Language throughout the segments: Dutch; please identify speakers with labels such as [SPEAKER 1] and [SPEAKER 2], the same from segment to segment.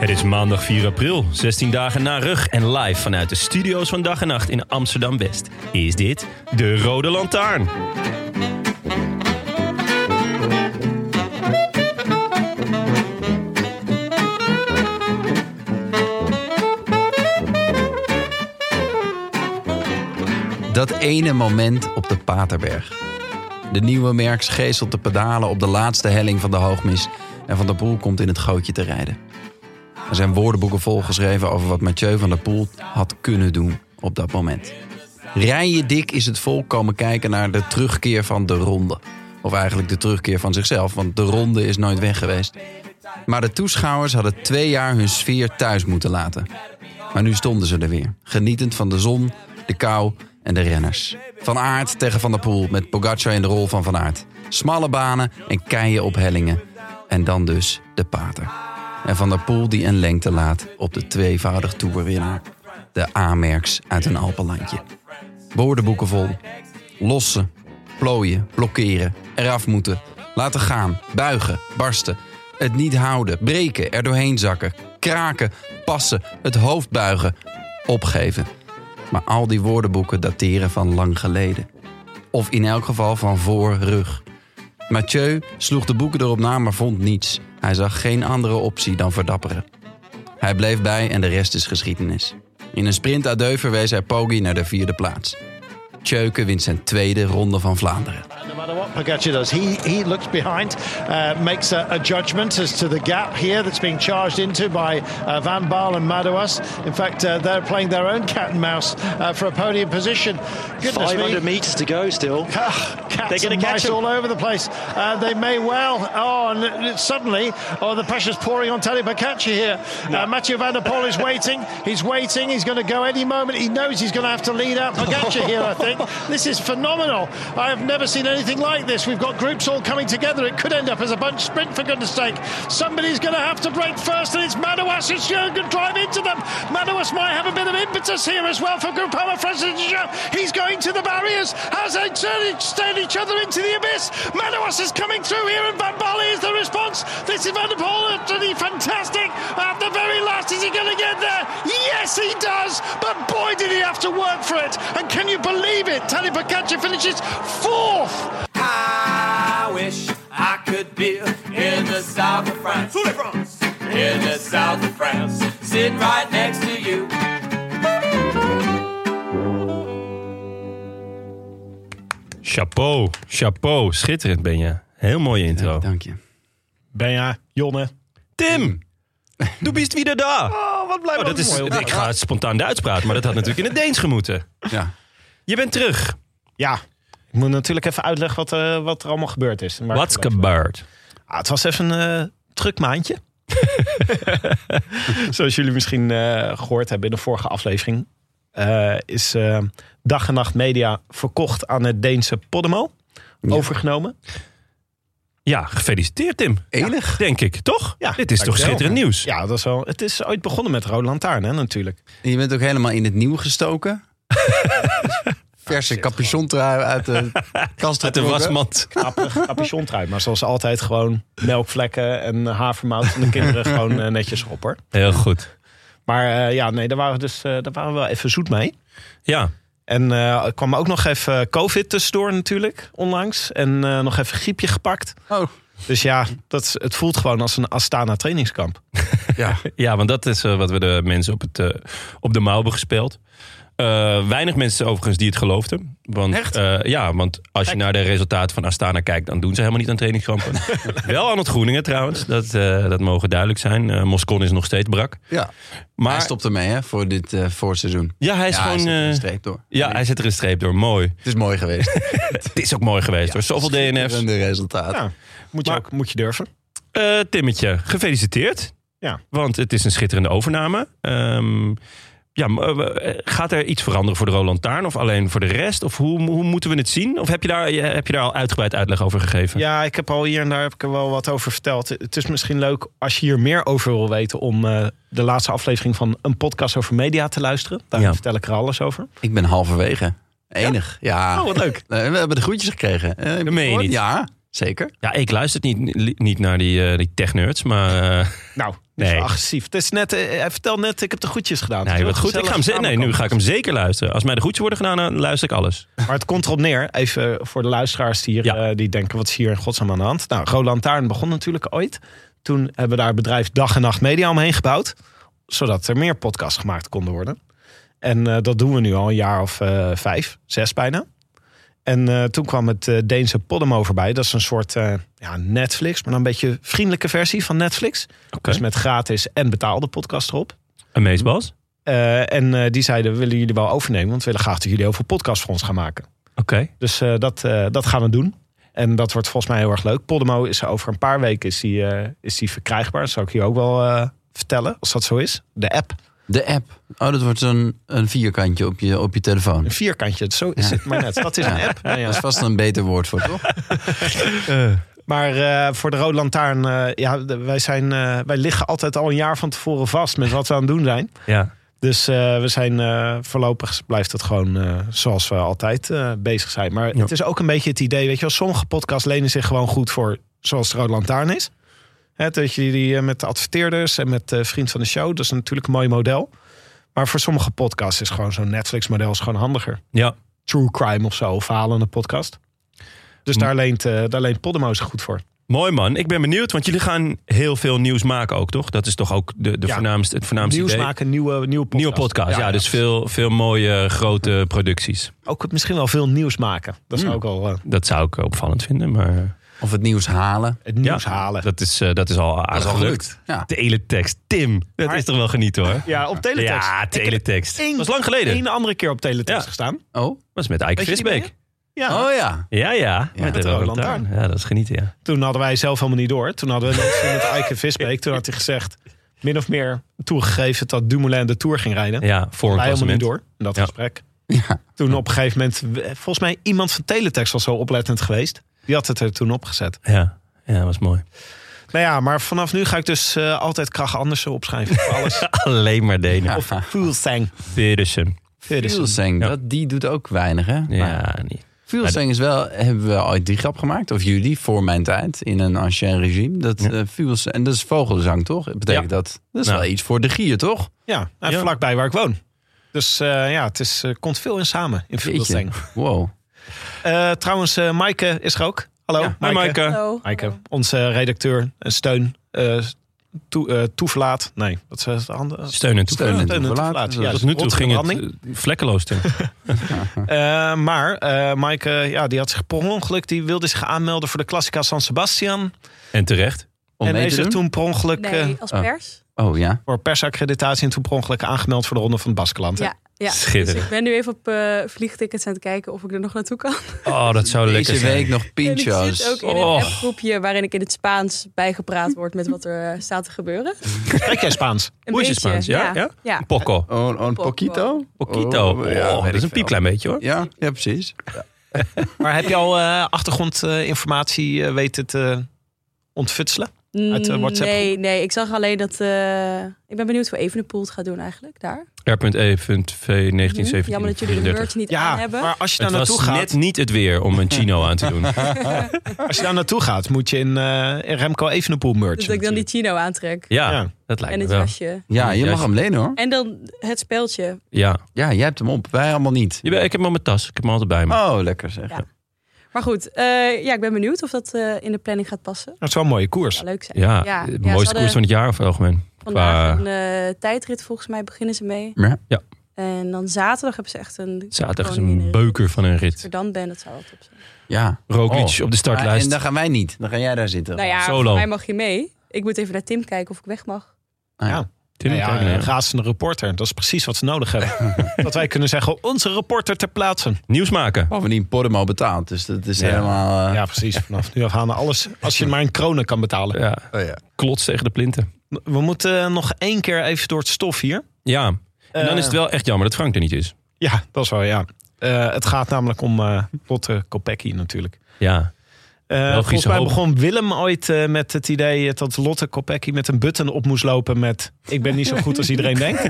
[SPEAKER 1] Het is maandag 4 april, 16 dagen na rug en live vanuit de studio's van Dag en Nacht in Amsterdam West. Is dit de Rode Lantaarn?
[SPEAKER 2] Dat ene moment op de Paterberg. De nieuwe Merks geeselt de pedalen op de laatste helling van de hoogmis en Van der Poel komt in het gootje te rijden. Er zijn woordenboeken volgeschreven over wat Mathieu van der Poel had kunnen doen op dat moment. Rijen dik is het volk komen kijken naar de terugkeer van de ronde. Of eigenlijk de terugkeer van zichzelf, want de ronde is nooit weg geweest. Maar de toeschouwers hadden twee jaar hun sfeer thuis moeten laten. Maar nu stonden ze er weer, genietend van de zon, de kou en de renners. Van Aert tegen Van der Poel met Pogacar in de rol van Van Aert. Smalle banen en keien op hellingen. En dan dus de pater. En Van der Poel die een lengte laat op de tweevoudig toerwinnaar. De Amerks uit een Alpenlandje. Woordenboeken vol. Lossen, plooien, blokkeren, eraf moeten, laten gaan, buigen, barsten. Het niet houden, breken, er doorheen zakken, kraken, passen, het hoofd buigen, opgeven. Maar al die woordenboeken dateren van lang geleden. Of in elk geval van voor rug. Mathieu sloeg de boeken erop na, maar vond niets. Hij zag geen andere optie dan verdapperen. Hij bleef bij en de rest is geschiedenis. In een sprint à deux verwees hij Poggi naar de vierde plaats. Tjeuke wint zijn tweede ronde van Vlaanderen.
[SPEAKER 3] No matter what Pogacar does, he, he looks behind, uh, makes a, a judgment as to the gap here that's being charged into by uh, Van Baal and Madouas. In fact, uh, they're playing their own cat and mouse uh, for a podium position. Goodness
[SPEAKER 4] 500
[SPEAKER 3] me.
[SPEAKER 4] meters to go still.
[SPEAKER 3] Ah,
[SPEAKER 4] They're
[SPEAKER 3] cats
[SPEAKER 4] gonna
[SPEAKER 3] and
[SPEAKER 4] catch
[SPEAKER 3] mice
[SPEAKER 4] him.
[SPEAKER 3] all over the place. Uh, they may well. Oh, and it- it- suddenly, oh, the pressure's pouring on Tadej Pogacar here. Uh, Mathieu van der Poel is waiting. He's waiting. He's going to go any moment. He knows he's going to have to lead out Pogacar here. I think this is phenomenal. I have never seen anything like this. We've got groups all coming together. It could end up as a bunch sprint for goodness sake. Somebody's going to have to break first, and it's Manoas and Jurgen drive into them. Manoas might have a bit of impetus here as well for Groupama Francis. He's going to the barriers as they turn stare each other into the abyss. Manoas is coming through here, and Van Bali is the response. This is Van der Poel, utterly fantastic. At the very last, is he going to get there? Yes, he does. But boy, did he have to work for it. And can you believe it? Tadej Pogacar finishes fourth.
[SPEAKER 5] I wish I could be in the south of France. In the south of France, sitting right next to you.
[SPEAKER 1] Chapeau, chapeau, schitterend ben je. Heel mooie intro.
[SPEAKER 2] Dank je.
[SPEAKER 3] Benja, Jonne.
[SPEAKER 1] Tim, du bist wieder da.
[SPEAKER 6] Oh, wat blij
[SPEAKER 1] Oh, dat is, ik ga het spontaan Duits praten, maar dat had natuurlijk in het Deens gemoeten.
[SPEAKER 2] Ja.
[SPEAKER 1] Je bent terug.
[SPEAKER 3] Ja, ik moet natuurlijk even uitleggen wat, eh, wat er allemaal gebeurd is. Maar-
[SPEAKER 1] Wat gebeurt?
[SPEAKER 3] Ah, het was even een eh, druk maandje. Zoals jullie misschien eh, gehoord hebben in de vorige aflevering... eh, is eh, Dag en Nacht Media verkocht aan het Deense Podimo. Overgenomen.
[SPEAKER 1] Ja, gefeliciteerd Tim.
[SPEAKER 2] Enig.
[SPEAKER 1] Ja, denk ik, toch?
[SPEAKER 3] Ja,
[SPEAKER 1] Dit is toch
[SPEAKER 3] dankjewel.
[SPEAKER 1] schitterend nieuws?
[SPEAKER 3] Ja, dat is wel, het is ooit begonnen met Rode Lantaarn, hè, natuurlijk.
[SPEAKER 2] En je bent ook helemaal in het nieuw gestoken. Verse capuchontrui uit de kast
[SPEAKER 1] Ah, Uit de
[SPEAKER 2] getrokken.
[SPEAKER 1] wasmand.
[SPEAKER 3] Knappig capuchontrui. eh, Maar zoals altijd gewoon melkvlekken en havermout. En de kinderen gewoon eh, netjes op, hoor.
[SPEAKER 1] Heel goed.
[SPEAKER 3] Maar eh, ja, nee, daar waren, we dus, eh, daar waren we wel even zoet mee.
[SPEAKER 1] Ja,
[SPEAKER 4] En eh, er kwam ook nog even COVID tussendoor natuurlijk, onlangs. En eh, nog even griepje gepakt.
[SPEAKER 2] Oh,
[SPEAKER 4] Dus ja, dat is, het voelt gewoon als een Astana trainingskamp.
[SPEAKER 2] ja.
[SPEAKER 1] Ja, want dat is eh, wat we de mensen op, het, eh, op de mouw hebben gespeeld. Eh, weinig mensen overigens die het geloofden. Want,
[SPEAKER 2] Echt?
[SPEAKER 1] eh, ja, want als je naar de resultaten van Astana kijkt... dan doen ze helemaal niet aan trainingskampen. Wel aan het Groeningen trouwens. Dat, eh, dat mogen duidelijk zijn. Eh, Moscon is nog steeds brak.
[SPEAKER 2] ja.
[SPEAKER 1] Maar
[SPEAKER 2] Hij stopt ermee hè, voor dit eh voorseizoen.
[SPEAKER 1] ja, hij is
[SPEAKER 2] ja,
[SPEAKER 1] gewoon...
[SPEAKER 2] zet er een
[SPEAKER 1] eh,
[SPEAKER 2] streep door.
[SPEAKER 1] ja, hij zit er een streep door. Mooi.
[SPEAKER 2] Het is mooi geweest.
[SPEAKER 1] Het is ook mooi geweest hoor. Zoveel DNF's.
[SPEAKER 2] Schitterende resultaat.
[SPEAKER 4] Ja, moet je,
[SPEAKER 1] Maar-
[SPEAKER 4] ook, moet je durven.
[SPEAKER 1] Eh, Timmetje, gefeliciteerd.
[SPEAKER 4] Ja.
[SPEAKER 1] Want het is een schitterende overname. Ehm, ja, m- eh, eh, gaat er iets veranderen voor de Roland Taarn of alleen voor de rest? Of hoe, hoe moeten we het zien? Of heb je daar, je- heb je daar al uitgebreid uitleg over gegeven?
[SPEAKER 4] Ja, ik heb al hier en daar heb ik er wel wat over verteld. Het is misschien leuk als je hier meer over wil weten... om eh, de laatste aflevering van een podcast over media te luisteren. Daar
[SPEAKER 1] Ja.
[SPEAKER 4] vertel ik er alles over.
[SPEAKER 2] Ik ben halverwege. Enig. Ja.
[SPEAKER 4] Oh, wat leuk.
[SPEAKER 2] Nee, We hebben de groetjes gekregen. Eh, heb je
[SPEAKER 1] meen je
[SPEAKER 2] gehoord?
[SPEAKER 1] niet.
[SPEAKER 2] Ja, zeker.
[SPEAKER 1] Ja, ik luister niet, li- niet naar die, eh, die technerds, maar eh,
[SPEAKER 4] Nou,
[SPEAKER 1] Nee.
[SPEAKER 4] nee. agressief. Het is net, eh, hij vertelt net, ik heb de goedjes gedaan.
[SPEAKER 1] nee,
[SPEAKER 4] Het
[SPEAKER 1] wat
[SPEAKER 4] is wel
[SPEAKER 1] goed. Ik ga hem ze-
[SPEAKER 4] gezellig
[SPEAKER 1] nee, nu ga ik hem zeker luisteren. Als mij de goedjes worden gedaan, dan luister ik alles.
[SPEAKER 4] Maar het komt erop neer, even voor de luisteraars die, hier,
[SPEAKER 1] Ja.
[SPEAKER 4] eh, die denken, wat is hier in godsnaam aan de hand? Nou, Roland Taarn begon natuurlijk ooit. Toen hebben we daar het bedrijf Dag en Nacht Media omheen gebouwd. Zodat er meer podcasts gemaakt konden worden. En eh, dat doen we nu al een jaar of eh, vijf, zes bijna. En eh, toen kwam het eh, Deense Podimo voorbij. Dat is een soort eh, ja, Netflix, maar dan een beetje vriendelijke versie van Netflix.
[SPEAKER 1] Oké.
[SPEAKER 4] Dus met gratis en betaalde podcasts erop.
[SPEAKER 1] Een meesbas?
[SPEAKER 4] Eh, en eh, die zeiden, willen jullie wel overnemen? Want we willen graag dat jullie heel veel podcasts voor ons gaan maken.
[SPEAKER 1] Oké.
[SPEAKER 4] Dus eh, dat, eh, dat gaan we doen. En dat wordt volgens mij heel erg leuk. Podemo is over een paar weken is die, eh, is die verkrijgbaar. Dat zou ik hier ook wel eh, vertellen, als dat zo is. De app.
[SPEAKER 2] De app. Oh, dat wordt een, een vierkantje op je, op je telefoon.
[SPEAKER 4] Een vierkantje, zo is het maar net. Dat is een app. Nou ja.
[SPEAKER 2] Dat is vast een beter woord voor, toch?
[SPEAKER 4] Maar eh, voor de Rode Lantaarn, eh, ja, de- wij, zijn, eh, wij liggen altijd al een jaar van tevoren vast met wat we aan het doen zijn.
[SPEAKER 1] Ja.
[SPEAKER 4] Dus eh, we zijn eh, voorlopig blijft het gewoon eh, zoals we altijd eh, bezig zijn. Maar
[SPEAKER 1] Ja.
[SPEAKER 4] het is ook een beetje het idee, weet je wel, sommige podcasts lenen zich gewoon goed voor zoals de Rode Lantaarn is. Hè, dat je die eh, met de adverteerders en met eh vriend van de show, dat is natuurlijk een mooi model. Maar voor sommige podcasts is gewoon zo'n Netflix model is gewoon handiger.
[SPEAKER 1] Ja.
[SPEAKER 4] True crime of zo, of verhalende podcast.
[SPEAKER 1] Mm.
[SPEAKER 4] Dus daar leent, eh daar leent Podimo zich goed voor.
[SPEAKER 1] Mooi man, ik ben benieuwd, want jullie gaan heel veel nieuws maken ook, toch? Dat is toch ook de, de
[SPEAKER 4] Ja.
[SPEAKER 1] voornaamste, het voornaamste
[SPEAKER 4] Nieuws
[SPEAKER 1] idee?
[SPEAKER 4] maken, nieuwe, nieuwe podcast.
[SPEAKER 1] Nieuwe podcast, ja. dus veel, veel mooie eh, grote producties.
[SPEAKER 4] Ook misschien wel veel nieuws maken. Dat
[SPEAKER 1] Mm.
[SPEAKER 4] is ook al eh,
[SPEAKER 1] Dat zou ik opvallend vinden, maar... eh,
[SPEAKER 2] Of het nieuws halen.
[SPEAKER 4] het nieuws halen.
[SPEAKER 1] Dat is, eh, dat is al
[SPEAKER 2] Dat
[SPEAKER 1] aardig
[SPEAKER 2] is al
[SPEAKER 1] gelukt.
[SPEAKER 2] gelukt. Ja.
[SPEAKER 1] Teletext. Tim, dat
[SPEAKER 4] Maar-
[SPEAKER 1] is toch wel genieten hoor?
[SPEAKER 4] Ja, op teletext.
[SPEAKER 1] Ja, teletext.
[SPEAKER 4] één-
[SPEAKER 1] Dat was lang geleden.
[SPEAKER 4] Eén andere keer op teletext
[SPEAKER 1] Ja.
[SPEAKER 4] gestaan.
[SPEAKER 2] Oh,
[SPEAKER 1] Dat was met Ike
[SPEAKER 4] Weet je die
[SPEAKER 1] Visbeek.
[SPEAKER 4] Ja.
[SPEAKER 2] oh ja.
[SPEAKER 1] Ja, ja. Met de
[SPEAKER 4] Met de
[SPEAKER 1] Roland
[SPEAKER 4] Roland
[SPEAKER 1] Lantaarn. Ja, dat is genieten, ja.
[SPEAKER 4] Toen hadden wij zelf helemaal niet door. Toen hadden we een interview met Eike Visbeek. Toen had hij gezegd, min of meer toegegeven dat Dumoulin de Tour ging rijden.
[SPEAKER 1] Ja, voor een
[SPEAKER 4] wij helemaal niet
[SPEAKER 1] klassement.
[SPEAKER 4] door in dat
[SPEAKER 1] Ja.
[SPEAKER 4] gesprek.
[SPEAKER 2] Ja.
[SPEAKER 4] Toen op een gegeven moment, eh, volgens mij iemand van teletext was zo oplettend geweest. Die had het er toen opgezet.
[SPEAKER 1] Ja. ja, dat was mooi.
[SPEAKER 4] Nou ja, maar vanaf nu ga ik dus eh, altijd Krach Andersen opschrijven. Voor alles.
[SPEAKER 1] Alleen maar Denen.
[SPEAKER 4] Of Fuglsang.
[SPEAKER 1] Pedersen.
[SPEAKER 4] dus,
[SPEAKER 2] Fuelsang,
[SPEAKER 1] Ja.
[SPEAKER 2] dat die doet ook weinig, hè? Maar
[SPEAKER 1] Ja, niet.
[SPEAKER 2] Fuelsang is wel, hebben we ooit die grap gemaakt, of jullie, voor mijn tijd, in een ancien regime. Dat, eh Fuelsang- en dat is vogelzang, toch? Dat betekent
[SPEAKER 1] Ja.
[SPEAKER 2] dat, dat is
[SPEAKER 1] Nou.
[SPEAKER 2] wel iets voor de gier, toch?
[SPEAKER 4] Ja, en
[SPEAKER 1] Ja.
[SPEAKER 4] vlakbij waar ik woon. Dus eh, ja, het is, eh, komt veel in samen in
[SPEAKER 2] Jeetje.
[SPEAKER 4] Fuglsang.
[SPEAKER 2] Wow.
[SPEAKER 4] Eh, trouwens, eh Maaike is er ook. Hallo,
[SPEAKER 1] Hoi Maaike.
[SPEAKER 7] Hallo.
[SPEAKER 4] Maaike, onze redacteur en steun. eh, toe, eh, toeverlaat. Nee, wat is het andere?
[SPEAKER 1] Steun
[SPEAKER 2] Steun en
[SPEAKER 1] en toeverlaat.
[SPEAKER 4] Steun en
[SPEAKER 2] toeverlaten.
[SPEAKER 4] toeverlaten,
[SPEAKER 2] Dat
[SPEAKER 4] ja.
[SPEAKER 1] Tot nu toe ging het
[SPEAKER 4] Rotgebranding.
[SPEAKER 1] eh, vlekkeloos, Tim.
[SPEAKER 4] Eh, maar eh Maaike, ja, die had zich per ongeluk... die wilde zich aanmelden voor de Classica San Sebastian.
[SPEAKER 1] En terecht.
[SPEAKER 2] Om
[SPEAKER 4] en
[SPEAKER 2] mee
[SPEAKER 4] heeft
[SPEAKER 2] te
[SPEAKER 4] zich
[SPEAKER 2] doen?
[SPEAKER 4] toen per ongeluk... eh,
[SPEAKER 7] Nee, als
[SPEAKER 2] oh.
[SPEAKER 7] pers.
[SPEAKER 2] Oh ja.
[SPEAKER 4] voor persaccreditatie en toen per ongeluk aangemeld voor de Ronde van het Baskeland. hè?
[SPEAKER 7] Ja. Ja,
[SPEAKER 1] Schitterend.
[SPEAKER 7] dus ik ben nu even op eh, vliegtickets aan het kijken of ik er nog naartoe kan.
[SPEAKER 1] Oh, dat zou lekker
[SPEAKER 2] Deze
[SPEAKER 1] zijn.
[SPEAKER 2] week nog
[SPEAKER 7] En ik zit
[SPEAKER 2] pinchos.
[SPEAKER 7] ook in een
[SPEAKER 1] Och.
[SPEAKER 7] appgroepje waarin ik in het Spaans bijgepraat word met wat er eh, staat te gebeuren.
[SPEAKER 4] Spreek jij Spaans?
[SPEAKER 7] Een
[SPEAKER 1] Hoe is het
[SPEAKER 7] beetje,
[SPEAKER 1] Spaans? Ja? ja?
[SPEAKER 7] ja.
[SPEAKER 1] Poco.
[SPEAKER 2] Oh, een poquito?
[SPEAKER 1] Poquito. Oh,
[SPEAKER 2] ja, weet ik
[SPEAKER 1] dat is een
[SPEAKER 2] veel.
[SPEAKER 1] piepklein beetje hoor.
[SPEAKER 2] Ja, ja, precies.
[SPEAKER 4] Maar heb je al eh, achtergrondinformatie eh weten te ontfutselen? Uit de WhatsApp
[SPEAKER 7] Mm, Nee, nee, ik zag alleen dat... eh, ik ben benieuwd hoe Evenepoel het gaat doen eigenlijk, daar. Hm?
[SPEAKER 1] R.E.V. 1917.
[SPEAKER 7] Jammer dat jullie de beurtje niet aan
[SPEAKER 4] Ja,
[SPEAKER 7] hebben.
[SPEAKER 4] maar als je daar
[SPEAKER 1] Het
[SPEAKER 4] naartoe
[SPEAKER 1] was
[SPEAKER 4] gaat,
[SPEAKER 1] net niet het weer om een chino aan te doen.
[SPEAKER 4] als je daar naartoe gaat, moet je in, eh, in Remco Evenepoel merch.
[SPEAKER 7] Dus dat ik dan die chino aantrek.
[SPEAKER 1] Ja,
[SPEAKER 4] Ja.
[SPEAKER 1] dat lijkt
[SPEAKER 7] En
[SPEAKER 1] me
[SPEAKER 7] het
[SPEAKER 1] wel.
[SPEAKER 7] jasje.
[SPEAKER 2] Ja, je mag hem lenen hoor.
[SPEAKER 7] En dan het speeltje.
[SPEAKER 1] Ja.
[SPEAKER 2] Ja, jij hebt hem op. Wij allemaal niet.
[SPEAKER 1] Jawel, Ik heb hem op mijn tas. Ik heb hem altijd bij me.
[SPEAKER 2] Oh, lekker zeg.
[SPEAKER 7] Ja. Maar goed, eh, ja, ik ben benieuwd of dat eh, in de planning gaat passen.
[SPEAKER 4] Dat is wel een mooie koers.
[SPEAKER 7] Zou leuk zijn.
[SPEAKER 1] Ja,
[SPEAKER 7] Ja,
[SPEAKER 1] de
[SPEAKER 7] ja, ze
[SPEAKER 1] mooiste
[SPEAKER 7] hadden-
[SPEAKER 1] koers van het jaar of algemeen. Qua
[SPEAKER 7] Vandaag een eh, tijdrit volgens mij beginnen ze mee.
[SPEAKER 2] Ja.
[SPEAKER 1] Ja.
[SPEAKER 7] En dan zaterdag hebben ze echt een...
[SPEAKER 1] zaterdag is
[SPEAKER 7] koningin-
[SPEAKER 1] een beuker van een
[SPEAKER 7] Als
[SPEAKER 1] rit.
[SPEAKER 7] ik er dan ben, dat zou wel top zijn.
[SPEAKER 2] Ja.
[SPEAKER 7] Oh.
[SPEAKER 1] Roglic op de
[SPEAKER 2] Ah, en
[SPEAKER 1] startlijst.
[SPEAKER 2] dan gaan wij niet. Dan ga jij daar zitten.
[SPEAKER 7] Nou ja,
[SPEAKER 1] Solo.
[SPEAKER 7] voor mij mag je mee. Ik moet even naar Tim kijken of ik weg mag.
[SPEAKER 2] Ah, ja.
[SPEAKER 4] Ja.
[SPEAKER 1] Tim
[SPEAKER 4] Nou ja,
[SPEAKER 1] Keuken, ja.
[SPEAKER 4] een razende reporter. Dat is precies wat ze nodig hebben. dat wij kunnen zeggen, onze reporter ter plaatse.
[SPEAKER 1] Nieuws maken.
[SPEAKER 2] Bovendien Podimo betaalt. Dus dat is helemaal... eh,
[SPEAKER 4] Ja, precies. Vanaf nu af aan alles. Als je maar in kronen kan betalen.
[SPEAKER 1] Ja. Klots tegen de plinten.
[SPEAKER 4] We moeten eh, nog één keer even door het stof hier.
[SPEAKER 1] Ja. En dan
[SPEAKER 4] Eh.
[SPEAKER 1] is het wel echt jammer dat Frank er niet is.
[SPEAKER 4] Ja, dat is wel, ja. Eh, het gaat namelijk om eh Lotte Kopecky natuurlijk.
[SPEAKER 1] Ja.
[SPEAKER 4] Eh,
[SPEAKER 1] Belgische
[SPEAKER 4] volgens mij
[SPEAKER 1] hoop.
[SPEAKER 4] begon Willem ooit eh, met het idee dat Lotte Kopecky met een button op moest lopen met... Ik ben niet zo goed als iedereen denkt.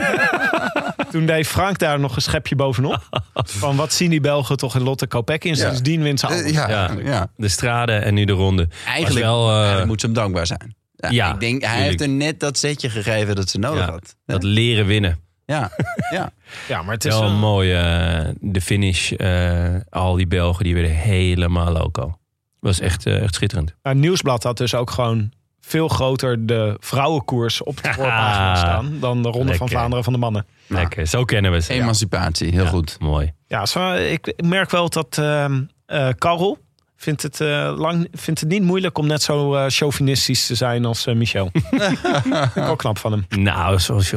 [SPEAKER 4] Toen deed Frank daar nog een schepje bovenop. Van wat zien die Belgen toch in Lotte Kopecky. En
[SPEAKER 2] Ja.
[SPEAKER 4] sindsdien wint ze
[SPEAKER 2] eh,
[SPEAKER 4] alles.
[SPEAKER 2] ja.
[SPEAKER 1] Ja.
[SPEAKER 2] ja.
[SPEAKER 1] De straden en nu de ronde.
[SPEAKER 2] Eigenlijk,
[SPEAKER 1] Was wel, eh,
[SPEAKER 2] eigenlijk moet ze hem dankbaar zijn. Ja,
[SPEAKER 1] ja,
[SPEAKER 2] ik denk, hij
[SPEAKER 1] tuurlijk.
[SPEAKER 2] heeft er net dat setje gegeven dat ze nodig
[SPEAKER 1] Ja.
[SPEAKER 2] had.
[SPEAKER 1] Dat leren winnen.
[SPEAKER 2] Ja, ja.
[SPEAKER 4] Ja, maar het
[SPEAKER 1] Het
[SPEAKER 4] is
[SPEAKER 1] is wel
[SPEAKER 4] wel-
[SPEAKER 1] mooi. eh, de finish. eh, al die Belgen die werden helemaal loco. Was echt, eh, echt schitterend.
[SPEAKER 4] Nou, Nieuwsblad had dus ook gewoon veel groter de vrouwenkoers op de voorpagina staan... dan de Ronde
[SPEAKER 1] Lekker.
[SPEAKER 4] van Vlaanderen van de mannen.
[SPEAKER 1] Lekker. Zo kennen we ze.
[SPEAKER 2] Emancipatie, heel
[SPEAKER 1] Ja,
[SPEAKER 2] goed.
[SPEAKER 1] Mooi.
[SPEAKER 4] Ja, zo, ik ik merk wel dat ehm eh, Karel vindt het, eh, lang, vindt het niet moeilijk om net zo eh, chauvinistisch te zijn als eh, Michel. Vind ik ook knap van hem.
[SPEAKER 1] Nou, zoals,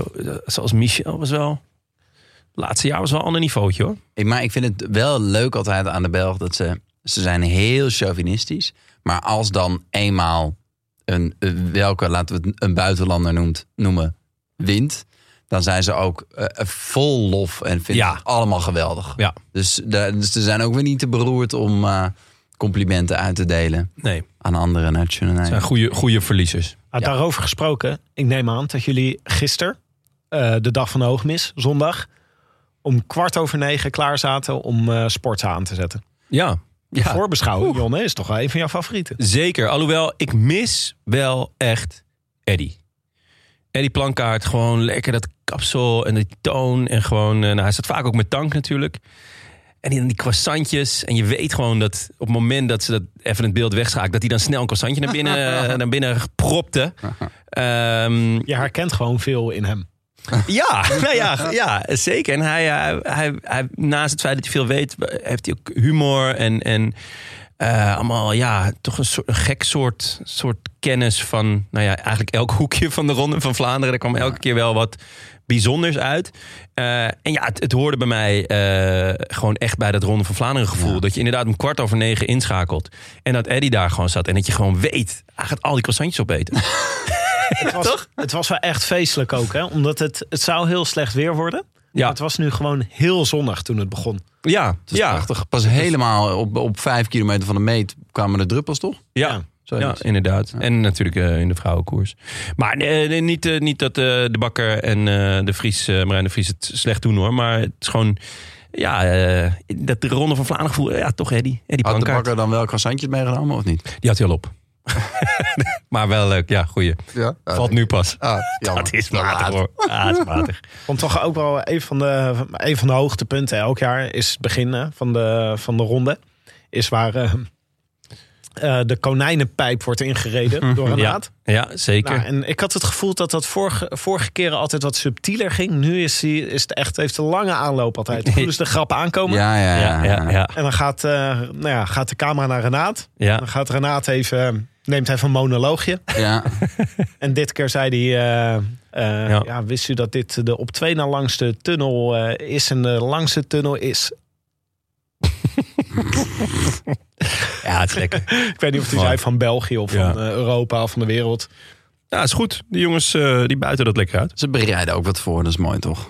[SPEAKER 1] zoals Michel was wel. Laatste jaar was wel een ander niveautje hoor.
[SPEAKER 2] Ik, maar ik vind het wel leuk altijd aan de Belg dat ze... Ze zijn heel chauvinistisch. Maar als dan eenmaal een, eh, welke, laten we het een buitenlander noemt, noemen, wint... Dan zijn ze ook eh, eh, vol lof en vinden
[SPEAKER 1] Ja.
[SPEAKER 2] het allemaal geweldig.
[SPEAKER 1] Ja.
[SPEAKER 2] Dus, daar- dus ze zijn ook weer niet te beroerd om eh, complimenten uit te delen
[SPEAKER 1] Nee, het
[SPEAKER 2] aan andere
[SPEAKER 1] zijn
[SPEAKER 2] nationaliteiten.
[SPEAKER 1] goede, goede Eh, verliezers.
[SPEAKER 4] Ah,
[SPEAKER 2] Ja.
[SPEAKER 4] Daarover gesproken, ik neem aan dat jullie gisteren, eh, de dag van de hoogmis, zondag, om kwart over negen klaar zaten om eh sportza aan te zetten.
[SPEAKER 1] Ja,
[SPEAKER 4] Ja.
[SPEAKER 1] ja
[SPEAKER 4] Voorbeschouwen, Jonne, is toch wel een van jouw favorieten.
[SPEAKER 1] zeker. Alhoewel, ik mis wel echt Eddy. Eddy Plankaart, gewoon lekker dat kapsel en die toon. En gewoon, eh, nou, hij staat vaak ook met tank natuurlijk. En die, die croissantjes. En je weet gewoon dat op het moment dat ze dat even het beeld wegschakelen... dat hij dan snel een croissantje naar binnen, naar binnen propte. Ehm,
[SPEAKER 4] Je herkent gewoon veel in hem.
[SPEAKER 1] Ja, nou ja, ja, zeker. En hij, eh, hij, hij, naast het feit dat hij veel weet, heeft hij ook humor en, en eh, allemaal, ja, toch een, soort, een gek soort, soort kennis van, nou ja, eigenlijk elk hoekje van de Ronde van Vlaanderen. Er kwam elke keer wel wat bijzonders uit. Eh, en ja, het, het hoorde bij mij eh, gewoon echt bij dat Ronde van Vlaanderen gevoel. Dat je inderdaad om kwart over negen inschakelt. En dat Eddie daar gewoon zat. En dat je gewoon weet, hij gaat al die croissantjes opeten.
[SPEAKER 4] Het was, het was wel echt feestelijk ook, hè? omdat het, het zou heel slecht weer worden.
[SPEAKER 1] Ja,
[SPEAKER 4] Maar het was nu gewoon heel zonnig toen het begon.
[SPEAKER 1] ja,
[SPEAKER 2] Het is
[SPEAKER 1] ja,
[SPEAKER 2] prachtig. Pas helemaal op, op vijf kilometer van de meet kwamen de druppels, toch?
[SPEAKER 1] ja.
[SPEAKER 2] Zo
[SPEAKER 1] ja,
[SPEAKER 2] iets.
[SPEAKER 1] inderdaad.
[SPEAKER 2] Ja.
[SPEAKER 1] En natuurlijk eh, in de vrouwenkoers. Maar eh, nee, niet, eh, niet dat eh, de Bakker en eh, de Vries, eh, Marijn de Vries het slecht doen hoor. Maar het is gewoon, ja, eh, dat de Ronde van Vlaanderen gevoel. Ja, toch Eddie. Eddie
[SPEAKER 2] Had de
[SPEAKER 1] Plankaart.
[SPEAKER 2] bakker dan wel croissantjes meegenomen of niet?
[SPEAKER 1] Die had hij al op. maar wel leuk. Ja, goeie.
[SPEAKER 2] Ja.
[SPEAKER 1] Valt nu pas.
[SPEAKER 2] Ah,
[SPEAKER 1] Dat is matig hoor. Ah, dat is matig.
[SPEAKER 4] Want toch ook wel een van de, een van de hoogtepunten elk jaar is het begin hè, van de, van de ronde. Is waar eh, eh, de konijnenpijp wordt ingereden door een
[SPEAKER 1] Ja,
[SPEAKER 4] naad.
[SPEAKER 1] ja, zeker.
[SPEAKER 4] Nou, en ik had het gevoel dat dat vorige, vorige keren altijd wat subtieler ging. Nu is, die, is het echt, heeft de lange aanloop altijd. Voelen ze de grap aankomen.
[SPEAKER 2] Ja, ja, ja.
[SPEAKER 1] ja, ja, ja,
[SPEAKER 4] En dan gaat, eh, nou ja, gaat de camera naar Renaat.
[SPEAKER 1] ja.
[SPEAKER 4] Dan gaat Renaat even, eh, neemt even een monoloogje.
[SPEAKER 2] Ja.
[SPEAKER 4] En dit keer zei hij, eh, eh,
[SPEAKER 1] Ja.
[SPEAKER 4] ja. wist u dat dit de op twee na langste tunnel eh, is en de langste tunnel is?
[SPEAKER 1] Ja, het is lekker.
[SPEAKER 4] Ik weet niet of hij
[SPEAKER 1] Mooi.
[SPEAKER 4] zei van België of
[SPEAKER 1] Ja.
[SPEAKER 4] van eh, Europa of van de wereld.
[SPEAKER 1] Ja, is goed. Die jongens eh, die buiten dat lekker uit.
[SPEAKER 2] Ze bereiden ook wat voor, dat is mooi toch?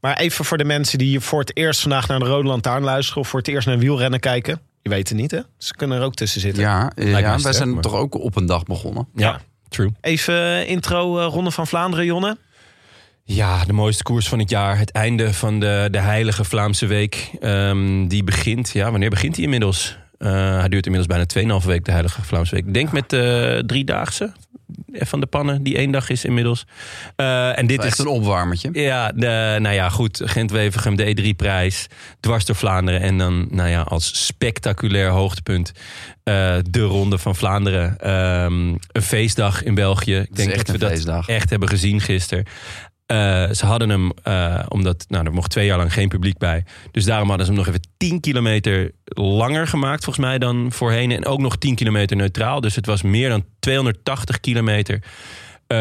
[SPEAKER 4] Maar even voor de mensen die voor het eerst vandaag naar de Rode Lantaarn luisteren of voor het eerst naar wielrennen kijken. Je weet het niet, hè? Ze kunnen er ook tussen zitten.
[SPEAKER 2] Ja, eh,
[SPEAKER 1] mij
[SPEAKER 2] ja wij
[SPEAKER 1] sterk,
[SPEAKER 2] zijn
[SPEAKER 1] maar-
[SPEAKER 2] toch ook op een dag begonnen.
[SPEAKER 1] Ja, true.
[SPEAKER 4] Even eh, intro eh, Ronde van Vlaanderen, Jonne.
[SPEAKER 1] Ja, de mooiste koers van het jaar. Het einde van de, de heilige Vlaamse week. Ehm, die begint, ja, wanneer begint die inmiddels? Eh, hij duurt inmiddels bijna 2,5 week, de heilige Vlaamse week. Ik Denk met eh, de driedaagse van de pannen, die één dag is inmiddels. Eh, en dit
[SPEAKER 2] Echt
[SPEAKER 1] is...
[SPEAKER 2] een opwarmertje.
[SPEAKER 1] Ja, de, nou ja, goed. Gent-Wevergem, de E3-prijs. Dwars door Vlaanderen. En dan, nou ja, als spectaculair hoogtepunt... eh, de Ronde van Vlaanderen. Ehm, een feestdag in België. Ik
[SPEAKER 2] Het is
[SPEAKER 1] denk
[SPEAKER 2] echt
[SPEAKER 1] dat we
[SPEAKER 2] een
[SPEAKER 1] dat
[SPEAKER 2] feestdag.
[SPEAKER 1] echt hebben gezien gisteren. Eh, ze hadden hem, eh, omdat nou, er mocht twee jaar lang geen publiek bij. Dus daarom hadden ze hem nog even 10 kilometer langer gemaakt, volgens mij, dan voorheen. En ook nog 10 kilometer neutraal. Dus het was meer dan 280 kilometer. Eh,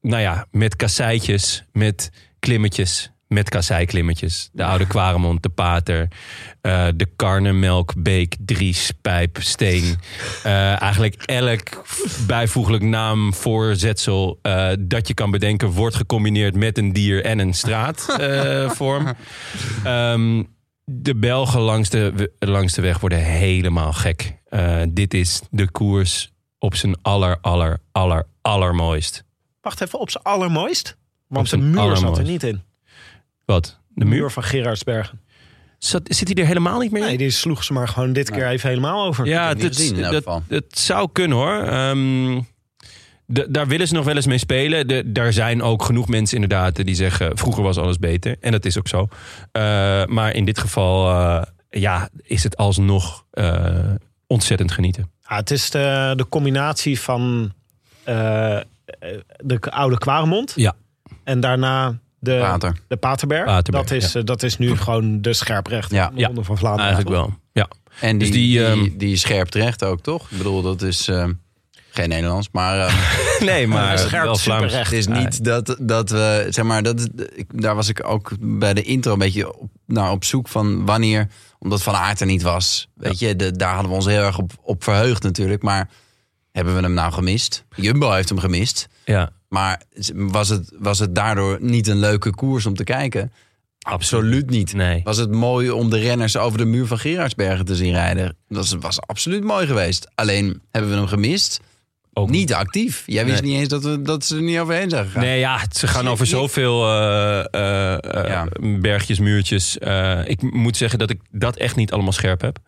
[SPEAKER 1] nou ja, met kasseitjes, met klimmetjes, met kasseiklimmetjes. De Oude Kwaremond, de Pater, eh, de Karnemelk, Beek, Dries, Pijp, Steen. Eh, eigenlijk elk bijvoeglijk naam, voorzetsel eh, dat je kan bedenken... wordt gecombineerd met een dier en een straatvorm. Ehm, de Belgen langs de, langs de weg worden helemaal gek. Eh, dit is de koers op zijn aller, aller, aller, allermooist.
[SPEAKER 4] Wacht even, op zijn allermooist.
[SPEAKER 1] Op
[SPEAKER 4] Want de
[SPEAKER 1] zijn
[SPEAKER 4] muur zat er
[SPEAKER 1] allermooist.
[SPEAKER 4] niet in.
[SPEAKER 1] Wat? De
[SPEAKER 4] De muur
[SPEAKER 1] muur?
[SPEAKER 4] van Gerardsbergen.
[SPEAKER 1] Zat, zit hij er helemaal niet meer in?
[SPEAKER 4] Nee, die sloeg ze maar gewoon dit keer even helemaal over.
[SPEAKER 1] Ja,
[SPEAKER 2] heb hem niet
[SPEAKER 1] dat,
[SPEAKER 2] gezien in elk
[SPEAKER 1] dat,
[SPEAKER 2] geval.
[SPEAKER 1] dat zou kunnen hoor. Ehm, d- daar willen ze nog wel eens mee spelen. De, daar zijn ook genoeg mensen inderdaad die zeggen... vroeger was alles beter. En dat is ook zo. Eh, maar in dit geval eh, ja, is het alsnog eh, ontzettend genieten.
[SPEAKER 4] Ja, Ah, het is de, de combinatie van eh, eh, de k- oude Kwaremond.
[SPEAKER 1] Ja.
[SPEAKER 4] En daarna de,
[SPEAKER 2] Pater.
[SPEAKER 4] de Paterberg.
[SPEAKER 1] Paterberg,
[SPEAKER 4] dat, is, eh, dat is nu gewoon de scherprecht
[SPEAKER 2] Ja.
[SPEAKER 4] van de
[SPEAKER 1] Ja.
[SPEAKER 4] Ronde van Vlaanderen.
[SPEAKER 1] Eigenlijk wel. Ja.
[SPEAKER 2] En
[SPEAKER 1] Dus
[SPEAKER 2] die,
[SPEAKER 1] die,
[SPEAKER 2] die,
[SPEAKER 1] ehm,
[SPEAKER 2] die, scherp terecht ook, toch? Ik bedoel, dat is eh, geen Nederlands, maar eh,
[SPEAKER 1] Nee, maar
[SPEAKER 4] scherp,
[SPEAKER 1] wel Vlaams.
[SPEAKER 4] superrecht.
[SPEAKER 2] het is niet dat, dat we, zeg maar, dat, ik, daar was ik ook bij de intro een beetje op, nou, op zoek van wanneer, omdat Van Aert er niet was. Weet je, de- daar hadden we ons heel erg op, op verheugd natuurlijk, maar hebben we hem nou gemist? Jumbo heeft hem gemist.
[SPEAKER 1] Ja,
[SPEAKER 2] Maar was het, was het daardoor niet een leuke koers om te kijken? Absoluut niet.
[SPEAKER 1] nee.
[SPEAKER 2] Was het mooi om de renners over de muur van Gerardsbergen te zien rijden? Dat was, was absoluut mooi geweest. Alleen hebben we hem gemist.
[SPEAKER 1] Ook
[SPEAKER 2] niet actief. Jij wist niet eens dat, we, dat ze er niet overheen zijn gegaan.
[SPEAKER 1] Nee, ja, ze gaan over zoveel eh, eh, eh,
[SPEAKER 2] Ja.
[SPEAKER 1] bergjes, muurtjes. Eh, ik moet zeggen dat ik dat echt niet allemaal scherp heb.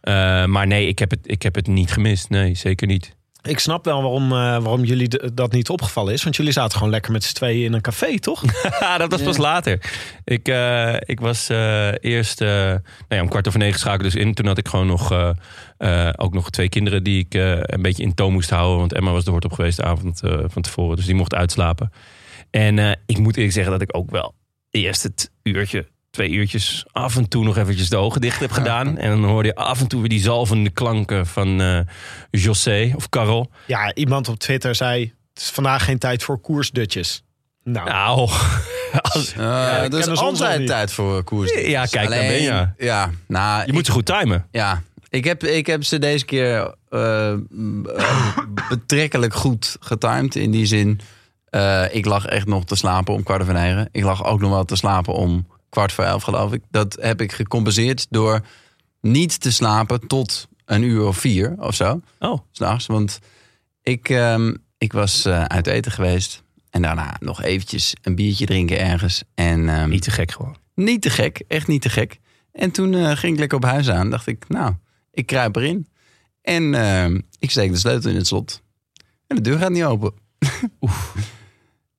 [SPEAKER 1] Eh, maar nee, ik heb, het, ik heb het niet gemist. Nee, zeker niet.
[SPEAKER 4] Ik snap wel waarom, eh, waarom jullie de- dat niet opgevallen is. Want jullie zaten gewoon lekker met z'n tweeën in een café, toch?
[SPEAKER 1] Haha, Ah, dat was pas later. Ik, eh, ik was eh, eerst eh, nou ja, om kwart over negen schakelde dus in. Toen had ik gewoon nog, eh, eh, ook nog twee kinderen die ik eh, een beetje in toom moest houden. Want Emma was de hoort op geweest de avond eh, van tevoren. Dus die mocht uitslapen. En eh, ik moet eerlijk zeggen dat ik ook wel eerst het uurtje, twee uurtjes af en toe nog eventjes de ogen dicht heb gedaan. En dan hoorde je af en toe weer die zalvende klanken van eh José of Carol.
[SPEAKER 4] ja, iemand op Twitter zei... het is vandaag geen tijd voor koersdutjes. Nou,
[SPEAKER 1] Nou, als-
[SPEAKER 2] Eh, er
[SPEAKER 4] kennen
[SPEAKER 2] is
[SPEAKER 4] ze ons nog
[SPEAKER 2] altijd
[SPEAKER 4] niet.
[SPEAKER 2] tijd voor eh, koers.
[SPEAKER 1] Ja, kijk, daar
[SPEAKER 2] Alleen,
[SPEAKER 1] ben je.
[SPEAKER 2] Ja, nou,
[SPEAKER 1] je moet ze goed timen.
[SPEAKER 2] ja. Ik, heb, ik heb ze deze keer eh, m- eh, betrekkelijk goed getimed. In die zin, eh, ik lag echt nog te slapen om kwart over negen. Ik lag ook nog wel te slapen om kwart voor elf, geloof ik. Dat heb ik gecompenseerd door niet te slapen tot een uur of vier of zo.
[SPEAKER 1] Oh.
[SPEAKER 2] s'nachts. Want ik, ehm, ik was eh, uit eten geweest. En daarna nog eventjes een biertje drinken ergens. En ehm,
[SPEAKER 1] Niet te gek gewoon.
[SPEAKER 2] niet te gek, echt niet te gek. En toen eh, ging ik lekker op huis aan. Dacht ik, nou, ik kruip erin. En ehm, ik steek de sleutel in het slot. En de deur gaat niet open.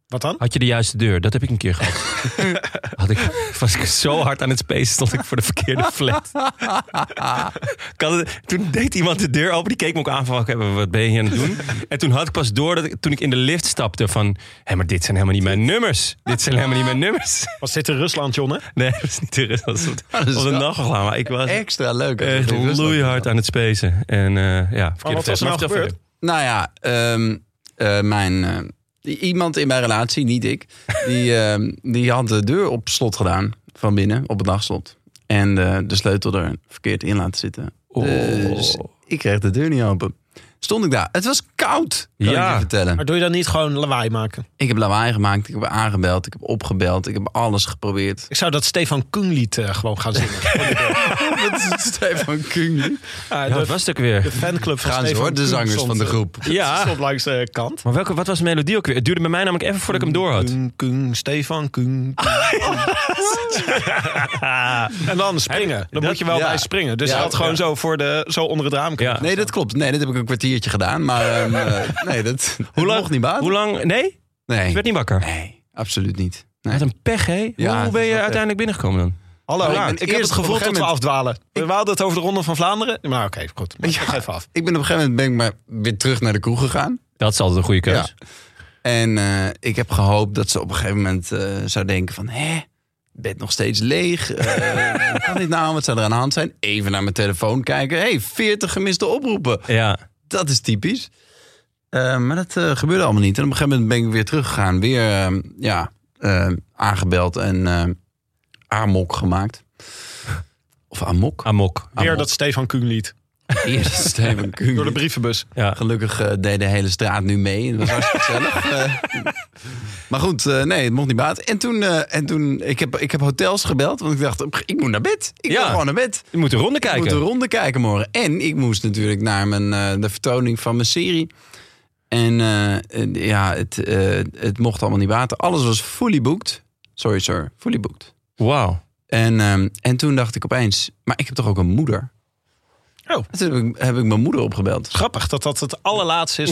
[SPEAKER 4] wat dan?
[SPEAKER 1] Had je de juiste deur? Dat heb ik een keer gehad. Had ik, was ik zo hard aan het spacen, stond ik voor de verkeerde flat. Ik had het- toen deed iemand de deur open, die keek me ook aan van "Oké, wat ben je hier aan het doen? En toen had ik pas door, dat ik, toen ik in de lift stapte van... hé, maar dit zijn helemaal niet mijn nummers. Dit zijn helemaal niet mijn nummers.
[SPEAKER 4] Was dit in Rusland, Jonne?
[SPEAKER 1] Nee, dat is niet de rest. Dat was,
[SPEAKER 2] dat is
[SPEAKER 1] was een
[SPEAKER 2] wel-
[SPEAKER 1] nachtglaam. Maar ik was
[SPEAKER 2] Extra leuk. als je
[SPEAKER 1] echt
[SPEAKER 2] het in Rusland
[SPEAKER 1] loeihard aan het spacen. En eh, ja, verkeerde
[SPEAKER 4] wat was
[SPEAKER 1] flat.
[SPEAKER 4] er
[SPEAKER 1] Maar
[SPEAKER 4] nou
[SPEAKER 1] vertel
[SPEAKER 4] gebeurd?
[SPEAKER 2] Nou ja, ehm, eh, mijn, eh, iemand in mijn relatie, niet ik, die, ehm, die had de deur op slot gedaan van binnen, op het dagslot.
[SPEAKER 1] Oh.
[SPEAKER 2] En eh, de sleutel er verkeerd in laten zitten.
[SPEAKER 1] verder.
[SPEAKER 2] Dus ik kreeg de deur niet open. stond ik daar. Het was koud, kan
[SPEAKER 1] Ja.
[SPEAKER 2] ik je vertellen.
[SPEAKER 4] Maar doe je dan niet gewoon lawaai maken?
[SPEAKER 2] Ik heb lawaai gemaakt, ik heb aangebeld, ik heb opgebeld, ik heb alles geprobeerd.
[SPEAKER 4] Ik zou dat Stefan Kung lied eh, gewoon gaan zingen.
[SPEAKER 2] Met Stefan Kung.
[SPEAKER 4] Ah,
[SPEAKER 1] Ja,
[SPEAKER 4] de,
[SPEAKER 1] wat was het ook weer?
[SPEAKER 4] de fanclub van
[SPEAKER 2] Gaan ze
[SPEAKER 4] Stefan
[SPEAKER 2] hoor, de
[SPEAKER 4] Kung
[SPEAKER 2] zangers
[SPEAKER 4] stond,
[SPEAKER 2] van de
[SPEAKER 4] eh,
[SPEAKER 2] groep.
[SPEAKER 4] stond
[SPEAKER 1] Ja,
[SPEAKER 4] langs de kant.
[SPEAKER 1] maar welke, wat was de melodie ook weer? Het duurde bij mij namelijk even voordat ik hem door had.
[SPEAKER 4] Kung, Kung, Stefan Kung.
[SPEAKER 2] Oh,
[SPEAKER 4] en dan springen. Dan moet je wel
[SPEAKER 2] ja.
[SPEAKER 4] bij springen. Dus
[SPEAKER 2] Ja,
[SPEAKER 4] je had gewoon
[SPEAKER 2] ja.
[SPEAKER 4] zo, voor de, zo onder het raam kunnen.
[SPEAKER 1] Ja.
[SPEAKER 2] Nee, dat klopt. Nee, dat heb ik een kwartiertje gedaan. Maar ehm, eh, nee, dat, dat mocht niet baat.
[SPEAKER 1] Hoe lang? Nee? Je
[SPEAKER 2] Nee,
[SPEAKER 1] werd niet wakker.
[SPEAKER 2] nee, absoluut niet. Nee.
[SPEAKER 1] Wat een pech, hè?
[SPEAKER 2] Ja,
[SPEAKER 1] Hoe
[SPEAKER 2] dat
[SPEAKER 1] ben
[SPEAKER 2] is
[SPEAKER 1] je
[SPEAKER 2] wel
[SPEAKER 1] uiteindelijk binnengekomen dan?
[SPEAKER 4] Hallo,
[SPEAKER 2] Ja,
[SPEAKER 4] ik,
[SPEAKER 2] ik
[SPEAKER 4] heb het gevoel dat we
[SPEAKER 2] moment-
[SPEAKER 4] afdwalen. We hadden het over de Ronde van Vlaanderen. Maar oké, goed. Maar ik
[SPEAKER 2] Ja.
[SPEAKER 4] ga even af.
[SPEAKER 2] Ik ben op een gegeven moment ben ik maar weer terug naar de kroeg gegaan.
[SPEAKER 1] Dat is altijd een goede keus.
[SPEAKER 2] En eh, ik heb gehoopt dat ze op een gegeven moment eh, zou denken van... Hè, bed nog steeds leeg. Eh, hoe kan dit nou? Wat zou er aan de hand zijn? Even naar mijn telefoon kijken. hey, 40 gemiste oproepen.
[SPEAKER 1] Ja.
[SPEAKER 2] Dat is typisch. Eh, maar dat eh, gebeurde allemaal niet. En op een gegeven moment ben ik weer teruggegaan. Weer eh, ja, eh, aangebeld en eh amok gemaakt. Of amok?
[SPEAKER 1] Amok.
[SPEAKER 4] Weer
[SPEAKER 2] Amok.
[SPEAKER 4] dat Stefan Kung lied.
[SPEAKER 2] Eerst Steven Kuhn.
[SPEAKER 4] Door de brievenbus.
[SPEAKER 1] Ja.
[SPEAKER 2] Gelukkig eh, deed de hele straat nu mee. Het was hartstikke gezellig. Eh, maar goed, eh, nee, het mocht niet baat. En toen, eh, en toen ik, heb, ik heb hotels gebeld. Want ik dacht, ik moet naar bed. Ik
[SPEAKER 1] Ja.
[SPEAKER 2] wil gewoon naar bed.
[SPEAKER 1] Je moet de ronde kijken.
[SPEAKER 2] Ik moet een ronde kijken morgen. En ik moest natuurlijk naar mijn, eh, de vertoning van mijn serie. En eh, eh, ja, het, eh, het mocht allemaal niet baten. Alles was fully booked. Sorry sir, fully booked.
[SPEAKER 1] Wauw.
[SPEAKER 2] En, ehm, en toen dacht ik opeens, maar ik heb toch ook een moeder?
[SPEAKER 4] Oh.
[SPEAKER 2] En Toen heb ik, heb ik mijn moeder opgebeld.
[SPEAKER 4] Grappig dat dat het allerlaatste is.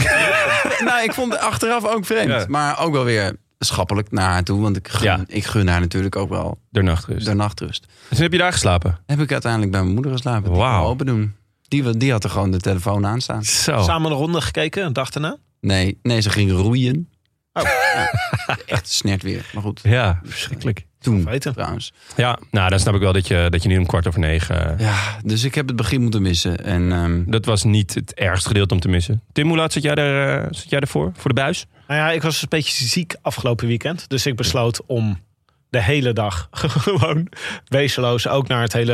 [SPEAKER 2] nou, ik vond het achteraf ook vreemd.
[SPEAKER 1] Ja.
[SPEAKER 2] Maar ook wel weer schappelijk naar haar toe. Want ik gun,
[SPEAKER 1] Ja.
[SPEAKER 2] ik gun haar natuurlijk ook wel
[SPEAKER 1] De nachtrust.
[SPEAKER 2] de nachtrust.
[SPEAKER 1] Dus heb je daar geslapen?
[SPEAKER 2] Heb ik uiteindelijk bij mijn moeder geslapen. Die
[SPEAKER 1] Wauw.
[SPEAKER 2] kon open doen. Die, die had er gewoon de telefoon aan staan.
[SPEAKER 1] Zo.
[SPEAKER 4] Samen een ronde gekeken, een dag daarna.
[SPEAKER 2] Nee, nee, ze ging roeien.
[SPEAKER 4] Oh,
[SPEAKER 2] Ja. Echt snert weer. Maar goed,
[SPEAKER 1] Ja, verschrikkelijk.
[SPEAKER 2] toen
[SPEAKER 4] nou, Weten.
[SPEAKER 2] trouwens.
[SPEAKER 1] Ja, nou, dan snap ik wel dat je, dat je nu om kwart over negen... eh,
[SPEAKER 2] Ja, dus ik heb het begin moeten missen. En ehm,
[SPEAKER 1] Dat was niet het ergste gedeelte om te missen. Tim, hoe laat zat jij, er, eh, zat jij ervoor? Voor de buis?
[SPEAKER 4] Nou ja, ik was een beetje ziek afgelopen weekend. Dus ik besloot om de hele dag gewoon wezenloos ook naar het hele,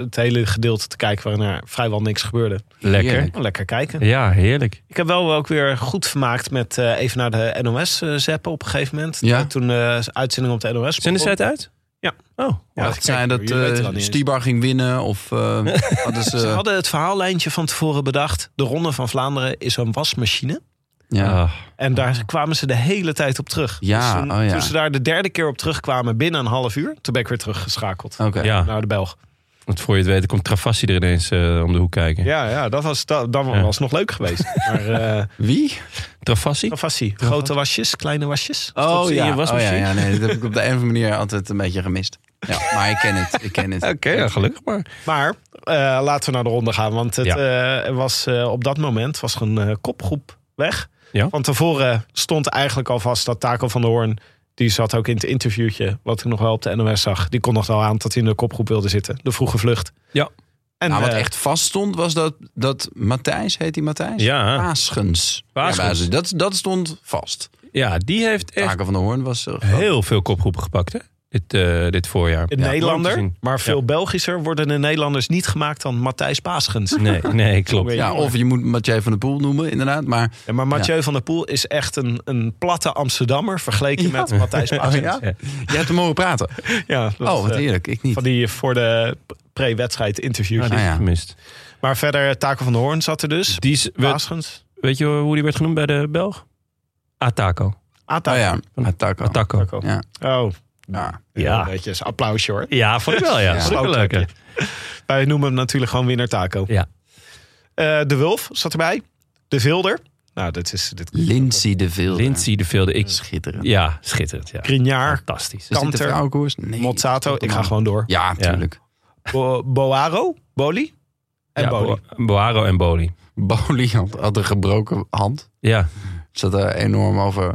[SPEAKER 4] het hele gedeelte te kijken waarin er vrijwel niks gebeurde.
[SPEAKER 2] Heerlijk.
[SPEAKER 4] Gewoon Lekker kijken.
[SPEAKER 1] Ja, heerlijk.
[SPEAKER 4] Ik heb wel ook weer goed vermaakt met eh, even naar de NOS eh, zappen op een gegeven moment.
[SPEAKER 2] Ja.
[SPEAKER 4] Toen eh uitzending op de NOS.
[SPEAKER 1] Zenden zij het uit?
[SPEAKER 4] Ja.
[SPEAKER 1] Oh,
[SPEAKER 4] Ja,
[SPEAKER 2] het zei dat
[SPEAKER 4] jullie weten
[SPEAKER 2] eh,
[SPEAKER 4] dat niet eens.
[SPEAKER 2] Stibar ging winnen of eh, hadden ze...
[SPEAKER 4] Ze hadden het verhaallijntje van tevoren bedacht. De Ronde van Vlaanderen is een wasmachine.
[SPEAKER 2] ja.
[SPEAKER 1] Ah.
[SPEAKER 4] En daar kwamen ze de hele tijd op terug. Dus
[SPEAKER 2] Ja,
[SPEAKER 4] toen,
[SPEAKER 2] oh ja.
[SPEAKER 4] toen ze daar de derde keer op terugkwamen binnen een half uur, toen ben ik weer teruggeschakeld
[SPEAKER 2] Oké.
[SPEAKER 1] ja,
[SPEAKER 4] naar de Belg.
[SPEAKER 1] want voor je het weet komt Travassi er ineens eh, om de hoek kijken.
[SPEAKER 4] Ja, ja dat was, dat, dat
[SPEAKER 1] Ja.
[SPEAKER 4] was nog leuk geweest. maar eh
[SPEAKER 2] Wie?
[SPEAKER 1] Travassi?
[SPEAKER 4] Travassi, grote wasjes, kleine wasjes.
[SPEAKER 2] Oh
[SPEAKER 1] in je
[SPEAKER 2] ja. oh ja,
[SPEAKER 1] wasmachine?
[SPEAKER 2] ja, nee, dat heb ik op de een of andere manier altijd een beetje gemist. Ja, maar ik ken het, ik ken het.
[SPEAKER 1] Oké, ja, gelukkig maar.
[SPEAKER 4] Maar eh, laten we naar de ronde gaan. Want het eh, was, eh, op dat moment was er een eh, kopgroep weg.
[SPEAKER 1] Ja.
[SPEAKER 4] Van tevoren stond eigenlijk al vast dat Taco van der Hoorn... die zat ook in het interviewtje wat ik nog wel op de NOS zag... die kon nog wel aan dat hij in de kopgroep wilde zitten. De vroege vlucht.
[SPEAKER 1] Ja.
[SPEAKER 4] En
[SPEAKER 2] Nou, wat
[SPEAKER 4] eh,
[SPEAKER 2] echt vast stond was dat, dat Matthijs, heet die Matthijs?
[SPEAKER 1] Ja, ah.
[SPEAKER 2] Paasgens.
[SPEAKER 1] Paasgens.
[SPEAKER 2] Ja, Paasgens. dat, dat stond vast.
[SPEAKER 1] ja die heeft echt
[SPEAKER 2] Taken van de Hoorn was... eh, groot.
[SPEAKER 1] heel veel kopgroepen gepakt, hè? Dit, eh, dit voorjaar.
[SPEAKER 4] een
[SPEAKER 1] Ja,
[SPEAKER 4] Nederlander,
[SPEAKER 1] leuk te zien.
[SPEAKER 4] maar veel
[SPEAKER 1] Ja.
[SPEAKER 4] Belgischer worden de Nederlanders niet gemaakt dan Matthijs Paasgens.
[SPEAKER 1] Nee, nee, klopt.
[SPEAKER 2] Ja, of je moet Mathieu van der Poel noemen, inderdaad. Maar
[SPEAKER 4] Ja, maar Mathieu van der Poel is echt een, een platte Amsterdammer vergeleken met Matthijs Paasgens.
[SPEAKER 2] Oh, ja? je hebt hem horen praten.
[SPEAKER 4] Ja, oh, dat,
[SPEAKER 2] Oh, wat
[SPEAKER 4] eh,
[SPEAKER 2] eerlijk. Ik niet.
[SPEAKER 4] Van die voor de pre-wedstrijd interviews.
[SPEAKER 1] Ja, die
[SPEAKER 2] Ah, ja.
[SPEAKER 1] gemist.
[SPEAKER 4] Maar verder, Taco van de Hoorn zat er dus.
[SPEAKER 1] Die is, weet,
[SPEAKER 4] Waaschens.
[SPEAKER 1] weet je hoe die werd genoemd bij de Belg? Ataco.
[SPEAKER 4] Ata.
[SPEAKER 2] Oh ja, Ataco.
[SPEAKER 1] Ataco.
[SPEAKER 4] Taco.
[SPEAKER 2] Ja.
[SPEAKER 4] Oh,
[SPEAKER 2] Ja.
[SPEAKER 4] ja.
[SPEAKER 1] Ja.
[SPEAKER 4] Een beetje een applausje hoor.
[SPEAKER 1] Ja, vond ik wel, ja.
[SPEAKER 2] Ja.
[SPEAKER 1] Vond ik wel leuk, hè?
[SPEAKER 4] Wij noemen hem natuurlijk gewoon winnaar Taco.
[SPEAKER 1] Ja.
[SPEAKER 4] Eh, de Wulf zat erbij. De Vilder. Nou, dit is... Dit...
[SPEAKER 2] Lindsay de Vilde.
[SPEAKER 1] Lindsay de Veelde. Ik,
[SPEAKER 2] Schitterend.
[SPEAKER 1] ja, schitterend. Ja.
[SPEAKER 4] Grignaar.
[SPEAKER 1] Fantastisch.
[SPEAKER 2] Is dit de
[SPEAKER 4] Kanter.
[SPEAKER 2] vrouwenkoers? Nee.
[SPEAKER 4] Mozzato. Ik ga gewoon door.
[SPEAKER 2] Ja, tuurlijk.
[SPEAKER 4] Bo- Boaro. Boli. En
[SPEAKER 1] ja,
[SPEAKER 4] Boli.
[SPEAKER 1] Bo- Boaro en Boli.
[SPEAKER 2] Boli had, had een gebroken hand.
[SPEAKER 1] Ja,
[SPEAKER 2] Zat er enorm over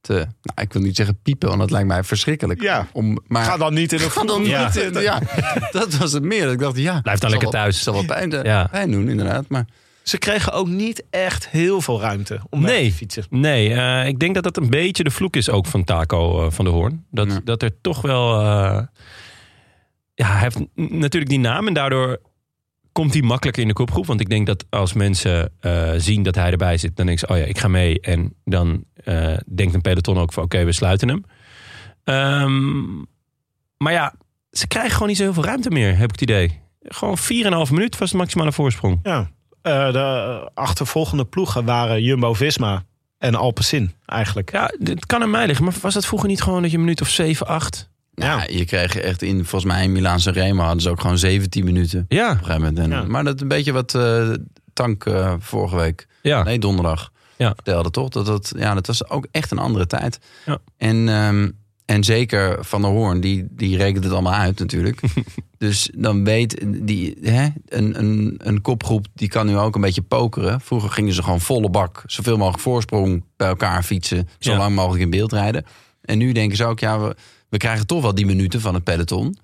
[SPEAKER 2] te... Nou, ik wil niet zeggen piepen, want dat lijkt mij verschrikkelijk.
[SPEAKER 4] Ja.
[SPEAKER 2] Om, maar
[SPEAKER 4] Ga dan niet in de
[SPEAKER 2] Ga dan
[SPEAKER 4] Ja.
[SPEAKER 2] niet in. Ja, dat was het meer. Ik dacht, ja.
[SPEAKER 1] blijf dan
[SPEAKER 2] zal
[SPEAKER 1] lekker
[SPEAKER 2] wel-
[SPEAKER 1] thuis.
[SPEAKER 2] Zal wel pijn, eh,
[SPEAKER 1] Ja.
[SPEAKER 2] pijn doen, inderdaad. Maar
[SPEAKER 4] Ze kregen ook niet echt heel veel ruimte om mee
[SPEAKER 1] Nee.
[SPEAKER 4] te fietsen.
[SPEAKER 1] Nee, eh, ik denk dat dat een beetje de vloek is ook van Taco eh, van de Hoorn. Dat,
[SPEAKER 2] Ja.
[SPEAKER 1] dat er toch wel... eh, ja, hij heeft n- natuurlijk die naam en daardoor komt hij makkelijker in de kopgroep. Want ik denk dat als mensen eh, zien dat hij erbij zit, dan denken ze, oh ja, ik ga mee. En dan eh, denkt een peloton ook van, oké, we sluiten hem. Ehm, maar ja, ze krijgen gewoon niet zo heel veel ruimte meer, heb ik het idee. Gewoon 4,5 minuut was de maximale voorsprong.
[SPEAKER 4] Ja. Eh, de achtervolgende ploegen waren Jumbo-Visma en Alpecin eigenlijk.
[SPEAKER 1] Ja, het kan aan mij liggen, maar was dat vroeger niet gewoon dat je een minuut of 7, 8?
[SPEAKER 2] Ja, Nou, je kreeg echt in, volgens mij in Milaan Sanremo hadden ze ook gewoon 17 minuten. Op
[SPEAKER 1] Ja,
[SPEAKER 2] een gegeven moment. En,
[SPEAKER 4] Ja.
[SPEAKER 2] Maar dat is een beetje wat eh, Tank eh, vorige week,
[SPEAKER 1] ja.
[SPEAKER 2] nee donderdag,
[SPEAKER 1] Ah. Ja.
[SPEAKER 2] vertelde toch? Dat, dat, ja, dat was ook echt een andere tijd.
[SPEAKER 1] Ja.
[SPEAKER 2] En, ehm, en zeker Van der Hoorn, die, die rekent het allemaal uit natuurlijk. dus dan weet die, hè, een, een, een kopgroep, die kan nu ook een beetje pokeren. Vroeger gingen ze gewoon volle bak, zoveel mogelijk voorsprong bij elkaar fietsen. Zo
[SPEAKER 1] Ja.
[SPEAKER 2] lang mogelijk in beeld rijden. En nu denken ze ook, ja, we, we krijgen toch wel die minuten van het peloton.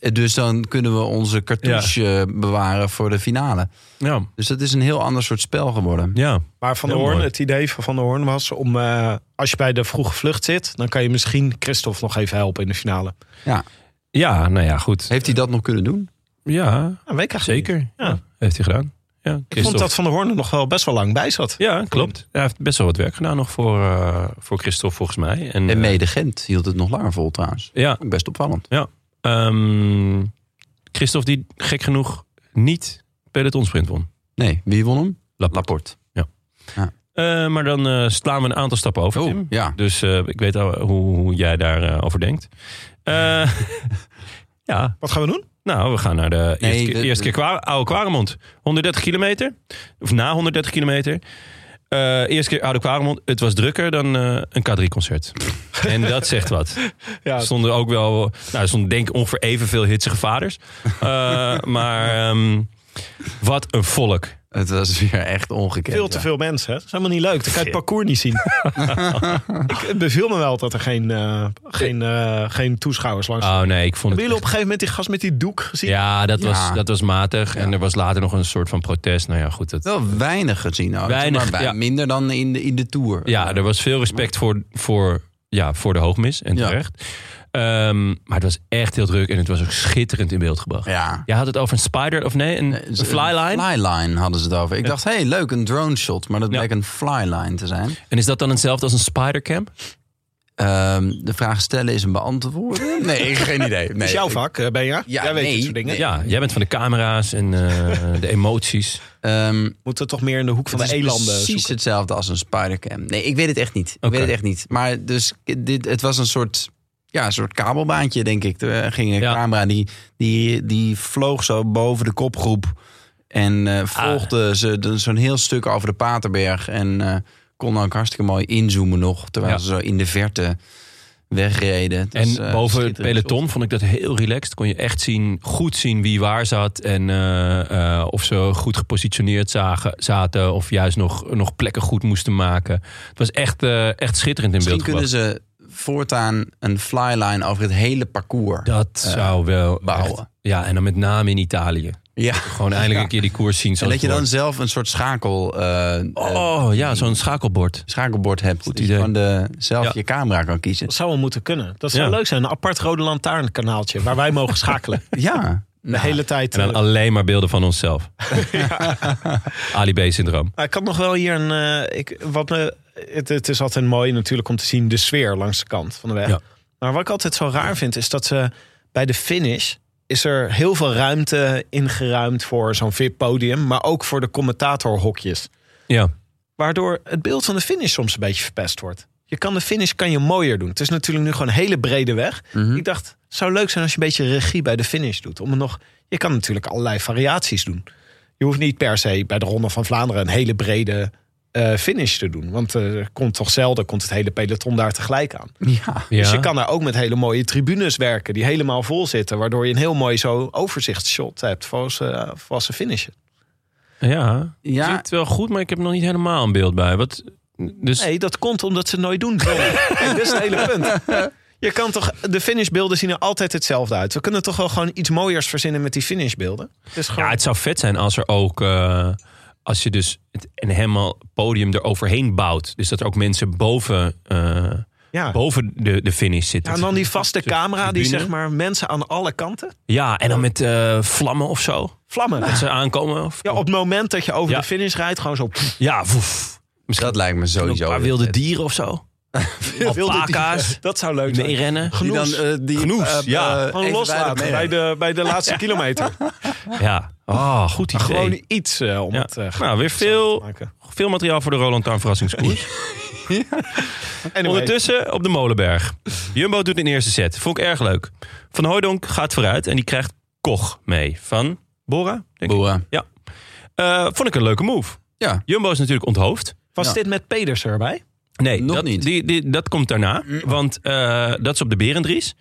[SPEAKER 2] Eh, Dus dan kunnen we onze cartouche eh, bewaren voor de finale.
[SPEAKER 1] ja.
[SPEAKER 2] Dus dat is een heel ander soort spel geworden.
[SPEAKER 1] ja.
[SPEAKER 4] Maar Van der
[SPEAKER 1] Heel
[SPEAKER 4] Hoorn,
[SPEAKER 1] mooi.
[SPEAKER 4] het idee van Van der Hoorn was om... eh, als je bij de vroege vlucht zit, dan kan je misschien Christophe nog even helpen in de finale.
[SPEAKER 1] Ja, nou ja, goed.
[SPEAKER 2] Heeft hij dat nog kunnen doen?
[SPEAKER 1] Ja,
[SPEAKER 4] Ja, weet ik eigenlijk niet.
[SPEAKER 1] zeker.
[SPEAKER 4] Ja.
[SPEAKER 1] Ja, heeft hij gedaan. Ja,
[SPEAKER 4] Ik vond
[SPEAKER 1] Christophe.
[SPEAKER 4] dat Van der Hoorn er nog wel best wel lang bij zat.
[SPEAKER 1] Ja, klopt. Hij heeft best wel wat werk gedaan nog voor, eh, voor Christophe, volgens mij. En,
[SPEAKER 2] En
[SPEAKER 1] eh,
[SPEAKER 2] mede Gent hield het nog langer vol trouwens.
[SPEAKER 1] ja,
[SPEAKER 2] Ook best opvallend.
[SPEAKER 1] ehm, Christophe die gek genoeg niet pelotonsprint won.
[SPEAKER 2] Nee, wie won hem?
[SPEAKER 1] Lap-
[SPEAKER 2] Laporte.
[SPEAKER 1] Eh, maar dan eh, slaan we een aantal stappen over,
[SPEAKER 4] Oh.
[SPEAKER 1] Tim.
[SPEAKER 2] Oh, ja.
[SPEAKER 1] Dus eh, ik weet al hoe, hoe jij daarover over denkt. Eh, ja,
[SPEAKER 4] Wat gaan we doen?
[SPEAKER 1] Nou, we gaan naar de eerste,
[SPEAKER 2] Nee,
[SPEAKER 1] keer,
[SPEAKER 2] de-
[SPEAKER 1] eerste keer Kwa- Oude Kwaremond. 130 kilometer. Of na 130 kilometer. Eh eerste keer Oude Kwaremond. Het was drukker dan eh, een K3-concert. en dat zegt wat.
[SPEAKER 4] Ja,
[SPEAKER 1] Er stonden ook wel... Nou, er stonden denk ik ongeveer evenveel hitsige vaders. Eh, maar ehm, wat een volk.
[SPEAKER 2] Het was weer echt ongekend.
[SPEAKER 4] veel te
[SPEAKER 2] ja.
[SPEAKER 4] veel mensen. hè. Dat is helemaal niet leuk. Dan kan je het parcours niet zien. ik, het beviel me wel dat er geen, eh, geen, eh, geen toeschouwers langs
[SPEAKER 1] Oh nee, ik vond
[SPEAKER 4] Hebben
[SPEAKER 1] het...
[SPEAKER 4] jullie op een gegeven moment die gast met die doek gezien?
[SPEAKER 1] Ja, dat,
[SPEAKER 2] Ja.
[SPEAKER 1] Was, dat was matig. En er was later nog een soort van protest. Nou ja, goed. Dat,
[SPEAKER 2] Wel weinig gezien. Ook,
[SPEAKER 1] Weinig,
[SPEAKER 2] maar bij-
[SPEAKER 1] ja.
[SPEAKER 2] minder dan in de, in de Tour. Eh,
[SPEAKER 1] Ja, er was veel respect voor, voor, ja, voor de hoogmis en
[SPEAKER 2] Ja.
[SPEAKER 1] terecht. Ehm, maar het was echt heel druk en het was ook schitterend in beeld gebracht.
[SPEAKER 2] Ja.
[SPEAKER 1] Jij had het over een spider, of nee, een, een flyline.
[SPEAKER 2] Flyline hadden ze het over. Ik dacht, hé, hey, leuk, een drone shot. Maar dat
[SPEAKER 1] Ja.
[SPEAKER 2] bleek een flyline te zijn.
[SPEAKER 1] En is dat dan hetzelfde als een spidercam?
[SPEAKER 2] Ehm, de vraag stellen is een beantwoorden. Nee, geen idee. Nee,
[SPEAKER 4] Dat is jouw
[SPEAKER 2] ik-
[SPEAKER 4] vak, eh, Benja.
[SPEAKER 2] Ja,
[SPEAKER 4] Jij weet
[SPEAKER 2] nee,
[SPEAKER 4] dit soort dingen.
[SPEAKER 2] nee.
[SPEAKER 1] Ja, jij bent van de camera's en eh, de emoties.
[SPEAKER 2] ehm,
[SPEAKER 4] Moeten we toch meer in de hoek van
[SPEAKER 2] Het
[SPEAKER 4] de
[SPEAKER 2] is
[SPEAKER 4] elanden
[SPEAKER 2] precies
[SPEAKER 4] zoeken.
[SPEAKER 2] hetzelfde als een spidercam. Nee, ik weet het echt niet.
[SPEAKER 1] Oké.
[SPEAKER 2] Ik weet het echt niet. Maar dus dit, het was een soort, ja, een soort kabelbaantje, denk ik. Er ging een
[SPEAKER 1] Ja.
[SPEAKER 2] camera, die, die, die vloog zo boven de kopgroep. En
[SPEAKER 1] Ah.
[SPEAKER 2] eh, volgde ze de- zo'n heel stuk over de Paterberg. En eh, kon ook hartstikke mooi inzoomen nog. Terwijl
[SPEAKER 1] Ja.
[SPEAKER 2] ze zo in de verte wegreden. Het
[SPEAKER 1] En
[SPEAKER 2] was, eh,
[SPEAKER 1] boven het
[SPEAKER 2] schitterend
[SPEAKER 1] peloton vond ik dat heel relaxed. Kon je echt zien, goed zien wie waar zat. En eh, eh, of ze goed gepositioneerd zagen, zaten. Of juist nog, nog plekken goed moesten maken. Het was echt, eh, echt schitterend in
[SPEAKER 2] Misschien
[SPEAKER 1] beeld gebracht.
[SPEAKER 2] kunnen ze voortaan een flyline over het hele parcours.
[SPEAKER 1] Dat
[SPEAKER 2] eh,
[SPEAKER 1] zou wel
[SPEAKER 2] bouwen.
[SPEAKER 1] echt- ja, en dan met name in Italië.
[SPEAKER 2] ja.
[SPEAKER 1] Gewoon eindelijk
[SPEAKER 2] Ja.
[SPEAKER 1] een keer die koers zien.
[SPEAKER 2] En
[SPEAKER 1] Zoals
[SPEAKER 2] dat je dan
[SPEAKER 1] het
[SPEAKER 2] zelf een soort schakel, eh,
[SPEAKER 1] hoort.
[SPEAKER 2] eh,
[SPEAKER 1] Oh ja, zo'n schakelbord.
[SPEAKER 2] schakelbord hebt. Goed
[SPEAKER 1] idee.
[SPEAKER 2] Dat je gewoon de, zelf
[SPEAKER 1] Ja.
[SPEAKER 2] je camera kan kiezen.
[SPEAKER 4] Dat zou wel moeten kunnen. Dat zou
[SPEAKER 1] Ja.
[SPEAKER 4] leuk zijn. Een apart rode lantaarnkanaaltje waar wij mogen schakelen.
[SPEAKER 2] Ja.
[SPEAKER 4] De hele tijd.
[SPEAKER 1] En dan
[SPEAKER 4] eh,
[SPEAKER 1] alleen maar beelden van onszelf. Ali B-syndroom.
[SPEAKER 4] Maar ik had nog wel hier een. eh, ik, wat me, het, het is altijd mooi natuurlijk om te zien de sfeer langs de kant van de weg.
[SPEAKER 1] Ja.
[SPEAKER 4] Maar wat ik altijd zo raar vind is dat ze bij de finish. Is er heel veel ruimte ingeruimd voor zo'n VIP-podium, maar ook voor de commentatorhokjes.
[SPEAKER 1] Ja,
[SPEAKER 4] Waardoor het beeld van de finish soms een beetje verpest wordt. Je kan de finish kan je mooier doen. Het is natuurlijk nu gewoon een hele brede weg. Ik dacht, het zou leuk zijn als je een beetje regie bij de finish doet. Om er nog, je kan natuurlijk allerlei variaties doen. Je hoeft niet per se bij de Ronde van Vlaanderen een hele brede eh, finish te doen. Want eh, er komt toch zelden komt het hele peloton daar tegelijk aan.
[SPEAKER 2] Ja.
[SPEAKER 1] ja.
[SPEAKER 4] Dus je kan daar ook met hele mooie tribunes werken die helemaal vol zitten. Waardoor je een heel mooi zo overzichtsshot hebt voor ze, voor ze finishen.
[SPEAKER 1] ja.
[SPEAKER 2] Ja.
[SPEAKER 1] zit wel goed, maar ik heb er nog niet helemaal een beeld bij. Wat, dus
[SPEAKER 4] Nee, dat komt omdat ze het nooit doen. en dat is het hele punt. Je kan toch, de finishbeelden zien er altijd hetzelfde uit. We kunnen toch wel gewoon iets mooiers verzinnen met die finishbeelden. Het is gewoon...
[SPEAKER 1] ja, het zou vet zijn als er ook... eh, als je dus het, een helemaal podium eroverheen bouwt. Dus dat er ook mensen boven... eh,
[SPEAKER 4] Ja.
[SPEAKER 1] boven de, de finish zit.
[SPEAKER 4] Ja,
[SPEAKER 1] het.
[SPEAKER 4] en dan die vaste camera die
[SPEAKER 1] tribune.
[SPEAKER 4] zeg maar mensen aan alle kanten
[SPEAKER 1] Ja, en dan met eh, vlammen of zo.
[SPEAKER 4] vlammen.
[SPEAKER 1] Dat ze aankomen. Of,
[SPEAKER 4] Ja, op het moment dat je over
[SPEAKER 1] Ja.
[SPEAKER 4] de finish rijdt, gewoon zo pff,
[SPEAKER 1] ja woef. Misschien
[SPEAKER 2] Dat lijkt me
[SPEAKER 1] een
[SPEAKER 2] sowieso.
[SPEAKER 1] paar
[SPEAKER 2] weer
[SPEAKER 1] wilde
[SPEAKER 2] vet.
[SPEAKER 1] dieren of zo. Alpaca's.
[SPEAKER 4] Dat zou leuk zijn.
[SPEAKER 1] Meerennen.
[SPEAKER 2] Die dan,
[SPEAKER 4] genoes.
[SPEAKER 2] eh, die,
[SPEAKER 1] Genoes,
[SPEAKER 2] eh,
[SPEAKER 1] ja.
[SPEAKER 2] eh,
[SPEAKER 4] Gewoon
[SPEAKER 2] even
[SPEAKER 4] loslaten
[SPEAKER 2] bij de
[SPEAKER 4] bij
[SPEAKER 2] merk.
[SPEAKER 4] de, bij de laatste kilometer.
[SPEAKER 2] eh,
[SPEAKER 1] Ja. Oh, goed idee.
[SPEAKER 4] Gewoon iets eh, om
[SPEAKER 1] Ja.
[SPEAKER 4] het eh,
[SPEAKER 1] nou, weer
[SPEAKER 4] te
[SPEAKER 1] veel,
[SPEAKER 4] maken.
[SPEAKER 1] veel materiaal voor de Roland Tarn verrassingskoers.
[SPEAKER 4] Anyway,
[SPEAKER 1] Ondertussen op de Molenberg. Jumbo doet een eerste set. Vond ik erg leuk. Van Hooydonk gaat vooruit en die krijgt Koch mee. Van Bora, denk ik.
[SPEAKER 2] Boeren.
[SPEAKER 1] Eh, vond ik een leuke move.
[SPEAKER 2] Ja.
[SPEAKER 1] Jumbo is natuurlijk onthoofd.
[SPEAKER 4] was
[SPEAKER 2] Ja.
[SPEAKER 4] dit met Peders erbij?
[SPEAKER 1] Nee,
[SPEAKER 2] Nog
[SPEAKER 1] dat,
[SPEAKER 2] niet.
[SPEAKER 1] Die, die- dat komt daarna. Want eh, dat is op de Berendries.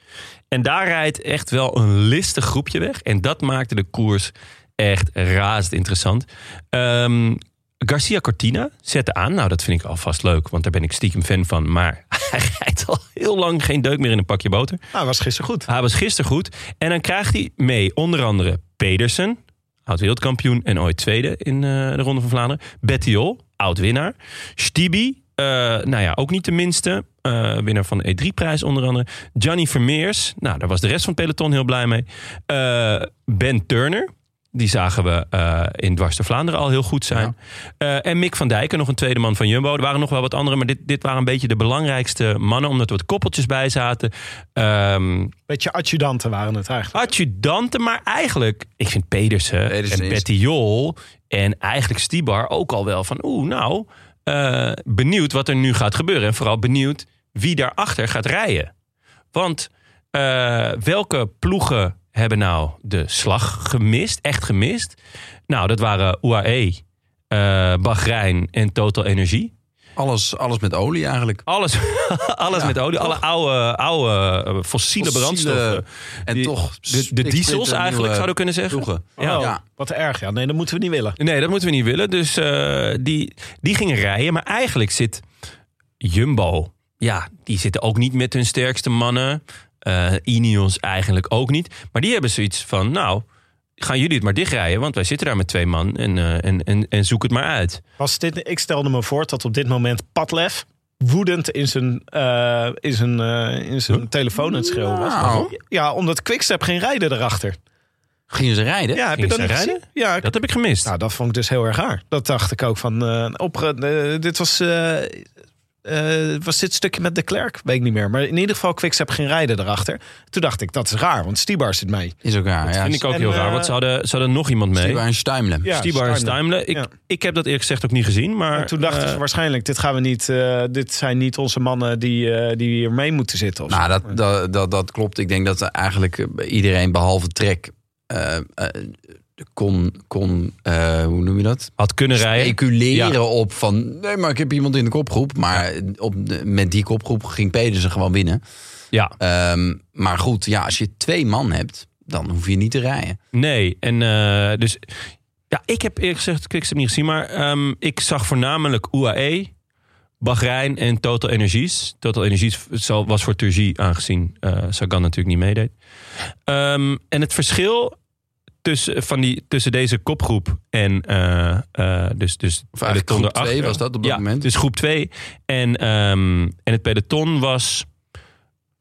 [SPEAKER 1] En daar rijdt echt wel een listig groepje weg. En dat maakte de koers echt razend interessant. Ehm, Garcia Cortina zette aan. Nou, dat vind ik alvast leuk. Want daar ben ik stiekem fan van. Maar hij rijdt al heel lang geen deuk meer in een pakje boter.
[SPEAKER 4] Nou, was gisteren goed.
[SPEAKER 1] Hij was gisteren goed. En dan krijgt hij mee onder andere Pedersen, oud-wereldkampioen en ooit tweede in eh, de Ronde van Vlaanderen. Bettiol, oud-winnaar. Stibi, eh, nou ja, ook niet de minste. eh, winnaar van de E3-prijs onder andere. Gianni Vermeers, nou daar was de rest van het peloton heel blij mee. Eh, ben Turner, die zagen we eh, in Dwars de Vlaanderen al heel goed zijn. Eh, en Mick van Dijken, nog een tweede man van Jumbo. Er waren nog wel wat andere, maar dit, dit waren een beetje de belangrijkste mannen... omdat er wat koppeltjes bij zaten. Ehm
[SPEAKER 4] Beetje adjudanten waren het eigenlijk.
[SPEAKER 1] adjudanten, maar eigenlijk, ik vind Pedersen,
[SPEAKER 2] Pedersen
[SPEAKER 1] en
[SPEAKER 2] is-
[SPEAKER 1] Betty Jol en eigenlijk Stibar ook al wel van, oeh, nou, eh, benieuwd wat er nu gaat gebeuren. En vooral benieuwd wie daarachter gaat rijden. Want eh, welke ploegen hebben nou de slag gemist, echt gemist? Nou, dat waren UAE, eh Bahrein en Total Energie.
[SPEAKER 2] Alles, alles met olie eigenlijk.
[SPEAKER 1] Alles, alles met olie, alle oude, oude eh,
[SPEAKER 2] Fossiele-
[SPEAKER 1] fossiele, brandstoffen.
[SPEAKER 2] En
[SPEAKER 1] Die-
[SPEAKER 2] toch.
[SPEAKER 1] De, de diesels eigenlijk, zouden we kunnen zeggen. Ja.
[SPEAKER 4] Oh, Wat erg, ja. Nee, dat moeten we niet willen.
[SPEAKER 1] Nee, dat moeten we niet willen. Dus eh, die, die gingen rijden. Maar eigenlijk zit Jumbo... Ja, die zitten ook niet met hun sterkste mannen. Eh Ineos eigenlijk ook niet. Maar die hebben zoiets van... Nou, gaan jullie het maar dichtrijden. Want wij zitten daar met twee man. En, eh, en, en, en zoek het maar uit.
[SPEAKER 4] Was dit, ik stelde me voor dat op dit moment Padlef woedend in zijn, eh, in zijn, eh, in zijn telefoon aan het schreeuwen was.
[SPEAKER 2] Nou.
[SPEAKER 4] Ja, omdat Quickstep geen rijden erachter.
[SPEAKER 2] Gingen ze rijden?
[SPEAKER 4] Ja, heb je dat
[SPEAKER 1] Gingen ze
[SPEAKER 4] niet
[SPEAKER 1] rijden?
[SPEAKER 4] gezien? Ja,
[SPEAKER 1] Dat heb ik gemist.
[SPEAKER 4] nou, dat vond ik dus heel erg raar. Dat dacht ik ook van... eh, op, eh, dit was, eh, eh, was dit stukje met de Klerk? Weet ik niet meer. Maar in ieder geval Quickstep geen rijden erachter. Toen dacht ik, dat is raar, want Stibar zit mee.
[SPEAKER 2] Is ook raar. Ja.
[SPEAKER 1] vind ik ook
[SPEAKER 4] en,
[SPEAKER 1] heel raar.
[SPEAKER 4] eh,
[SPEAKER 1] Want ze hadden, ze hadden nog iemand mee.
[SPEAKER 2] Stibar en Steimle.
[SPEAKER 4] Ja,
[SPEAKER 1] Stibar en
[SPEAKER 4] Steimler.
[SPEAKER 1] Stuimle. Ik,
[SPEAKER 4] Ja.
[SPEAKER 1] ik heb dat eerlijk gezegd ook niet gezien. Maar,
[SPEAKER 4] En toen dachten
[SPEAKER 1] eh,
[SPEAKER 4] ze waarschijnlijk, dit gaan we niet... eh, dit zijn niet onze mannen die, eh, die hier mee moeten zitten. Of zo.
[SPEAKER 2] Nou, dat, dat, dat, dat klopt. Ik denk dat er eigenlijk eh, iedereen behalve Trek eh, eh, kon, kon eh, hoe noem je dat?
[SPEAKER 1] had kunnen rijden.
[SPEAKER 2] Speculeren
[SPEAKER 1] Ah, Ja.
[SPEAKER 2] op van, nee, maar ik heb iemand in de kopgroep. Maar op, de- met die kopgroep ging Pedersen gewoon winnen.
[SPEAKER 1] Ja.
[SPEAKER 2] Ehm, maar goed, ja, als je twee man hebt, dan hoef je niet te rijden.
[SPEAKER 1] Nee, en eh, dus... Ja, ik heb eerlijk gezegd Quickstep niet gezien, maar ehm, ik zag voornamelijk UAE, Bahrein en Total Energies. Total Energies zal- was voor Turgie aangezien eh, Sagan natuurlijk niet meedeed. Ehm, en het verschil tussen, eh, van die, tussen deze kopgroep en eh, eh, dus, dus het
[SPEAKER 2] Of eigenlijk
[SPEAKER 1] peloton
[SPEAKER 2] groep
[SPEAKER 1] erachter-
[SPEAKER 2] twee was dat op dat
[SPEAKER 1] ja,
[SPEAKER 2] moment.
[SPEAKER 1] dus groep 2 en, ehm, en het peloton was...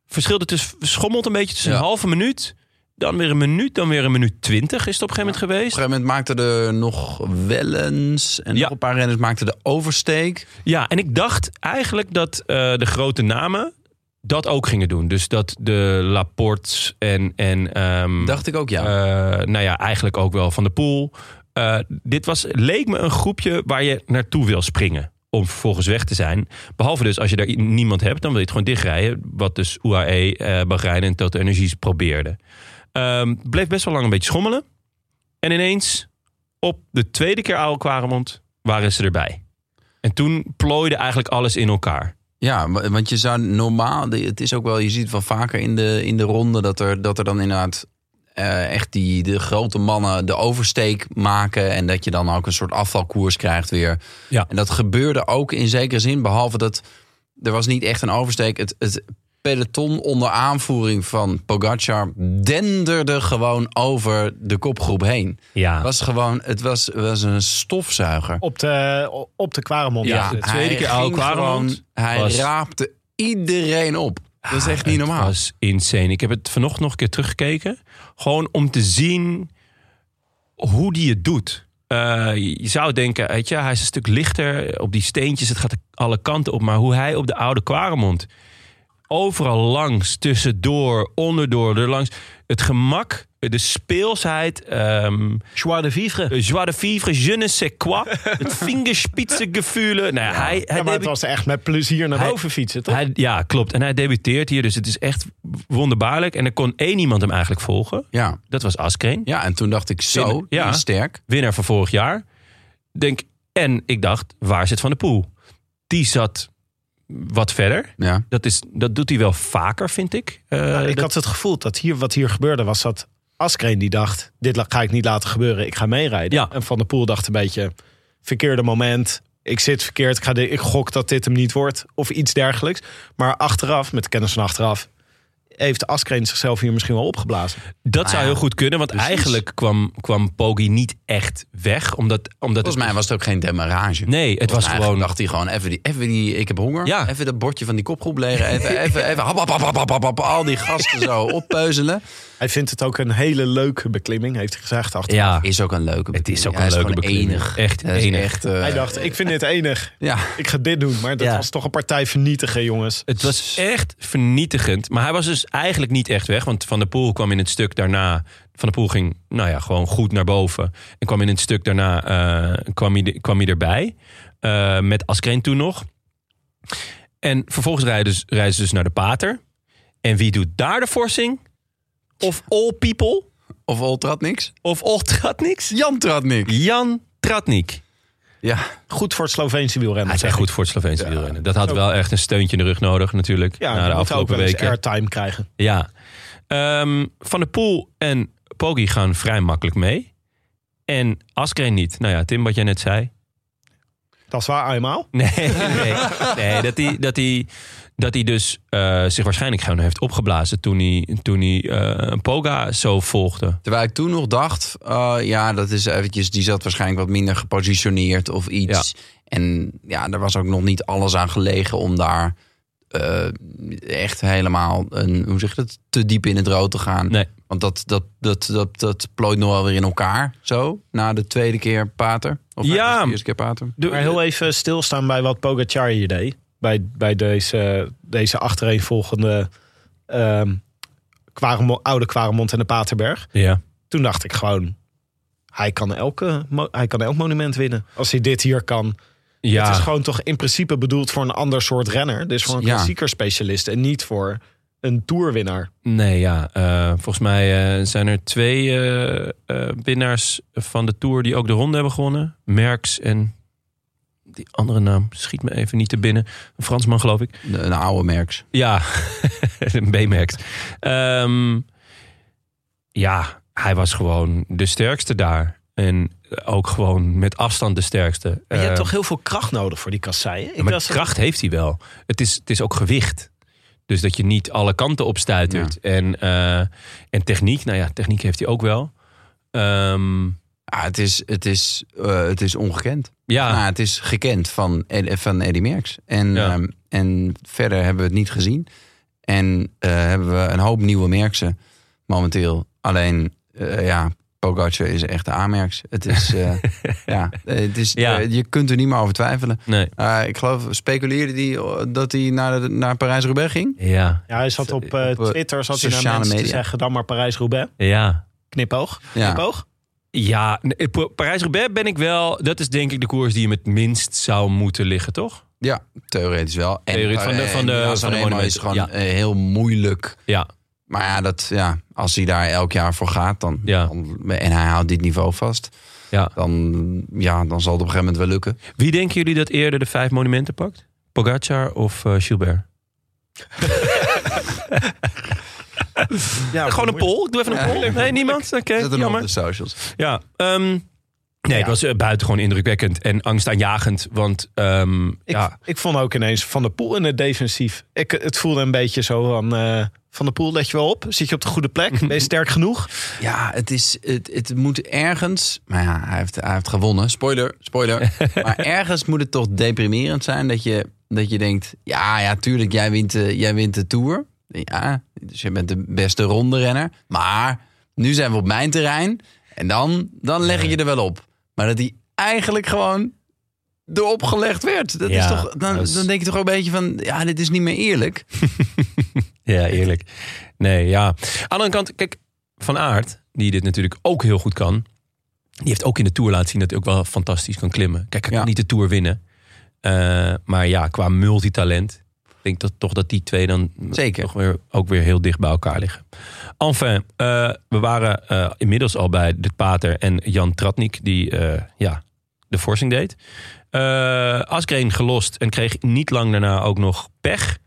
[SPEAKER 1] Verschilde tussen, dus, schommelt een beetje tussen
[SPEAKER 2] Ja.
[SPEAKER 1] een halve minuut... Dan weer een minuut, dan weer een minuut twintig is het op een gegeven moment
[SPEAKER 2] Op
[SPEAKER 1] geweest.
[SPEAKER 2] een gegeven moment maakte er nog Wellens en
[SPEAKER 1] Ja.
[SPEAKER 2] nog een paar renners maakten de oversteek.
[SPEAKER 1] Ja, en ik dacht eigenlijk dat eh, de grote namen dat ook gingen doen. Dus dat de Laportes en... en ehm,
[SPEAKER 2] Dacht ik ook, ja.
[SPEAKER 1] eh, nou ja, eigenlijk ook wel van de pool. Eh, dit was, leek me een groepje waar je naartoe wil springen. Om vervolgens weg te zijn. Behalve dus als je daar i- niemand hebt, dan wil je het gewoon dichtrijden. Wat dus UAE, eh Bahrein en Total Energies probeerden. Ehm, bleef best wel lang een beetje schommelen. En ineens, op de tweede keer Aal Kwaremond, waren ze erbij. En toen plooide eigenlijk alles in elkaar.
[SPEAKER 2] Ja, wa- want je zou normaal, de- het is ook wel, je ziet wel vaker in de, in de ronde dat er, dat er dan inderdaad eh, echt die de grote mannen de oversteek maken. En dat je dan ook een soort afvalkoers krijgt weer.
[SPEAKER 1] Ja.
[SPEAKER 2] En dat gebeurde ook in zekere zin, behalve dat er was niet echt een oversteek. Het, het peloton onder aanvoering van Pogacar denderde gewoon over de kopgroep heen.
[SPEAKER 1] Ja.
[SPEAKER 2] Het was gewoon, het was, was een stofzuiger.
[SPEAKER 4] Op de, op de Kwaremond.
[SPEAKER 1] Ja. de
[SPEAKER 4] dus.
[SPEAKER 1] tweede
[SPEAKER 2] hij
[SPEAKER 1] keer Aal
[SPEAKER 2] ging
[SPEAKER 1] Kwaremond
[SPEAKER 2] gewoon- Hij
[SPEAKER 1] was-
[SPEAKER 2] raapte iedereen op. Dat is echt niet normaal.
[SPEAKER 1] was insane. Ik heb het vanochtend nog een keer teruggekeken. Gewoon om te zien hoe die het doet. Eh, je je zou denken, weet je, hij is een stuk lichter op die steentjes. Het gaat alle kanten op. Maar hoe hij op de oude Quaremont... Overal langs, tussendoor, onderdoor, erlangs. Het gemak, de speelsheid... ehm,
[SPEAKER 4] Joie de vivre.
[SPEAKER 1] de joie de vivre, je ne sais quoi. Het vingerspitsengevoel. Nou, ja, hij, hij
[SPEAKER 4] Ja, maar het
[SPEAKER 1] debuteert-
[SPEAKER 4] was echt met plezier naar
[SPEAKER 1] Hij-
[SPEAKER 4] boven fietsen, toch?
[SPEAKER 1] hij, ja, klopt. En hij debuteert hier, dus het is echt wonderbaarlijk. En er kon één iemand hem eigenlijk volgen.
[SPEAKER 2] Ja.
[SPEAKER 1] Dat was Askreen,
[SPEAKER 2] ja, en toen dacht ik zo, die
[SPEAKER 1] Ja.
[SPEAKER 2] is sterk.
[SPEAKER 1] winnaar van vorig jaar. Denk, en ik dacht, waar zit Van de Poel? Die zat wat verder.
[SPEAKER 2] Ja.
[SPEAKER 1] Dat, is, dat doet hij wel vaker, vind ik. Eh,
[SPEAKER 4] Nou, ik
[SPEAKER 1] dat-
[SPEAKER 4] had het gevoel dat hier, wat hier gebeurde was dat Askreen die dacht... dit la- ga ik niet laten gebeuren, ik ga meerijden.
[SPEAKER 1] Ja.
[SPEAKER 4] En Van der Poel dacht een beetje, verkeerde moment... ik zit verkeerd, ik, ga de, ik gok dat dit hem niet wordt. Of iets dergelijks. Maar achteraf, met de kennis van achteraf... heeft Askreen zichzelf hier misschien wel opgeblazen.
[SPEAKER 1] dat zou
[SPEAKER 2] Nou ja,
[SPEAKER 1] heel goed kunnen, want
[SPEAKER 2] precies.
[SPEAKER 1] eigenlijk kwam, kwam Poggi niet echt weg. Omdat, omdat
[SPEAKER 2] Volgens mij was het ook geen demarrage.
[SPEAKER 1] Nee, het was
[SPEAKER 2] Volgens mij
[SPEAKER 1] gewoon...
[SPEAKER 2] dacht hij gewoon, even die, even die ik heb honger.
[SPEAKER 1] Ja.
[SPEAKER 2] Even dat bordje van die kopgroep leren. Even, even, even hap, hap, hap, hap, hap, hap, hap, al die gasten zo oppeuzelen.
[SPEAKER 4] Hij vindt het ook een hele leuke beklimming, heeft hij gezegd. Achteraf.
[SPEAKER 1] ja,
[SPEAKER 2] Is ook een leuke
[SPEAKER 1] het is ook
[SPEAKER 2] beklimming. Hij
[SPEAKER 1] een leuke
[SPEAKER 2] gewoon
[SPEAKER 1] beklimming.
[SPEAKER 2] enig.
[SPEAKER 1] Echt
[SPEAKER 2] Hij is
[SPEAKER 1] enig.
[SPEAKER 2] echt, eh,
[SPEAKER 4] Hij dacht, ik vind dit enig.
[SPEAKER 2] ja.
[SPEAKER 4] Ik ga dit doen, maar dat
[SPEAKER 1] Ja.
[SPEAKER 4] was toch een partij vernietigen, jongens.
[SPEAKER 1] Het was echt vernietigend. Maar hij was dus eigenlijk niet echt weg. Want Van der Poel kwam in het stuk daarna. Van der Poel ging nou ja, gewoon goed naar boven. En kwam in het stuk daarna eh, kwam hij, de- kwam hij erbij. Eh, met Askreen toen nog. En vervolgens rijden dus, rijden ze dus naar de Pater. En wie doet daar de forsing? Of All People?
[SPEAKER 2] Of Ol trad niks.
[SPEAKER 1] Of All Tratniks?
[SPEAKER 2] Jan trad niks.
[SPEAKER 1] Jan Tratnik.
[SPEAKER 2] Ja.
[SPEAKER 4] Goed voor het Sloveense
[SPEAKER 1] Hij
[SPEAKER 4] wielrennen.
[SPEAKER 1] is
[SPEAKER 4] zeg
[SPEAKER 1] echt
[SPEAKER 4] ik.
[SPEAKER 1] goed voor het Sloveense wielrennen. Dat had wel echt een steuntje in de rug nodig natuurlijk.
[SPEAKER 4] Ja,
[SPEAKER 1] na
[SPEAKER 4] die
[SPEAKER 1] de
[SPEAKER 4] moet ook
[SPEAKER 1] afgelopen
[SPEAKER 4] wel eens
[SPEAKER 1] weken.
[SPEAKER 4] airtime krijgen.
[SPEAKER 1] Ja. Ehm, Van der Poel en Poggi gaan vrij makkelijk mee. En Askreen niet. Nou ja, Tim, wat jij net zei.
[SPEAKER 4] Dat is waar, eenmaal.
[SPEAKER 1] Nee, nee, nee dat hij dat die, dat die dus eh, zich waarschijnlijk gewoon heeft opgeblazen... toen hij, toen hij eh, Poga zo volgde.
[SPEAKER 2] Terwijl ik toen nog dacht, eh, ja, dat is eventjes, die zat waarschijnlijk wat minder gepositioneerd of iets. En ja, er was ook nog niet alles aan gelegen om daar eh, echt helemaal, een, hoe zeg je dat, te diep in het rood te gaan.
[SPEAKER 1] Nee.
[SPEAKER 2] Want dat, dat, dat, dat, dat plooit nog wel weer in elkaar, zo, na de tweede keer pater. Of na
[SPEAKER 1] Ja.
[SPEAKER 2] de eerste keer pater.
[SPEAKER 4] Maar heel even stilstaan bij wat Pogacar hier deed. Bij, bij deze, deze achtereenvolgende ehm Quaremo- oude Quaremont en de Paterberg.
[SPEAKER 1] Ja.
[SPEAKER 4] Toen dacht ik gewoon, hij kan, elke, mo- hij kan elk monument winnen. Als hij dit hier kan.
[SPEAKER 1] ja.
[SPEAKER 4] Het is gewoon toch in principe bedoeld voor een ander soort renner. Dus voor een
[SPEAKER 2] Ja.
[SPEAKER 4] klassieker specialist en niet voor een toerwinnaar.
[SPEAKER 1] Nee, ja. eh, volgens mij eh, zijn er twee eh, eh, winnaars van de Tour die ook de ronde hebben gewonnen. Merks en die andere naam schiet me even niet te binnen. Een Fransman, geloof ik.
[SPEAKER 2] De- Een oude merks.
[SPEAKER 1] Ja, een B-merks. Ehm, ja, hij was gewoon de sterkste daar. En ook gewoon met afstand de sterkste.
[SPEAKER 4] Maar je hebt
[SPEAKER 1] Eh,
[SPEAKER 4] toch heel veel kracht nodig voor die kasseien?
[SPEAKER 1] ja, maar kracht heeft hij wel. Het is, het is ook gewicht. Dus dat je niet alle kanten opstuitert. En, eh, en techniek, nou ja, techniek heeft hij ook wel. Ehm,
[SPEAKER 2] Ja, het, is, het, is, eh, het is ongekend.
[SPEAKER 1] ja,
[SPEAKER 2] Nou, het is gekend van, Ed- van Eddie Merckx. En,
[SPEAKER 1] Ah. Ja.
[SPEAKER 2] ehm, en verder hebben we het niet gezien. En eh, hebben we een hoop nieuwe merksen momenteel. Alleen, eh, ja, Pogacar is echt de A-merks. Het is, eh, ja, eh, het is,
[SPEAKER 1] Ja.
[SPEAKER 2] eh, je kunt er niet meer over twijfelen.
[SPEAKER 1] nee.
[SPEAKER 2] Eh, ik geloof, speculeerde die eh, dat hij naar, de- naar Parijs-Roubaix ging?
[SPEAKER 1] Ja,
[SPEAKER 4] Ja, hij zat op, eh,
[SPEAKER 2] Op, eh,
[SPEAKER 4] Twitter zat hij naar
[SPEAKER 2] sociale
[SPEAKER 4] mensen te
[SPEAKER 2] media.
[SPEAKER 4] zeggen... dan maar Parijs-Roubaix.
[SPEAKER 1] ja.
[SPEAKER 4] Knipoog.
[SPEAKER 2] Ja.
[SPEAKER 4] Knipoog.
[SPEAKER 1] Ja, nee, Pa- Parijs-Roubaix ben ik wel. Dat is denk ik de koers die hem het minst zou moeten liggen, toch?
[SPEAKER 2] Ja, theoretisch wel. En
[SPEAKER 1] Theoretisch van de-
[SPEAKER 2] eh,
[SPEAKER 1] van de-
[SPEAKER 2] Milaan
[SPEAKER 1] van de
[SPEAKER 2] Sanremo is
[SPEAKER 1] monumenten.
[SPEAKER 2] gewoon
[SPEAKER 1] Ja.
[SPEAKER 2] eh, heel moeilijk
[SPEAKER 1] Ja,
[SPEAKER 2] Maar ja, dat, ja, als hij daar elk jaar voor gaat dan,
[SPEAKER 1] Ja.
[SPEAKER 2] dan- en hij houdt dit niveau vast,
[SPEAKER 1] ja.
[SPEAKER 2] dan, ja, dan zal het op een gegeven moment wel lukken.
[SPEAKER 1] Wie denken jullie dat eerder de vijf monumenten pakt? Pogacar of eh, Gilbert?
[SPEAKER 4] Ja,
[SPEAKER 1] Gewoon een poll? Ik doe even een poll. Nee, niemand?
[SPEAKER 2] Zet
[SPEAKER 1] Oké,
[SPEAKER 2] hem op de
[SPEAKER 1] jammer.
[SPEAKER 2] socials.
[SPEAKER 1] Ja, ehm, nee, het was eh, buitengewoon indrukwekkend en angstaanjagend. Want ehm,
[SPEAKER 4] Ik,
[SPEAKER 1] ja,
[SPEAKER 4] ik vond ook ineens Van der Poel in het defensief. Ik, het voelde een beetje zo van... eh, van der Poel, let je wel op. Zit je op de goede plek? Ben je sterk genoeg?
[SPEAKER 2] Ja, het, is, het, het moet ergens, maar ja, hij heeft, hij heeft gewonnen. Spoiler, spoiler. maar ergens moet het toch deprimerend zijn dat je Dat je denkt, ja, ja, tuurlijk, jij wint, eh, jij wint de Tour. Ja, dus je bent de beste ronderenner. Maar nu zijn we op mijn terrein. En dan, dan leg ik je er wel op. Maar dat hij eigenlijk gewoon erop gelegd werd. Dat
[SPEAKER 1] Ja,
[SPEAKER 2] is toch, dan,
[SPEAKER 1] dat is-
[SPEAKER 2] dan denk je toch ook een beetje van, ja, dit is niet meer eerlijk.
[SPEAKER 1] Ja, eerlijk. Nee, ja. Aan de andere kant, kijk, Van Aert, die dit natuurlijk ook heel goed kan. Die heeft ook in de Tour laten zien dat hij ook wel fantastisch kan klimmen. Kijk, hij
[SPEAKER 2] Ja.
[SPEAKER 1] kan niet de Tour winnen. Eh, maar ja, qua multitalent, denk ik dat toch dat die twee dan
[SPEAKER 2] Zeker.
[SPEAKER 1] toch weer, ook weer heel dicht bij elkaar liggen. Enfin, eh, we waren eh, inmiddels al bij de Pater en Jan Tratnik, die eh, ja, de forcing deed. Eh Asgreen gelost en kreeg niet lang daarna ook nog pech.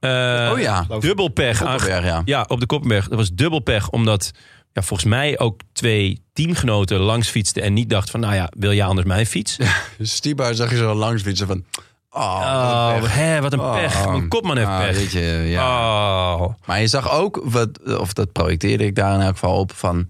[SPEAKER 1] Eh,
[SPEAKER 2] oh ja,
[SPEAKER 1] Dubbel pech. aange-
[SPEAKER 2] Koppenberg, ja.
[SPEAKER 1] ja, op de Koppenberg. Dat was dubbel pech, omdat ja, volgens mij ook twee teamgenoten langs fietsten en niet dachten van, nou ja, wil jij anders mijn fiets?
[SPEAKER 2] Stibar Dus zag je zo langs fietsen van... Oh,
[SPEAKER 1] Oh, hè, wat een
[SPEAKER 2] Oh,
[SPEAKER 1] pech. Mijn kopman heeft
[SPEAKER 2] ah,
[SPEAKER 1] pech.
[SPEAKER 2] weet je, ja.
[SPEAKER 1] Oh.
[SPEAKER 2] Maar je zag ook, wat, of dat projecteerde ik daar in elk geval op, van...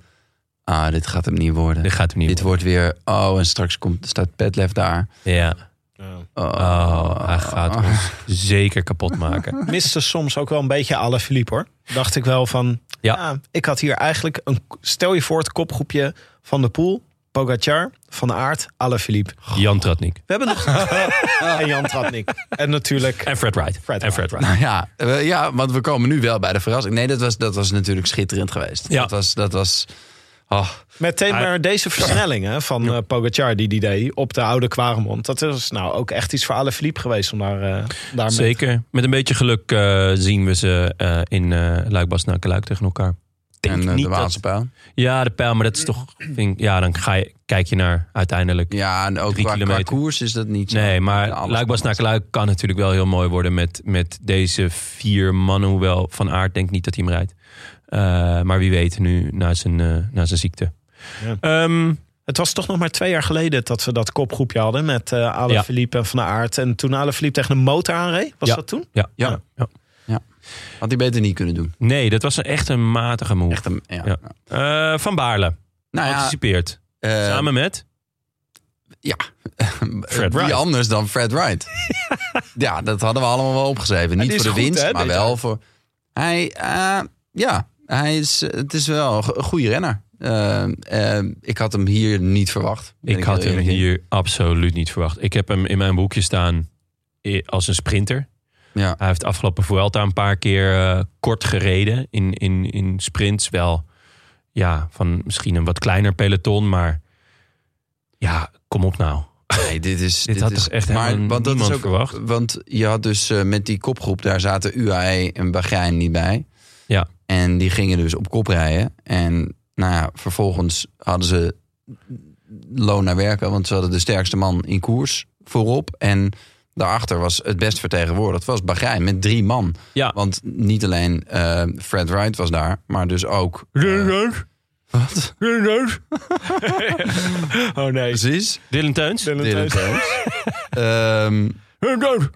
[SPEAKER 2] Ah, dit gaat hem niet worden.
[SPEAKER 1] Dit gaat hem niet
[SPEAKER 2] Dit wordt weer... Oh, en straks komt, staat Petlef daar.
[SPEAKER 1] Ja.
[SPEAKER 2] Oh,
[SPEAKER 1] Oh, hij gaat
[SPEAKER 2] Oh.
[SPEAKER 1] ons zeker kapot maken.
[SPEAKER 4] miste soms ook wel een beetje alle Philippe hoor. Dacht ik wel van,
[SPEAKER 1] Ja.
[SPEAKER 4] ja. ik had hier eigenlijk een, stel je voor het kopgroepje van de Poel, Pogacar, Van Aert, alle Philippe.
[SPEAKER 1] Jan Tratnik.
[SPEAKER 4] We hebben nog en Jan Tratnik en natuurlijk
[SPEAKER 1] En Fred Wright.
[SPEAKER 4] Fred
[SPEAKER 1] en Fred Wright.
[SPEAKER 2] Nou ja, we- ja, want we komen nu wel bij de verrassing. Nee, dat was, dat was natuurlijk schitterend geweest.
[SPEAKER 1] Ja.
[SPEAKER 2] Dat was... Dat was oh,
[SPEAKER 4] meteen
[SPEAKER 1] Hij-
[SPEAKER 4] maar deze versnelling hè, van eh, Pogacar die die deed op de oude Quaremont. Dat is nou ook echt iets voor alle Philippe geweest om daar, eh daar mee-
[SPEAKER 1] Zeker. Met een beetje geluk eh, zien we ze eh, in eh Luik Luik tegen elkaar. Denk
[SPEAKER 2] en eh,
[SPEAKER 1] niet
[SPEAKER 2] de
[SPEAKER 1] dat-
[SPEAKER 2] Waalse pijl.
[SPEAKER 1] Ja, de pijl, maar dat is toch... vind ik- ja, dan ga je, kijk je naar uiteindelijk.
[SPEAKER 2] Ja, en ook
[SPEAKER 1] Drie
[SPEAKER 2] qua, qua
[SPEAKER 1] kilometer.
[SPEAKER 2] koers is dat niet zo.
[SPEAKER 1] Nee,
[SPEAKER 2] Ja,
[SPEAKER 1] maar
[SPEAKER 2] alles
[SPEAKER 1] Luikbas
[SPEAKER 2] kan
[SPEAKER 1] naar Luik kan natuurlijk wel heel mooi worden met, met deze vier mannen. Hoewel Van Aert denkt niet dat hij hem rijdt. Eh, maar wie weet nu na zijn, eh, na zijn ziekte.
[SPEAKER 4] Ja.
[SPEAKER 1] Ehm,
[SPEAKER 4] Het was toch nog maar twee jaar geleden dat we dat kopgroepje hadden met eh Ale
[SPEAKER 1] Ja.
[SPEAKER 4] Philippe en Van Aert. En toen Ale Philippe tegen een motor aanreed, was
[SPEAKER 1] Ja.
[SPEAKER 4] dat toen?
[SPEAKER 1] ja.
[SPEAKER 2] Ja.
[SPEAKER 1] Ja.
[SPEAKER 2] Had hij beter niet kunnen doen.
[SPEAKER 1] Nee, dat was een, echt een matige move.
[SPEAKER 2] Echt een... Ja.
[SPEAKER 1] Ja. Eh, van Baarle,
[SPEAKER 2] Nou ja,
[SPEAKER 1] anticipeert.
[SPEAKER 2] eh,
[SPEAKER 1] Samen met?
[SPEAKER 2] Ja,
[SPEAKER 1] Fred
[SPEAKER 2] Eh, wie
[SPEAKER 1] Wright.
[SPEAKER 2] anders dan Fred Wright? ja, dat hadden we allemaal wel opgeschreven. Niet
[SPEAKER 4] die
[SPEAKER 2] voor
[SPEAKER 4] is goed,
[SPEAKER 2] de winst,
[SPEAKER 4] hè,
[SPEAKER 2] maar
[SPEAKER 4] dit
[SPEAKER 2] wel voor... Hij, eh, ja, hij is, eh, het is wel een go- een goede renner. Eh, eh, ik had hem hier niet verwacht. Ben
[SPEAKER 1] Ik
[SPEAKER 2] heel
[SPEAKER 1] had hem
[SPEAKER 2] eerlijk in.
[SPEAKER 1] hier absoluut niet verwacht. Ik heb hem in mijn boekje staan eh, als een sprinter.
[SPEAKER 2] Ja.
[SPEAKER 1] Hij heeft afgelopen Vuelta een paar keer eh, kort gereden in, in, in sprints. Wel, ja, van misschien een wat kleiner peloton, maar ja, kom op nou.
[SPEAKER 2] Nee, dit is...
[SPEAKER 1] Dit had
[SPEAKER 2] is,
[SPEAKER 1] toch echt helemaal
[SPEAKER 2] want dat is
[SPEAKER 1] niemand
[SPEAKER 2] ook,
[SPEAKER 1] verwacht?
[SPEAKER 2] Want je had dus eh, met die kopgroep, daar zaten UAE en Bahrein niet bij.
[SPEAKER 1] Ja.
[SPEAKER 2] En die gingen dus op kop rijden. En nou ja, vervolgens hadden ze loon naar werken. Want ze hadden de sterkste man in koers voorop. En daarachter was het best vertegenwoordigd. was Bahrein met drie man.
[SPEAKER 1] Ja.
[SPEAKER 2] Want niet alleen eh, Fred Wright was daar. Maar dus ook... eh, wat?
[SPEAKER 4] Oh nee.
[SPEAKER 2] Precies.
[SPEAKER 1] Dylan Teuns?
[SPEAKER 2] Dylan Teuns. Ehm,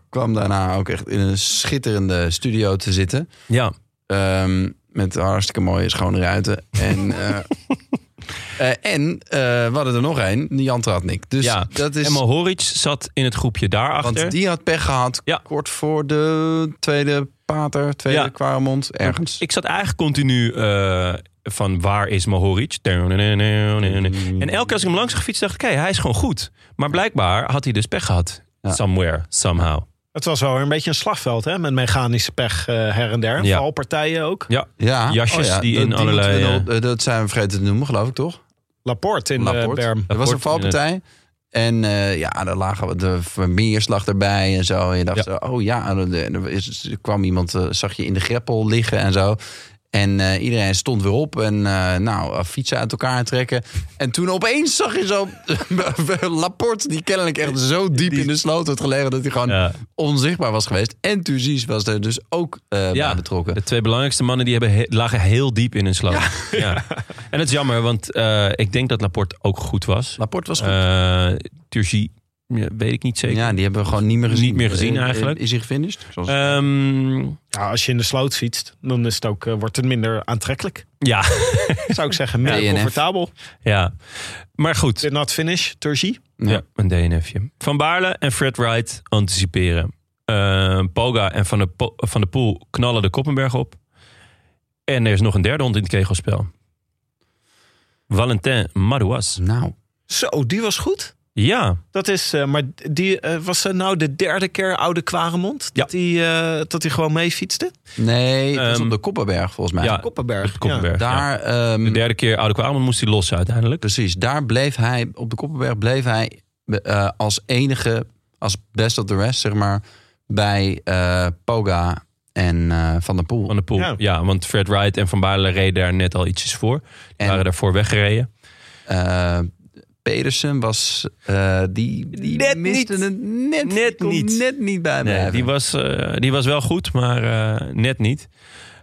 [SPEAKER 2] kwam daarna ook echt in een schitterende studio te zitten.
[SPEAKER 1] Ja,
[SPEAKER 2] Ehm, met hartstikke mooie schone ruiten. En, eh, eh, en eh, we hadden er nog één, Jan Tratnik. Dus
[SPEAKER 1] ja.
[SPEAKER 2] dat is.
[SPEAKER 1] En Mohoric zat in het groepje daarachter.
[SPEAKER 2] Want die had pech gehad
[SPEAKER 1] Ja.
[SPEAKER 2] kort voor de tweede pater, tweede
[SPEAKER 1] Ja.
[SPEAKER 2] Quaremont, ergens.
[SPEAKER 1] Ik zat eigenlijk continu eh, van waar is Mohoric? En elke keer als ik hem langs gefietst dacht ik, hé, hij is gewoon goed. Maar blijkbaar had hij dus pech gehad.
[SPEAKER 2] Ja.
[SPEAKER 1] Somewhere, somehow.
[SPEAKER 4] Het was wel weer een beetje een slagveld hè, met mechanische pech eh, her en der.
[SPEAKER 1] Ja.
[SPEAKER 4] Valpartijen ook.
[SPEAKER 1] Ja,
[SPEAKER 2] ja.
[SPEAKER 1] jasjes die
[SPEAKER 2] dat-
[SPEAKER 1] in allerlei,
[SPEAKER 2] moeten we
[SPEAKER 1] eh,
[SPEAKER 2] nog- eh, dat zijn we vergeten te noemen, geloof ik, toch?
[SPEAKER 4] Laporte in eh,
[SPEAKER 2] Laporte.
[SPEAKER 4] de berm.
[SPEAKER 2] Er was een
[SPEAKER 1] Laporte,
[SPEAKER 2] valpartij. En eh, ja, daar lagen we de vermeerslag erbij en zo. En je dacht,
[SPEAKER 1] Ja.
[SPEAKER 2] zo, oh ja, en er- en er, is, er kwam iemand, eh, zag je in de greppel liggen en zo. En eh, iedereen stond weer op en eh, nou, eh, fietsen uit elkaar trekken. En toen opeens zag je zo Laporte, die kennelijk echt zo diep in de sloot had gelegen... dat hij gewoon
[SPEAKER 1] Ja.
[SPEAKER 2] onzichtbaar was geweest. En Thuzies was er dus ook eh, bij betrokken.
[SPEAKER 1] De twee belangrijkste mannen die hebben he- lagen heel diep in een sloot. Ja. En dat is jammer, want eh, ik denk dat Laporte ook goed was.
[SPEAKER 2] Laporte was goed.
[SPEAKER 1] Eh Turgie, ja, weet ik niet zeker.
[SPEAKER 2] ja, die hebben we gewoon niet meer gezien.
[SPEAKER 1] Niet meer gezien
[SPEAKER 2] Eh, eh,
[SPEAKER 1] eigenlijk.
[SPEAKER 2] Is hij gefinished? Zoals-
[SPEAKER 1] Ehm,
[SPEAKER 4] Ja, Nou, als je in de sloot fietst, dan is het ook, eh, wordt het minder aantrekkelijk.
[SPEAKER 1] ja,
[SPEAKER 4] Zou ik zeggen, minder
[SPEAKER 2] DNF.
[SPEAKER 4] comfortabel.
[SPEAKER 1] ja. Maar goed,
[SPEAKER 4] Did not finish, Turgie.
[SPEAKER 1] ja. een DNFje. Van Baarle en Fred Wright anticiperen. Eh, Poga en Van der Po- Van der Poel knallen de Koppenberg op. En er is nog een derde hond in het kegelspel. Valentin Madouas.
[SPEAKER 2] Nou,
[SPEAKER 4] Zo, die was goed.
[SPEAKER 1] Ja,
[SPEAKER 4] Dat is, eh, maar die eh, was eh, nou de derde keer oude Kwaremond? Dat die, eh, dat hij gewoon mee fietste?
[SPEAKER 2] nee, dat is
[SPEAKER 1] Ehm,
[SPEAKER 2] op de Koppenberg volgens mij.
[SPEAKER 1] ja,
[SPEAKER 4] Koppenberg.
[SPEAKER 1] op de Koppenberg. ja.
[SPEAKER 2] Daar, ehm,
[SPEAKER 1] De derde keer Oude Kwamen moest hij lossen uiteindelijk.
[SPEAKER 2] precies, daar bleef hij, op de Koppenberg bleef hij eh, als enige, als best of the rest, zeg maar, bij eh, Poga en eh, Van der Poel.
[SPEAKER 1] Van de Poel. Ja.
[SPEAKER 4] Ja.
[SPEAKER 1] want Fred Wright en Van Baarle reden daar net al ietsjes voor. Die
[SPEAKER 2] En-
[SPEAKER 1] waren daarvoor weggereden.
[SPEAKER 2] Eh, Pedersen was, eh, die, die
[SPEAKER 1] Net
[SPEAKER 2] miste
[SPEAKER 1] niet.
[SPEAKER 2] het net, die
[SPEAKER 1] Net
[SPEAKER 2] kon
[SPEAKER 1] niet.
[SPEAKER 2] net niet bij
[SPEAKER 1] Nee,
[SPEAKER 2] mij.
[SPEAKER 1] die was, eh, die was wel goed, maar eh, net niet.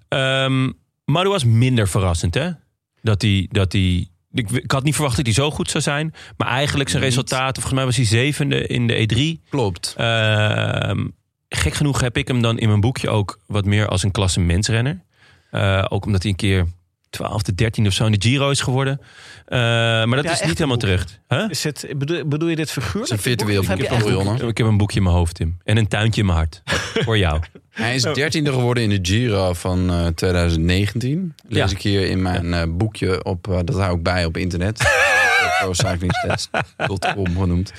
[SPEAKER 1] Ehm, maar dat was minder verrassend, hè? Dat hij... Dat die, ik, ik had niet verwacht dat hij zo goed zou zijn. Maar eigenlijk zijn
[SPEAKER 2] Niet.
[SPEAKER 1] resultaat, volgens mij was hij zevende in de E3.
[SPEAKER 2] Klopt.
[SPEAKER 1] Ehm, gek genoeg heb ik hem dan in mijn boekje ook wat meer als een klassementsrenner. Eh ook omdat hij een keer 12e, 13e of zo in de Giro is geworden. Eh, maar dat
[SPEAKER 4] jij
[SPEAKER 1] is
[SPEAKER 4] echt
[SPEAKER 1] niet helemaal
[SPEAKER 4] een
[SPEAKER 1] terecht. Huh?
[SPEAKER 4] Is het, bedoel, bedoel je dit figuur?
[SPEAKER 2] Het is een virtueel
[SPEAKER 4] Heb je
[SPEAKER 2] boekje
[SPEAKER 4] echt-
[SPEAKER 2] van Jonne.
[SPEAKER 1] Ik heb een boekje in mijn hoofd, Tim. En een tuintje in mijn hart. Voor jou.
[SPEAKER 2] Hij
[SPEAKER 1] Oh.
[SPEAKER 2] is dertiende geworden in de Giro van eh, 2019. Lees
[SPEAKER 1] Ja.
[SPEAKER 2] ik hier in mijn eh, boekje op, eh, dat hou ik bij op internet. procyclingstats.com genoemd.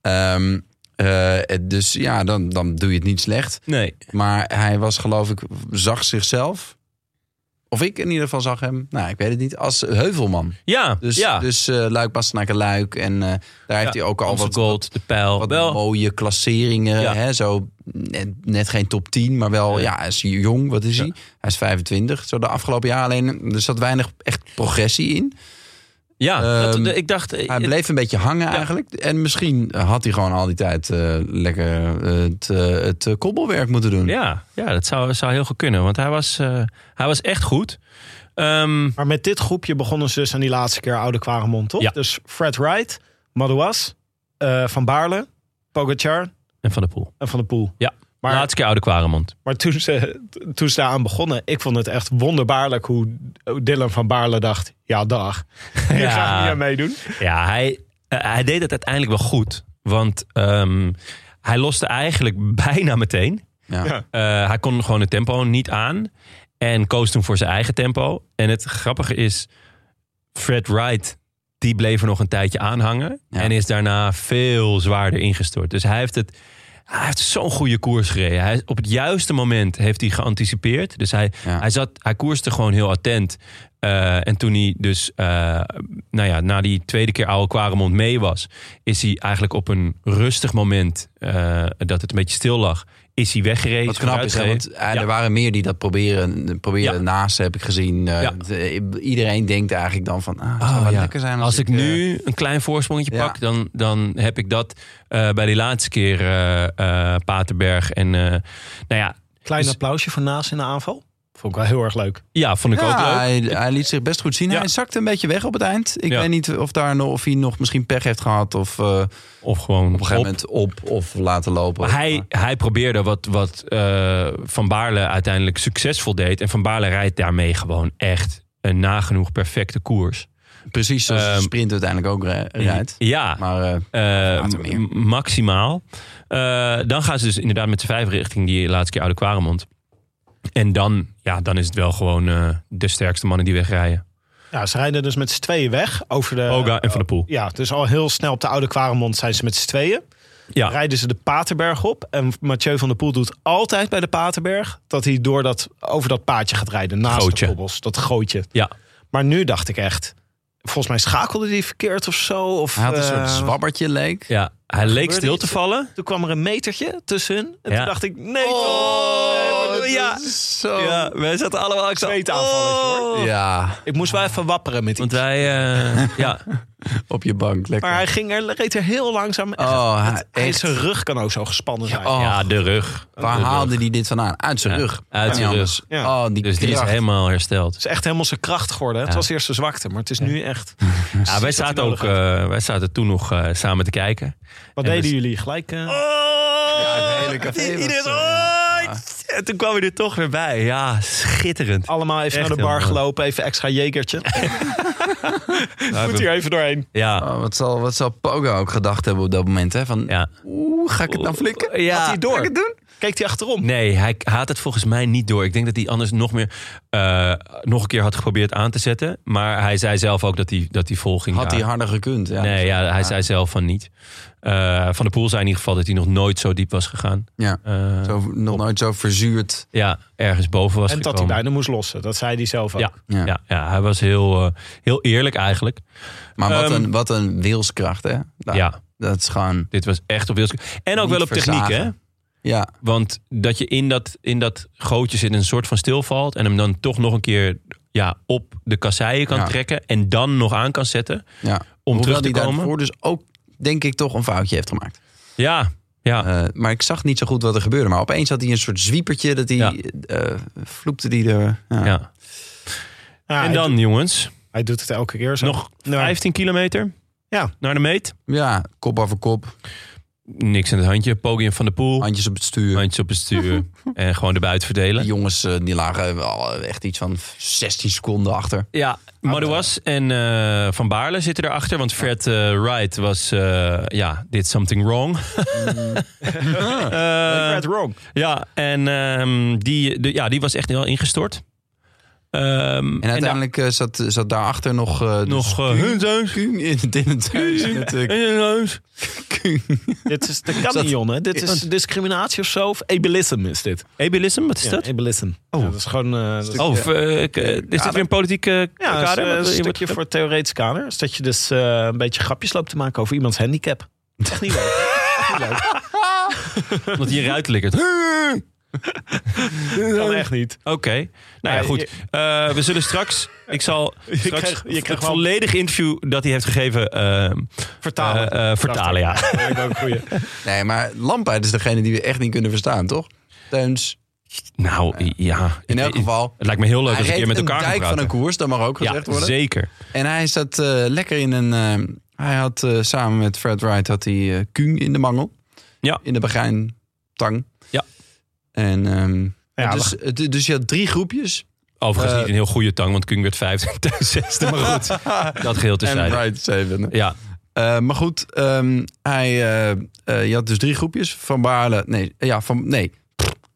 [SPEAKER 2] Ehm, eh, dus ja, dan, dan doe je het niet slecht.
[SPEAKER 1] Nee.
[SPEAKER 2] Maar hij was geloof ik, zag zichzelf. Of ik in ieder geval zag hem. Nou, ik weet het niet. Als heuvelman.
[SPEAKER 1] Ja,
[SPEAKER 2] Dus,
[SPEAKER 1] ja.
[SPEAKER 2] dus eh, Luik Bastenaken Luik. En eh, daar heeft hij ook al
[SPEAKER 1] Amstel
[SPEAKER 2] wat,
[SPEAKER 1] Gold, de pijl.
[SPEAKER 2] wat
[SPEAKER 1] wel,
[SPEAKER 2] mooie klasseringen.
[SPEAKER 1] Ja.
[SPEAKER 2] Hè, zo net, net geen top 10, maar wel, ja, hij is jong. Wat is hij? Hij is 25. Zo de afgelopen jaar alleen. Er zat weinig echt progressie in.
[SPEAKER 1] ja, dat-
[SPEAKER 2] ehm,
[SPEAKER 1] dat- ik dacht... eh,
[SPEAKER 2] Hij bleef een beetje hangen eigenlijk. En misschien had hij gewoon al die tijd eh, lekker eh, het, eh, het eh, kobbelwerk moeten doen.
[SPEAKER 1] Ja, ja dat zou, zou heel goed kunnen. Want hij was, eh, hij was echt goed. Ehm,
[SPEAKER 4] Maar met dit groepje begonnen ze dus aan die laatste keer oude Kwaremond, toch?
[SPEAKER 1] Ja.
[SPEAKER 4] Dus Fred Wright, Madouas, eh, Van Baarle, Pogacar
[SPEAKER 1] en Van der Poel.
[SPEAKER 4] en Van der Poel.
[SPEAKER 1] Ja,
[SPEAKER 4] Maar-
[SPEAKER 1] laatste keer Oude Kwaremond.
[SPEAKER 4] Maar toen ze, toen ze daaraan begonnen, ik vond het echt wonderbaarlijk hoe Dylan van Baarle dacht... Ja, dag. Hier
[SPEAKER 1] Ja.
[SPEAKER 4] ga ik niet aan meedoen.
[SPEAKER 1] Ja, hij, eh, hij deed het uiteindelijk wel goed. Want ehm, hij loste eigenlijk bijna meteen.
[SPEAKER 2] Ja.
[SPEAKER 4] Ja.
[SPEAKER 1] Eh, hij kon gewoon het tempo niet aan. En koos toen voor zijn eigen tempo. En het grappige is, Fred Wright, die bleef er nog een tijdje aan hangen.
[SPEAKER 2] Ja.
[SPEAKER 1] En is daarna veel zwaarder ingestort. Dus hij heeft het... Hij heeft zo'n goede koers gereden. Hij, op het juiste moment heeft hij geanticipeerd. Dus hij,
[SPEAKER 2] Ja.
[SPEAKER 1] hij, zat, hij koerste gewoon heel attent. Eh, en toen hij dus, eh, nou ja, na die tweede keer Oude Quaremont mee was, is hij eigenlijk op een rustig moment eh, dat het een beetje stil lag, is hij weggereden.
[SPEAKER 2] Wat knap is, hè, want
[SPEAKER 1] vooruitgereden.
[SPEAKER 2] eh,
[SPEAKER 1] Ja.
[SPEAKER 2] er waren meer die dat proberen, proberen
[SPEAKER 1] Ja.
[SPEAKER 2] naast, heb ik gezien. Eh,
[SPEAKER 1] Ja.
[SPEAKER 2] de- iedereen denkt eigenlijk dan van, ah, het zou
[SPEAKER 1] Oh,
[SPEAKER 2] wel
[SPEAKER 1] ja.
[SPEAKER 2] lekker zijn
[SPEAKER 1] als,
[SPEAKER 2] als,
[SPEAKER 1] ik
[SPEAKER 2] eh,
[SPEAKER 1] nu een klein voorsprongetje
[SPEAKER 2] Ja.
[SPEAKER 1] pak, dan, dan heb ik dat eh, bij die laatste keer eh, eh, Paterberg. En eh, nou ja,
[SPEAKER 4] Klein
[SPEAKER 1] Dus-
[SPEAKER 4] applausje voor Naas in de aanval. Vond ik wel heel erg leuk.
[SPEAKER 1] ja, vond ik ook
[SPEAKER 2] ja,
[SPEAKER 1] leuk.
[SPEAKER 2] hij, hij liet zich best goed zien.
[SPEAKER 1] Ja.
[SPEAKER 2] Hij zakte een beetje weg op het eind. Ik
[SPEAKER 1] Ja.
[SPEAKER 2] weet niet of, daar, nog- of hij nog misschien pech heeft gehad. Of eh,
[SPEAKER 1] Of gewoon
[SPEAKER 2] op een gegeven moment op of laten lopen.
[SPEAKER 1] Maar hij, hij probeerde wat, wat eh, Van Baarle uiteindelijk succesvol deed. En Van Baarle rijdt daarmee gewoon echt een nagenoeg perfecte koers.
[SPEAKER 2] Precies zoals de
[SPEAKER 1] Ehm,
[SPEAKER 2] sprint uiteindelijk ook re- rijdt.
[SPEAKER 1] Ja,
[SPEAKER 2] Maar eh,
[SPEAKER 1] eh,
[SPEAKER 2] later meer.
[SPEAKER 1] m- maximaal. Eh, dan gaan ze dus inderdaad met z'n vijf richting die laatste keer Oude Kwaremond. En dan, ja, dan is het wel gewoon eh, de sterkste mannen die wegrijden.
[SPEAKER 4] Ja, ze rijden dus met z'n tweeën weg over de...
[SPEAKER 1] Oga en Van der Poel.
[SPEAKER 4] Ja, dus al heel snel op de oude Kwaremond zijn ze met z'n tweeën.
[SPEAKER 1] Ja.
[SPEAKER 4] Rijden ze de Paterberg op. En Mathieu van der Poel doet altijd bij de Paterberg... dat hij door dat, over dat paadje gaat rijden. Naast
[SPEAKER 1] Gootje.
[SPEAKER 4] de kobbels. Dat gootje.
[SPEAKER 1] Ja.
[SPEAKER 4] Maar nu dacht ik echt... Volgens mij schakelde hij verkeerd of zo. Of,
[SPEAKER 2] hij had een
[SPEAKER 1] Ehm.
[SPEAKER 4] eh,
[SPEAKER 2] soort zwabbertje leek.
[SPEAKER 1] ja, hij leek
[SPEAKER 4] gebeurde
[SPEAKER 1] stil
[SPEAKER 4] iets.
[SPEAKER 1] te vallen.
[SPEAKER 4] Toen kwam er een metertje tussen hun. En
[SPEAKER 1] Ja.
[SPEAKER 4] toen dacht ik, nee.
[SPEAKER 1] Oh,
[SPEAKER 4] toch.
[SPEAKER 1] ja.
[SPEAKER 2] Zo.
[SPEAKER 1] Ja, wij zaten allemaal... Ik zat,
[SPEAKER 4] Zweetaanvalletje, hoor.
[SPEAKER 1] Oh.
[SPEAKER 2] Ja,
[SPEAKER 4] Ik moest wel even wapperen met die.
[SPEAKER 1] Want wij... eh, ja,
[SPEAKER 2] op je bank. Lekker.
[SPEAKER 4] Maar hij ging er, reed er heel langzaam. Echt,
[SPEAKER 2] Oh, hij-
[SPEAKER 4] het- hij-
[SPEAKER 2] echt.
[SPEAKER 4] Zijn rug kan ook zo gespannen zijn.
[SPEAKER 2] Oh,
[SPEAKER 1] ja, de rug.
[SPEAKER 2] Waar
[SPEAKER 1] De rug.
[SPEAKER 2] haalde hij dit vandaan? Uit zijn
[SPEAKER 1] Ja,
[SPEAKER 2] rug.
[SPEAKER 1] uit
[SPEAKER 2] Kan
[SPEAKER 1] zijn
[SPEAKER 2] niet
[SPEAKER 1] rug.
[SPEAKER 2] anders.
[SPEAKER 4] Ja.
[SPEAKER 2] Oh, die
[SPEAKER 1] Dus die is
[SPEAKER 2] kracht.
[SPEAKER 1] helemaal hersteld.
[SPEAKER 4] Het is echt helemaal zijn kracht geworden. hè. Het
[SPEAKER 1] Ja.
[SPEAKER 4] was eerst zijn zwakte, maar het is nu echt.
[SPEAKER 1] Ja, wij,
[SPEAKER 4] Precies wat
[SPEAKER 1] zaten
[SPEAKER 4] hij
[SPEAKER 1] ook,
[SPEAKER 4] nodig
[SPEAKER 1] eh, wij zaten toen nog eh, samen te kijken.
[SPEAKER 4] Wat
[SPEAKER 1] En
[SPEAKER 4] deden
[SPEAKER 1] dus-
[SPEAKER 4] jullie gelijk? eh,
[SPEAKER 2] Oh! het hele café was, eh,
[SPEAKER 1] Iedereen, oh, en toen kwam hij er toch weer bij. Ja, schitterend.
[SPEAKER 4] Allemaal even
[SPEAKER 1] Echt
[SPEAKER 4] naar de bar
[SPEAKER 1] heel mooi.
[SPEAKER 4] gelopen, even extra jekertje. Moet hier even doorheen.
[SPEAKER 1] Ja.
[SPEAKER 2] Oh, wat, zal, wat zal Pogo ook gedacht hebben op dat moment? Hè? Van,
[SPEAKER 1] Ja.
[SPEAKER 2] oeh, ga ik het nou flikken?
[SPEAKER 1] Ja.
[SPEAKER 2] Had hij door?
[SPEAKER 1] Ga ik
[SPEAKER 2] het doen?
[SPEAKER 4] Keek hij achterom.
[SPEAKER 1] Nee, hij haat het volgens mij niet door. Ik denk dat hij anders nog meer eh, nog een keer had geprobeerd aan te zetten. Maar hij zei zelf ook dat hij, dat hij vol ging.
[SPEAKER 2] Had hij
[SPEAKER 1] raken.
[SPEAKER 2] harder gekund? Ja. Ah.
[SPEAKER 1] nee, ja, hij
[SPEAKER 2] Ja.
[SPEAKER 1] zei zelf van niet. Eh, van de Poel zei in ieder geval dat hij nog nooit zo diep was gegaan.
[SPEAKER 2] Ja.
[SPEAKER 1] Eh,
[SPEAKER 2] Zo, nog nooit zo verzuurd.
[SPEAKER 1] Ja, ergens boven was
[SPEAKER 4] en dat hij
[SPEAKER 1] gekomen.
[SPEAKER 4] bijna moest lossen. Dat zei hij zelf ook.
[SPEAKER 1] Ja,
[SPEAKER 2] Ja.
[SPEAKER 1] ja. Ja, hij was heel, eh, heel eerlijk eigenlijk.
[SPEAKER 2] Maar wat,
[SPEAKER 1] Ehm,
[SPEAKER 2] een, wat een wilskracht, hè? Nou,
[SPEAKER 1] Ja,
[SPEAKER 2] Dat is gewoon...
[SPEAKER 1] dit was echt op wilskracht. En ook
[SPEAKER 2] Niet
[SPEAKER 1] wel op techniek,
[SPEAKER 2] verzagen.
[SPEAKER 1] hè?
[SPEAKER 2] Ja,
[SPEAKER 1] Want dat je in dat, in dat gootje zit en een soort van stilvalt. En hem dan toch nog een keer ja, op de kasseien kan
[SPEAKER 2] Ja.
[SPEAKER 1] trekken. En dan nog aan kan zetten.
[SPEAKER 2] ja.
[SPEAKER 1] Om
[SPEAKER 2] Hoewel
[SPEAKER 1] terug te
[SPEAKER 2] hij
[SPEAKER 1] komen.
[SPEAKER 2] daarvoor dus ook, denk ik, toch een foutje heeft gemaakt.
[SPEAKER 1] Ja, ja.
[SPEAKER 2] Eh, maar ik zag niet zo goed wat er gebeurde. Maar opeens had hij een soort zwiepertje. Dat hij,
[SPEAKER 1] Ja.
[SPEAKER 2] eh, vloepte die er... Ja.
[SPEAKER 1] ja.
[SPEAKER 4] Ja,
[SPEAKER 1] en
[SPEAKER 4] hij
[SPEAKER 1] dan,
[SPEAKER 4] doet-
[SPEAKER 1] jongens,
[SPEAKER 4] Hij doet het elke keer zo.
[SPEAKER 1] nog
[SPEAKER 4] Nou,
[SPEAKER 1] 15 kilometer
[SPEAKER 4] Ja.
[SPEAKER 1] naar de meet.
[SPEAKER 2] Ja, kop over kop.
[SPEAKER 1] Niks in het handje. Podium van de poel.
[SPEAKER 2] Handjes op het stuur.
[SPEAKER 1] Handjes op het stuur. en gewoon de buit verdelen.
[SPEAKER 2] Die jongens eh, die lagen wel echt iets van 16 seconden achter.
[SPEAKER 1] Ja, Madouas en eh, Van Baarle zitten erachter. Want Fred eh, Wright was, eh, ja, did something wrong. Eh,
[SPEAKER 4] Fred Wrong.
[SPEAKER 1] ja, en ehm, die, de- ja, die was echt wel ingestort. Ehm,
[SPEAKER 2] En uiteindelijk eh, zat, zat daarachter nog... eh,
[SPEAKER 1] daar
[SPEAKER 2] de
[SPEAKER 1] nog... eh, hun thuis,
[SPEAKER 2] Kuhn in het, in het huis met eh,
[SPEAKER 1] en hun thuis.
[SPEAKER 2] Kuhn.
[SPEAKER 4] Dit is de kanion, hè? Dit is discriminatie of zo. Of ableism is dit.
[SPEAKER 1] Ableism, wat is
[SPEAKER 4] Ja,
[SPEAKER 1] dat?
[SPEAKER 4] ableism. Oh. dat is gewoon... eh, dat is-
[SPEAKER 1] Oh, v- eh, k- eh, is dit weer een politieke
[SPEAKER 4] Ja, dat
[SPEAKER 1] kader?
[SPEAKER 4] is, eh,
[SPEAKER 1] Wat-
[SPEAKER 4] een
[SPEAKER 1] je wordt-
[SPEAKER 4] stukje voor het theoretisch kader. Is dat je dus eh, een beetje grapjes loopt te maken over iemands handicap. Echt niet leuk.
[SPEAKER 1] Want je ruit likkert. Oké.
[SPEAKER 4] Dat kan echt niet.
[SPEAKER 1] Nou ja,
[SPEAKER 4] Ja,
[SPEAKER 1] goed.
[SPEAKER 4] je-
[SPEAKER 1] Eh, we zullen straks... Ik zal straks
[SPEAKER 4] krijgt- je krijgt
[SPEAKER 1] het
[SPEAKER 4] wel-
[SPEAKER 1] volledige interview dat hij heeft gegeven... ehm,
[SPEAKER 4] Vertalen.
[SPEAKER 1] Eh, eh, vertalen, ja.
[SPEAKER 4] Dat lijkt me ook een goeie.
[SPEAKER 2] Nee, maar Lampaard is degene die we echt niet kunnen verstaan, toch? Teuns,
[SPEAKER 1] Nou, ja.
[SPEAKER 2] in elk
[SPEAKER 1] Ik-
[SPEAKER 2] geval.
[SPEAKER 1] Het lijkt me heel leuk
[SPEAKER 2] Hij
[SPEAKER 1] als ik
[SPEAKER 2] reed
[SPEAKER 1] keer met
[SPEAKER 2] een
[SPEAKER 1] elkaar ga
[SPEAKER 2] dijk van een
[SPEAKER 1] praten.
[SPEAKER 2] koers, dat mag ook
[SPEAKER 1] Ja,
[SPEAKER 2] gezegd worden.
[SPEAKER 1] zeker.
[SPEAKER 2] En hij zat eh, lekker in een... eh, hij had eh, samen met Fred Wright had hij eh, Kuhn in de mangel.
[SPEAKER 1] Ja.
[SPEAKER 2] In de begijntang.
[SPEAKER 1] Ja.
[SPEAKER 2] En ehm,
[SPEAKER 4] Ja,
[SPEAKER 2] dus, het- dus je had drie groepjes.
[SPEAKER 1] Overigens
[SPEAKER 2] Eh,
[SPEAKER 1] niet een heel goede tang, want Kung werd vijfde en Teun zesde. Maar goed, dat geheel
[SPEAKER 2] en
[SPEAKER 1] terzijde.
[SPEAKER 2] Wright zevende.
[SPEAKER 1] Ja,
[SPEAKER 2] Eh, maar goed, ehm, hij, eh, eh, je had dus drie groepjes. Van Baarle, nee, eh, ja, van, nee.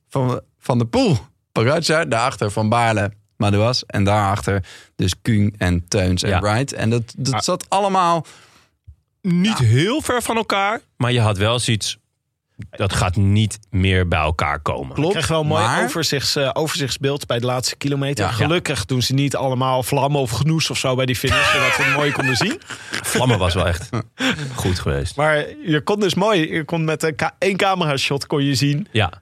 [SPEAKER 2] Van, van de Poel, Pogacar, daarachter Van Baarle, Madouas. En daarachter dus Kuhn en Teuns en
[SPEAKER 1] Ja.
[SPEAKER 2] Wright. En dat, dat
[SPEAKER 1] Ah.
[SPEAKER 2] zat allemaal...
[SPEAKER 1] niet heel ver van elkaar, maar je had wel zoiets... Dat gaat niet meer bij elkaar komen.
[SPEAKER 2] Klopt,
[SPEAKER 4] Ik krijg wel een mooi
[SPEAKER 2] maar-
[SPEAKER 4] overzichts, eh, overzichtsbeeld bij de laatste kilometer.
[SPEAKER 2] Ja.
[SPEAKER 4] Gelukkig doen ze niet allemaal vlammen of genoes of zo bij die finish. zodat we het mooi konden zien.
[SPEAKER 1] Vlammen was wel echt goed geweest.
[SPEAKER 4] Maar je kon dus mooi, je kon met een ka- één camera shot kon je zien
[SPEAKER 1] Ja,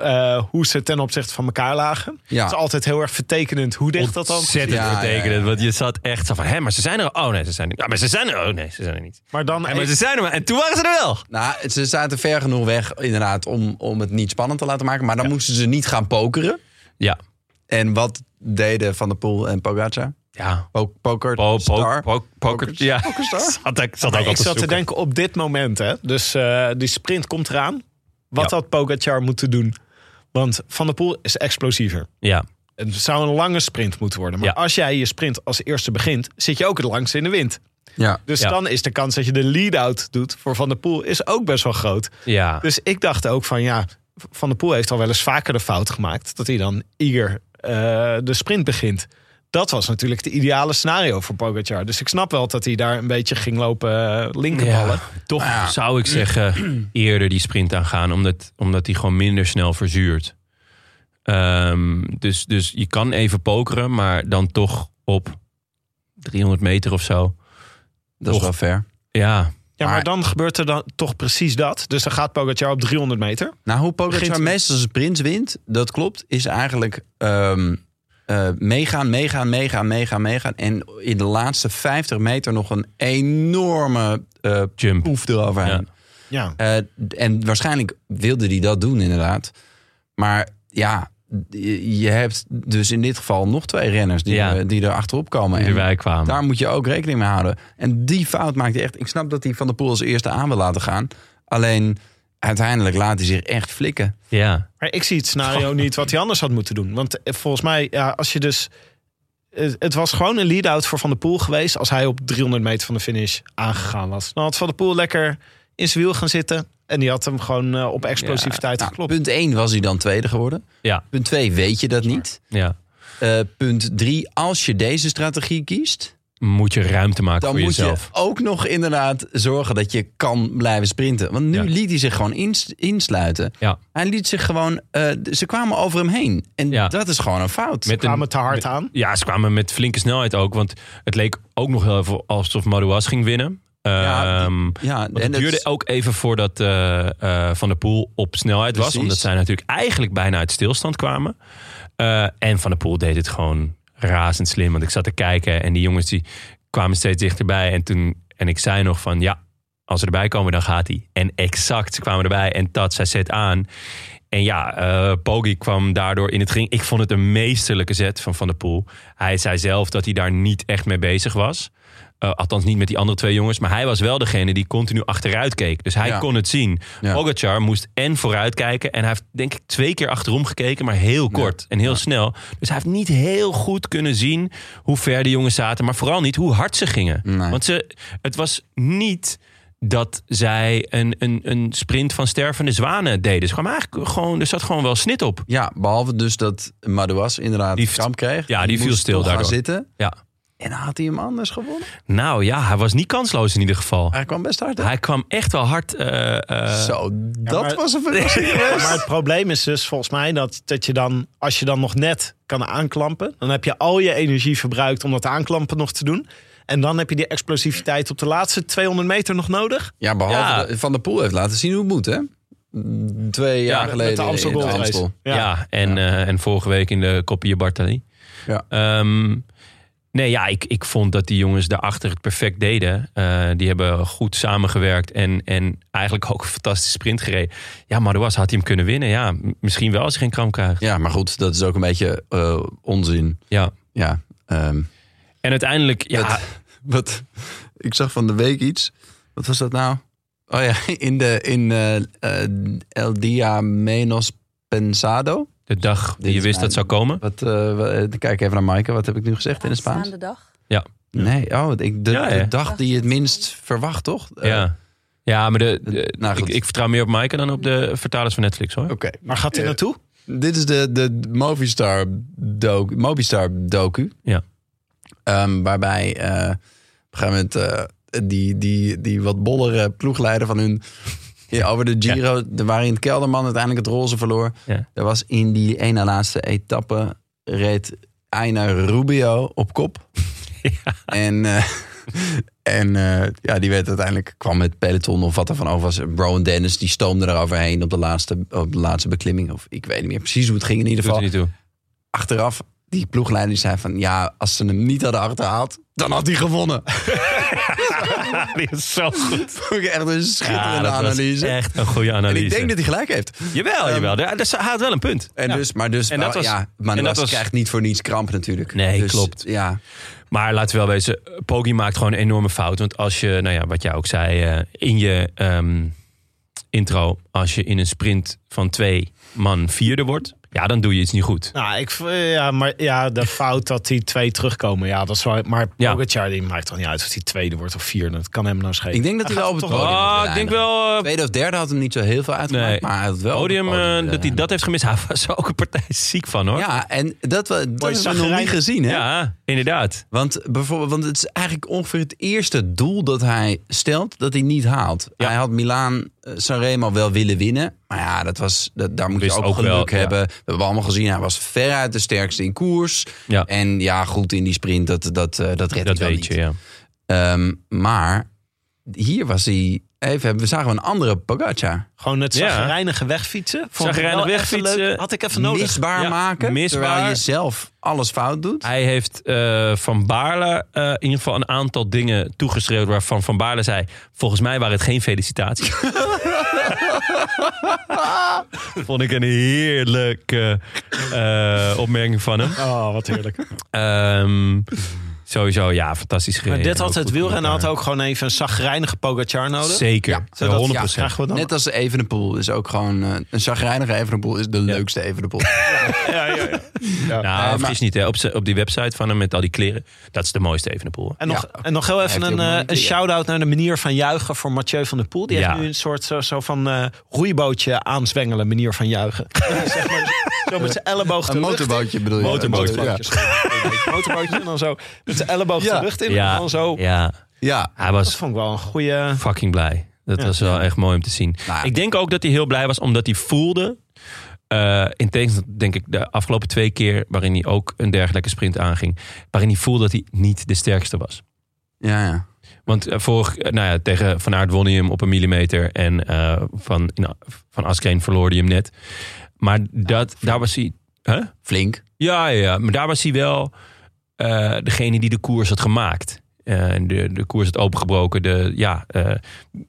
[SPEAKER 4] eh, hoe ze ten opzichte van elkaar lagen.
[SPEAKER 2] Ja.
[SPEAKER 4] Het is altijd heel erg vertekenend hoe dicht dat dan.
[SPEAKER 1] ontzettend
[SPEAKER 2] Ja, ja, ja.
[SPEAKER 1] betekenen. Want je zat echt zo van, hè, maar ze zijn er al. Oh nee, ze zijn er. Ja, maar ze zijn er. Oh nee, ze zijn er niet.
[SPEAKER 4] Maar dan
[SPEAKER 1] Ja, maar ze zijn er. maar- En toen waren ze er wel.
[SPEAKER 2] Nou, ze zaten ver genoeg weg inderdaad om, om het niet spannend te laten maken. Maar dan moesten ze niet gaan pokeren.
[SPEAKER 1] Ja,
[SPEAKER 2] En wat deden Van der Poel en Pogacar?
[SPEAKER 1] ja.
[SPEAKER 2] Po- poker,
[SPEAKER 1] Po, po,
[SPEAKER 2] star.
[SPEAKER 1] po- poker, ja. Zat, ik zat ook al
[SPEAKER 4] ik zat te
[SPEAKER 1] zoeken.
[SPEAKER 4] denken op dit moment, hè. Dus eh, die sprint komt eraan. Wat
[SPEAKER 1] Ja.
[SPEAKER 4] had Pogacar moeten doen? Want Van der Poel is explosiever.
[SPEAKER 1] Ja,
[SPEAKER 4] Het zou een lange sprint moeten worden. Maar
[SPEAKER 1] Ja.
[SPEAKER 4] als jij je sprint als eerste begint, zit je ook het langste in de wind.
[SPEAKER 2] Ja.
[SPEAKER 4] Dus
[SPEAKER 1] Ja.
[SPEAKER 4] dan is de kans dat je de lead-out doet voor Van der Poel is ook best wel groot.
[SPEAKER 1] ja.
[SPEAKER 4] Dus ik dacht ook van ja, Van der Poel heeft al wel eens vaker de fout gemaakt. Dat hij dan eager eh, de sprint begint. Dat was natuurlijk het ideale scenario voor Pogacar. Dus ik snap wel dat hij daar een beetje ging lopen eh, linkerballen.
[SPEAKER 1] Ja, toch
[SPEAKER 2] Ah.
[SPEAKER 1] zou ik zeggen eerder die sprint aangaan. Omdat, omdat die gewoon minder snel verzuurt. Ehm, dus, dus je kan even pokeren, maar dan toch op 300 meter of zo.
[SPEAKER 2] Dat is
[SPEAKER 1] Toch.
[SPEAKER 2] wel fair.
[SPEAKER 1] Ja,
[SPEAKER 4] Ja, maar
[SPEAKER 2] Maar-
[SPEAKER 4] dan gebeurt er dan toch precies dat. Dus dan gaat Pogacar op 300 meter.
[SPEAKER 2] Nou, hoe Pogacar
[SPEAKER 4] Begint-
[SPEAKER 2] meestal zijn prins wint, dat klopt, is eigenlijk ehm, eh, meegaan, meegaan, meegaan, meegaan, meegaan. En in de laatste 50 meter nog een enorme eh
[SPEAKER 1] jump.
[SPEAKER 2] poef eroverheen.
[SPEAKER 4] Ja.
[SPEAKER 2] Eh, en waarschijnlijk wilde hij dat doen, inderdaad. Maar ja, je- je hebt dus in dit geval nog twee renners die,
[SPEAKER 1] Ja.
[SPEAKER 2] er- die er achterop komen.
[SPEAKER 1] Die
[SPEAKER 2] En
[SPEAKER 1] erbij kwamen.
[SPEAKER 2] daar moet je ook rekening mee houden. En die fout maakt hij echt. Ik snap dat hij Van der Poel als eerste aan wil laten gaan. Alleen uiteindelijk laat hij zich echt flikken.
[SPEAKER 1] Ja,
[SPEAKER 4] Maar ik zie het scenario niet wat hij anders had moeten doen. Want eh, volgens mij, ja, als je dus het, het was gewoon een lead-out voor Van der Poel geweest... als hij op 300 meter van de finish aangegaan was. Dan had Van der Poel lekker in zijn wiel gaan zitten... en die had hem gewoon eh, op explosiviteit
[SPEAKER 2] Ja, nou,
[SPEAKER 4] geklopt.
[SPEAKER 2] Punt 1 was hij dan tweede geworden.
[SPEAKER 1] Ja.
[SPEAKER 2] Punt 2 weet je dat niet.
[SPEAKER 1] Ja.
[SPEAKER 2] Eh, punt 3, als je deze strategie kiest,
[SPEAKER 1] Moet je ruimte maken
[SPEAKER 2] dan
[SPEAKER 1] voor
[SPEAKER 2] moet
[SPEAKER 1] jezelf.
[SPEAKER 2] je ook nog inderdaad zorgen dat je kan blijven sprinten. Want nu
[SPEAKER 1] Ja.
[SPEAKER 2] liet hij zich gewoon ins- insluiten.
[SPEAKER 1] Ja.
[SPEAKER 2] Hij liet zich gewoon, eh, d- ze kwamen over hem heen. En
[SPEAKER 1] Ja.
[SPEAKER 2] dat is gewoon een fout.
[SPEAKER 1] Met
[SPEAKER 4] Kwamen te hard aan.
[SPEAKER 1] Ja, ze kwamen met flinke snelheid ook. Want het leek ook nog heel even alsof Madouas ging winnen.
[SPEAKER 2] Ja,
[SPEAKER 1] Ehm,
[SPEAKER 2] ja,
[SPEAKER 1] want het
[SPEAKER 2] dat-
[SPEAKER 1] duurde ook even voordat eh, eh, Van der Poel op snelheid was.
[SPEAKER 2] Precies.
[SPEAKER 1] Omdat zij natuurlijk eigenlijk bijna uit stilstand kwamen. Eh, en Van der Poel deed het gewoon razend slim. Want ik zat te kijken en die jongens die kwamen steeds dichterbij. En, toen, en ik zei nog van ja, als ze erbij komen dan gaat hij. En exact, ze kwamen erbij en dat, zij zet aan. En ja, eh Poggi kwam daardoor in het ging. Ik vond het een meesterlijke zet van Van der Poel. Hij zei zelf dat hij daar niet echt mee bezig was. Eh, althans, niet met die andere twee jongens. Maar hij was wel degene die continu achteruit keek. Dus hij
[SPEAKER 2] Ja.
[SPEAKER 1] kon het zien.
[SPEAKER 2] Ja.
[SPEAKER 1] Pogacar moest en vooruit kijken. En hij heeft denk ik twee keer achterom gekeken. Maar heel kort en heel snel. Dus hij heeft niet heel goed kunnen zien hoe ver de jongens zaten. Maar vooral niet hoe hard ze gingen.
[SPEAKER 2] Nee.
[SPEAKER 1] Want ze, het was niet dat zij een, een, een sprint van stervende zwanen deden. Ze kwamen eigenlijk gewoon, er zat gewoon wel snit op.
[SPEAKER 2] Ja, behalve dus dat Madouas inderdaad
[SPEAKER 1] Die-
[SPEAKER 2] kramp kreeg.
[SPEAKER 1] ja, die viel
[SPEAKER 2] moest
[SPEAKER 1] stil
[SPEAKER 2] toch gaan
[SPEAKER 1] daardoor.
[SPEAKER 2] zitten.
[SPEAKER 1] Ja.
[SPEAKER 2] En had hij hem anders gewonnen?
[SPEAKER 1] Nou ja, hij was niet kansloos in ieder geval.
[SPEAKER 2] Hij kwam best hard. hè?
[SPEAKER 1] Hij kwam echt wel hard. eh, eh,
[SPEAKER 2] Zo, dat
[SPEAKER 4] maar-
[SPEAKER 2] was een verrassing geweest.
[SPEAKER 4] Maar het probleem is dus volgens mij dat, dat je dan, als je dan nog net kan aanklampen, dan heb je al je energie verbruikt om dat aanklampen nog te doen. En dan heb je die explosiviteit op de laatste 200 meter nog nodig.
[SPEAKER 2] Ja, behalve
[SPEAKER 1] Ja.
[SPEAKER 2] dat Van der Poel heeft laten zien hoe het moet, hè? Twee jaar
[SPEAKER 4] met
[SPEAKER 2] geleden
[SPEAKER 4] de Amstel
[SPEAKER 2] in de
[SPEAKER 4] Gold Race.
[SPEAKER 2] Amstel.
[SPEAKER 1] ja.
[SPEAKER 4] Ja.
[SPEAKER 1] en, eh, en vorige week in de Kopje Bartali.
[SPEAKER 2] Ja.
[SPEAKER 1] Ehm, nee, ja, ik, ik vond dat die jongens daarachter het perfect deden. Eh, die hebben goed samengewerkt en, en eigenlijk ook een fantastische sprint gereden. Ja, maar was had hij hem kunnen winnen. Ja, m- misschien wel als hij geen kramp krijgt.
[SPEAKER 2] Ja, maar goed, dat is ook een beetje eh, onzin.
[SPEAKER 1] Ja.
[SPEAKER 2] Ja, ehm,
[SPEAKER 1] En uiteindelijk, ja,
[SPEAKER 2] Dat- wat, ik zag van de week iets. Wat was dat nou? Oh ja, in, de, in eh, eh, El Dia Menos Pensado.
[SPEAKER 1] de dag
[SPEAKER 2] Dit
[SPEAKER 1] die je
[SPEAKER 2] is
[SPEAKER 1] wist
[SPEAKER 2] mijn-
[SPEAKER 1] dat zou komen.
[SPEAKER 2] Wat, eh, wa- eh, kijk even naar Maaike, wat heb ik nu gezegd in het Spaans?
[SPEAKER 7] Aanstaande dag.
[SPEAKER 2] Nee, oh, ik, de,
[SPEAKER 1] Ja, ja.
[SPEAKER 2] de dag die je het minst verwacht, toch? Eh,
[SPEAKER 1] ja. ja, maar de, de-
[SPEAKER 2] Nou,
[SPEAKER 1] ik,
[SPEAKER 2] goed.
[SPEAKER 1] ik vertrouw meer op Maaike dan op de vertalers van Netflix hoor.
[SPEAKER 2] Oké,
[SPEAKER 4] Waar gaat hij
[SPEAKER 2] Eh,
[SPEAKER 4] naartoe?
[SPEAKER 2] Dit is de, de Movistar docu. Movistar docu
[SPEAKER 1] Ja.
[SPEAKER 2] Ehm, waarbij eh, op een gegeven moment eh, die, die, die wat bollere ploegleider van hun... Ja, over de Giro, de- waarin Kelderman uiteindelijk het roze verloor.
[SPEAKER 1] Ja.
[SPEAKER 2] Er was in die ene laatste etappe reed Aina Rubio op kop. En, eh, en eh, ja, die werd uiteindelijk, kwam met peloton of wat er van over was. Rowan Dennis, die stoomde eroverheen op de laatste, op de laatste beklimming. Of ik weet niet meer precies hoe het ging in ieder
[SPEAKER 1] Doet er
[SPEAKER 2] geval.
[SPEAKER 1] niet toe.
[SPEAKER 2] Achteraf, die ploegleider die zei van, ja, als ze hem niet hadden achterhaald, dan had hij gewonnen.
[SPEAKER 1] Die is zo goed.
[SPEAKER 2] Vond ik echt een schitterende
[SPEAKER 1] dat was
[SPEAKER 2] analyse.
[SPEAKER 1] echt een goede
[SPEAKER 2] En
[SPEAKER 1] analyse.
[SPEAKER 2] ik denk dat Ehm, hij gelijk heeft.
[SPEAKER 1] Jawel, jawel. Daar- daar- Hij had wel een punt.
[SPEAKER 2] En
[SPEAKER 1] Ja.
[SPEAKER 2] dus, maar dus,
[SPEAKER 1] En dat was-
[SPEAKER 2] ja, maar
[SPEAKER 1] en dat
[SPEAKER 2] dat
[SPEAKER 1] was-
[SPEAKER 2] krijgt niet voor niets kramp natuurlijk.
[SPEAKER 1] Nee,
[SPEAKER 2] Dus,
[SPEAKER 1] klopt.
[SPEAKER 2] Ja,
[SPEAKER 1] Maar laten we wel wezen, Poggi maakt gewoon een enorme fout. Want als je, nou ja, wat jij ook zei eh, in je ehm, intro... als je in een sprint van twee man vierde wordt... ja, dan doe je iets niet goed.
[SPEAKER 4] Nou, ik, v- eh, ja, maar ja, de fout dat die twee terugkomen. Ja, dat is waar. Maar
[SPEAKER 1] Ja.
[SPEAKER 4] Pogacar, die maakt toch niet uit of hij tweede wordt of vierde. Dat kan hem nou schelen.
[SPEAKER 2] ik denk dat hij wel op het
[SPEAKER 4] toch-
[SPEAKER 2] podium had
[SPEAKER 1] Ah,
[SPEAKER 2] willen
[SPEAKER 1] ik denk
[SPEAKER 2] eindigen.
[SPEAKER 1] wel... eh,
[SPEAKER 2] Tweede of derde had hem niet zo heel veel uitgemaakt,
[SPEAKER 1] Nee.
[SPEAKER 2] maar hij had wel op het
[SPEAKER 1] podium, eh,
[SPEAKER 2] willen
[SPEAKER 1] dat hij
[SPEAKER 2] eindigen.
[SPEAKER 1] dat heeft gemist. Hij was er ook een partij ziek van, hoor.
[SPEAKER 2] Ja, en dat, wa- dat hebben we nog
[SPEAKER 4] zagrijn.
[SPEAKER 2] niet gezien, hè?
[SPEAKER 1] Ja, inderdaad.
[SPEAKER 2] Want, bijvoorbeeld, want het is eigenlijk ongeveer het eerste doel dat hij stelt dat hij niet haalt.
[SPEAKER 1] Ja.
[SPEAKER 2] Hij had Milaan eh, Sanremo wel willen winnen. Maar ja, dat was, dat, daar moet
[SPEAKER 1] Wist
[SPEAKER 2] je ook,
[SPEAKER 1] ook wel,
[SPEAKER 2] geluk
[SPEAKER 1] ja.
[SPEAKER 2] hebben. We hebben allemaal gezien, hij was veruit de sterkste in koers.
[SPEAKER 1] Ja.
[SPEAKER 2] En ja, goed in die sprint, dat, dat, eh, dat redt
[SPEAKER 1] Dat
[SPEAKER 2] hij wel
[SPEAKER 1] weet
[SPEAKER 2] niet.
[SPEAKER 1] je, ja.
[SPEAKER 2] Ehm, maar hier was hij... Even, we zagen een andere Pogacar.
[SPEAKER 4] Gewoon het
[SPEAKER 1] Ja.
[SPEAKER 4] zagrijnige wegfietsen. Vond ik
[SPEAKER 1] Chagrijnig
[SPEAKER 4] wel even
[SPEAKER 1] wegfietsen.
[SPEAKER 4] leuk. Had ik even nodig.
[SPEAKER 2] Misbaar
[SPEAKER 1] Ja,
[SPEAKER 2] maken, terwijl
[SPEAKER 1] misbaar.
[SPEAKER 2] je zelf alles fout doet.
[SPEAKER 1] Hij heeft eh, Van Baarle eh, in ieder geval een aantal dingen toegeschreeuwd... waarvan Van Baarle zei, volgens mij waren het geen felicitaties. Vond ik een heerlijke eh, opmerking van hem.
[SPEAKER 4] Oh, wat heerlijk.
[SPEAKER 1] Ehm, Sowieso, ja, fantastisch gereden.
[SPEAKER 4] Maar dit had
[SPEAKER 1] Ook
[SPEAKER 4] het
[SPEAKER 1] goed
[SPEAKER 4] wielrennen
[SPEAKER 1] met
[SPEAKER 4] had
[SPEAKER 1] elkaar.
[SPEAKER 4] ook gewoon even een zagrijnige Pogacar nodig.
[SPEAKER 1] Zeker,
[SPEAKER 2] Ja,
[SPEAKER 1] Ja, 100%.
[SPEAKER 2] ja,
[SPEAKER 4] Krijgen we dan?
[SPEAKER 2] Net als Evenepoel is ook gewoon... eh, een chagrijnige Evenepoel is de leukste Evenepoel.
[SPEAKER 4] ja, ja, ja.
[SPEAKER 1] Nou,
[SPEAKER 2] Eh,
[SPEAKER 1] vergis niet, hè. Op, ze- op die website van hem met al die kleren. Dat is de mooiste Evenepoel.
[SPEAKER 4] En, nog,
[SPEAKER 2] Ja.
[SPEAKER 4] en nog heel
[SPEAKER 2] Heeft
[SPEAKER 4] even
[SPEAKER 2] hij ook
[SPEAKER 4] een,
[SPEAKER 2] nog
[SPEAKER 4] eh,
[SPEAKER 2] een keer,
[SPEAKER 4] een
[SPEAKER 2] ja.
[SPEAKER 4] shout-out naar de manier van juichen voor Mathieu van der Poel. Die
[SPEAKER 1] Ja.
[SPEAKER 4] heeft nu een soort zo, zo van eh, roeibootje aanzwengelen manier van juichen. zeg maar, zo met zijn elleboog de
[SPEAKER 2] Een
[SPEAKER 4] lucht in.
[SPEAKER 2] motorbootje bedoel je?
[SPEAKER 4] Motorbootje.
[SPEAKER 2] Ja.
[SPEAKER 4] sorry. Motorbootje en dan zo met zijn elleboog
[SPEAKER 2] Ja.
[SPEAKER 4] de lucht in. En
[SPEAKER 1] Ja,
[SPEAKER 4] dan zo.
[SPEAKER 1] ja,
[SPEAKER 2] ja.
[SPEAKER 1] hij
[SPEAKER 4] Dat
[SPEAKER 1] was
[SPEAKER 4] vond ik wel een goede...
[SPEAKER 1] fucking blij. Dat was wel echt mooi om te zien.
[SPEAKER 2] Nou,
[SPEAKER 1] Ik denk ook dat hij heel blij was, omdat hij voelde... eh, in tegenstelling, denk ik, de afgelopen twee keer... waarin hij ook een dergelijke sprint aanging... waarin hij voelde dat hij niet de sterkste was.
[SPEAKER 2] Ja, ja.
[SPEAKER 1] Want eh, vorig, eh, nou ja, tegen Van Aert won hij hem op een millimeter. En eh, van, in, van Askreen verloor hij hem net. Maar dat, daar was hij... Hè?
[SPEAKER 2] Flink.
[SPEAKER 1] Ja, ja, ja, maar daar was hij wel eh, degene die de koers had gemaakt. Eh, de, de koers had opengebroken. De, ja, eh,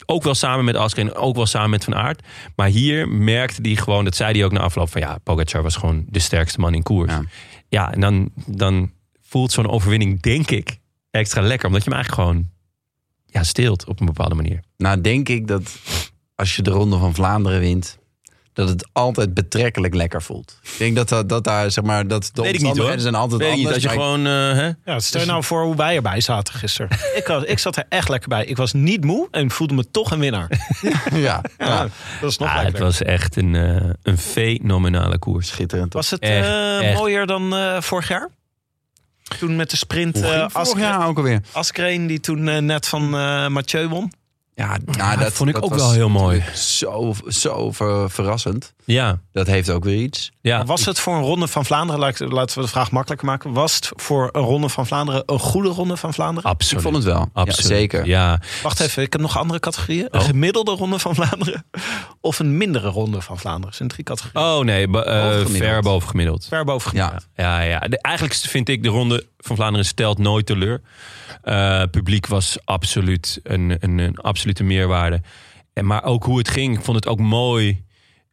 [SPEAKER 1] ook wel samen met Askreen, ook wel samen met Van Aert. Maar hier merkte hij gewoon, dat zei hij ook na afloop... van ja, Pogacar was gewoon de sterkste man in koers.
[SPEAKER 2] Ja.
[SPEAKER 1] Ja, en dan, dan voelt zo'n overwinning, denk ik, extra lekker. Omdat je hem eigenlijk gewoon ja, steelt op een bepaalde manier.
[SPEAKER 2] Nou, denk ik dat als je de Ronde van Vlaanderen wint, dat het altijd betrekkelijk lekker voelt. Ik denk dat, dat, dat daar, zeg maar, dat de
[SPEAKER 1] Weet ik niet,
[SPEAKER 2] omstandigheden
[SPEAKER 1] hoor.
[SPEAKER 2] zijn altijd
[SPEAKER 1] Weet je niet,
[SPEAKER 2] anders.
[SPEAKER 1] als je
[SPEAKER 2] maar ik-
[SPEAKER 1] gewoon... eh, hè?
[SPEAKER 4] Ja, stel nou voor hoe wij erbij zaten gisteren. ik, had- ik zat er echt lekker bij. Ik was niet moe en voelde me toch een winnaar.
[SPEAKER 2] ja,
[SPEAKER 4] Ja,
[SPEAKER 2] ja.
[SPEAKER 4] dat is nog
[SPEAKER 1] Ah, het
[SPEAKER 4] lekkerder.
[SPEAKER 1] was echt een, eh, een fenomenale koers.
[SPEAKER 2] schitterend.
[SPEAKER 4] Was het
[SPEAKER 1] Echt,
[SPEAKER 4] eh,
[SPEAKER 1] echt.
[SPEAKER 4] mooier dan eh, vorig jaar? Toen met de sprint
[SPEAKER 2] Hoe ging
[SPEAKER 4] eh
[SPEAKER 2] het vorig
[SPEAKER 4] Askren-
[SPEAKER 2] jaar ook alweer.
[SPEAKER 4] Askreen, die toen eh, net van eh, Mathieu won.
[SPEAKER 2] Ja, nou,
[SPEAKER 1] dat, vond ik ook
[SPEAKER 2] was
[SPEAKER 1] wel heel mooi.
[SPEAKER 2] Zo, zo ver- verrassend.
[SPEAKER 1] Ja,
[SPEAKER 2] Dat heeft ook weer iets.
[SPEAKER 1] ja.
[SPEAKER 4] Was het voor een ronde van Vlaanderen, laat ik- laten we de vraag makkelijker maken. Was het voor een ronde van Vlaanderen een goede ronde van Vlaanderen?
[SPEAKER 2] Ik
[SPEAKER 1] absoluut.
[SPEAKER 2] vond het wel. Ja,
[SPEAKER 1] absoluut.
[SPEAKER 2] zeker.
[SPEAKER 1] Ja.
[SPEAKER 4] Wacht even, ik heb nog andere categorieën. Een
[SPEAKER 1] Oh.
[SPEAKER 4] gemiddelde ronde van Vlaanderen of een mindere ronde van Vlaanderen. Dat zijn drie categorieën.
[SPEAKER 1] Oh nee, be- eh,
[SPEAKER 2] Bovengemiddeld.
[SPEAKER 1] ver boven gemiddeld.
[SPEAKER 4] Ver boven
[SPEAKER 2] Ja.
[SPEAKER 4] gemiddeld.
[SPEAKER 1] Ja, ja. De- eigenlijk vind ik de ronde van Vlaanderen stelt nooit teleur. Eh, publiek was absoluut een, een, een absolute meerwaarde. En, maar ook hoe het ging, ik vond het ook mooi.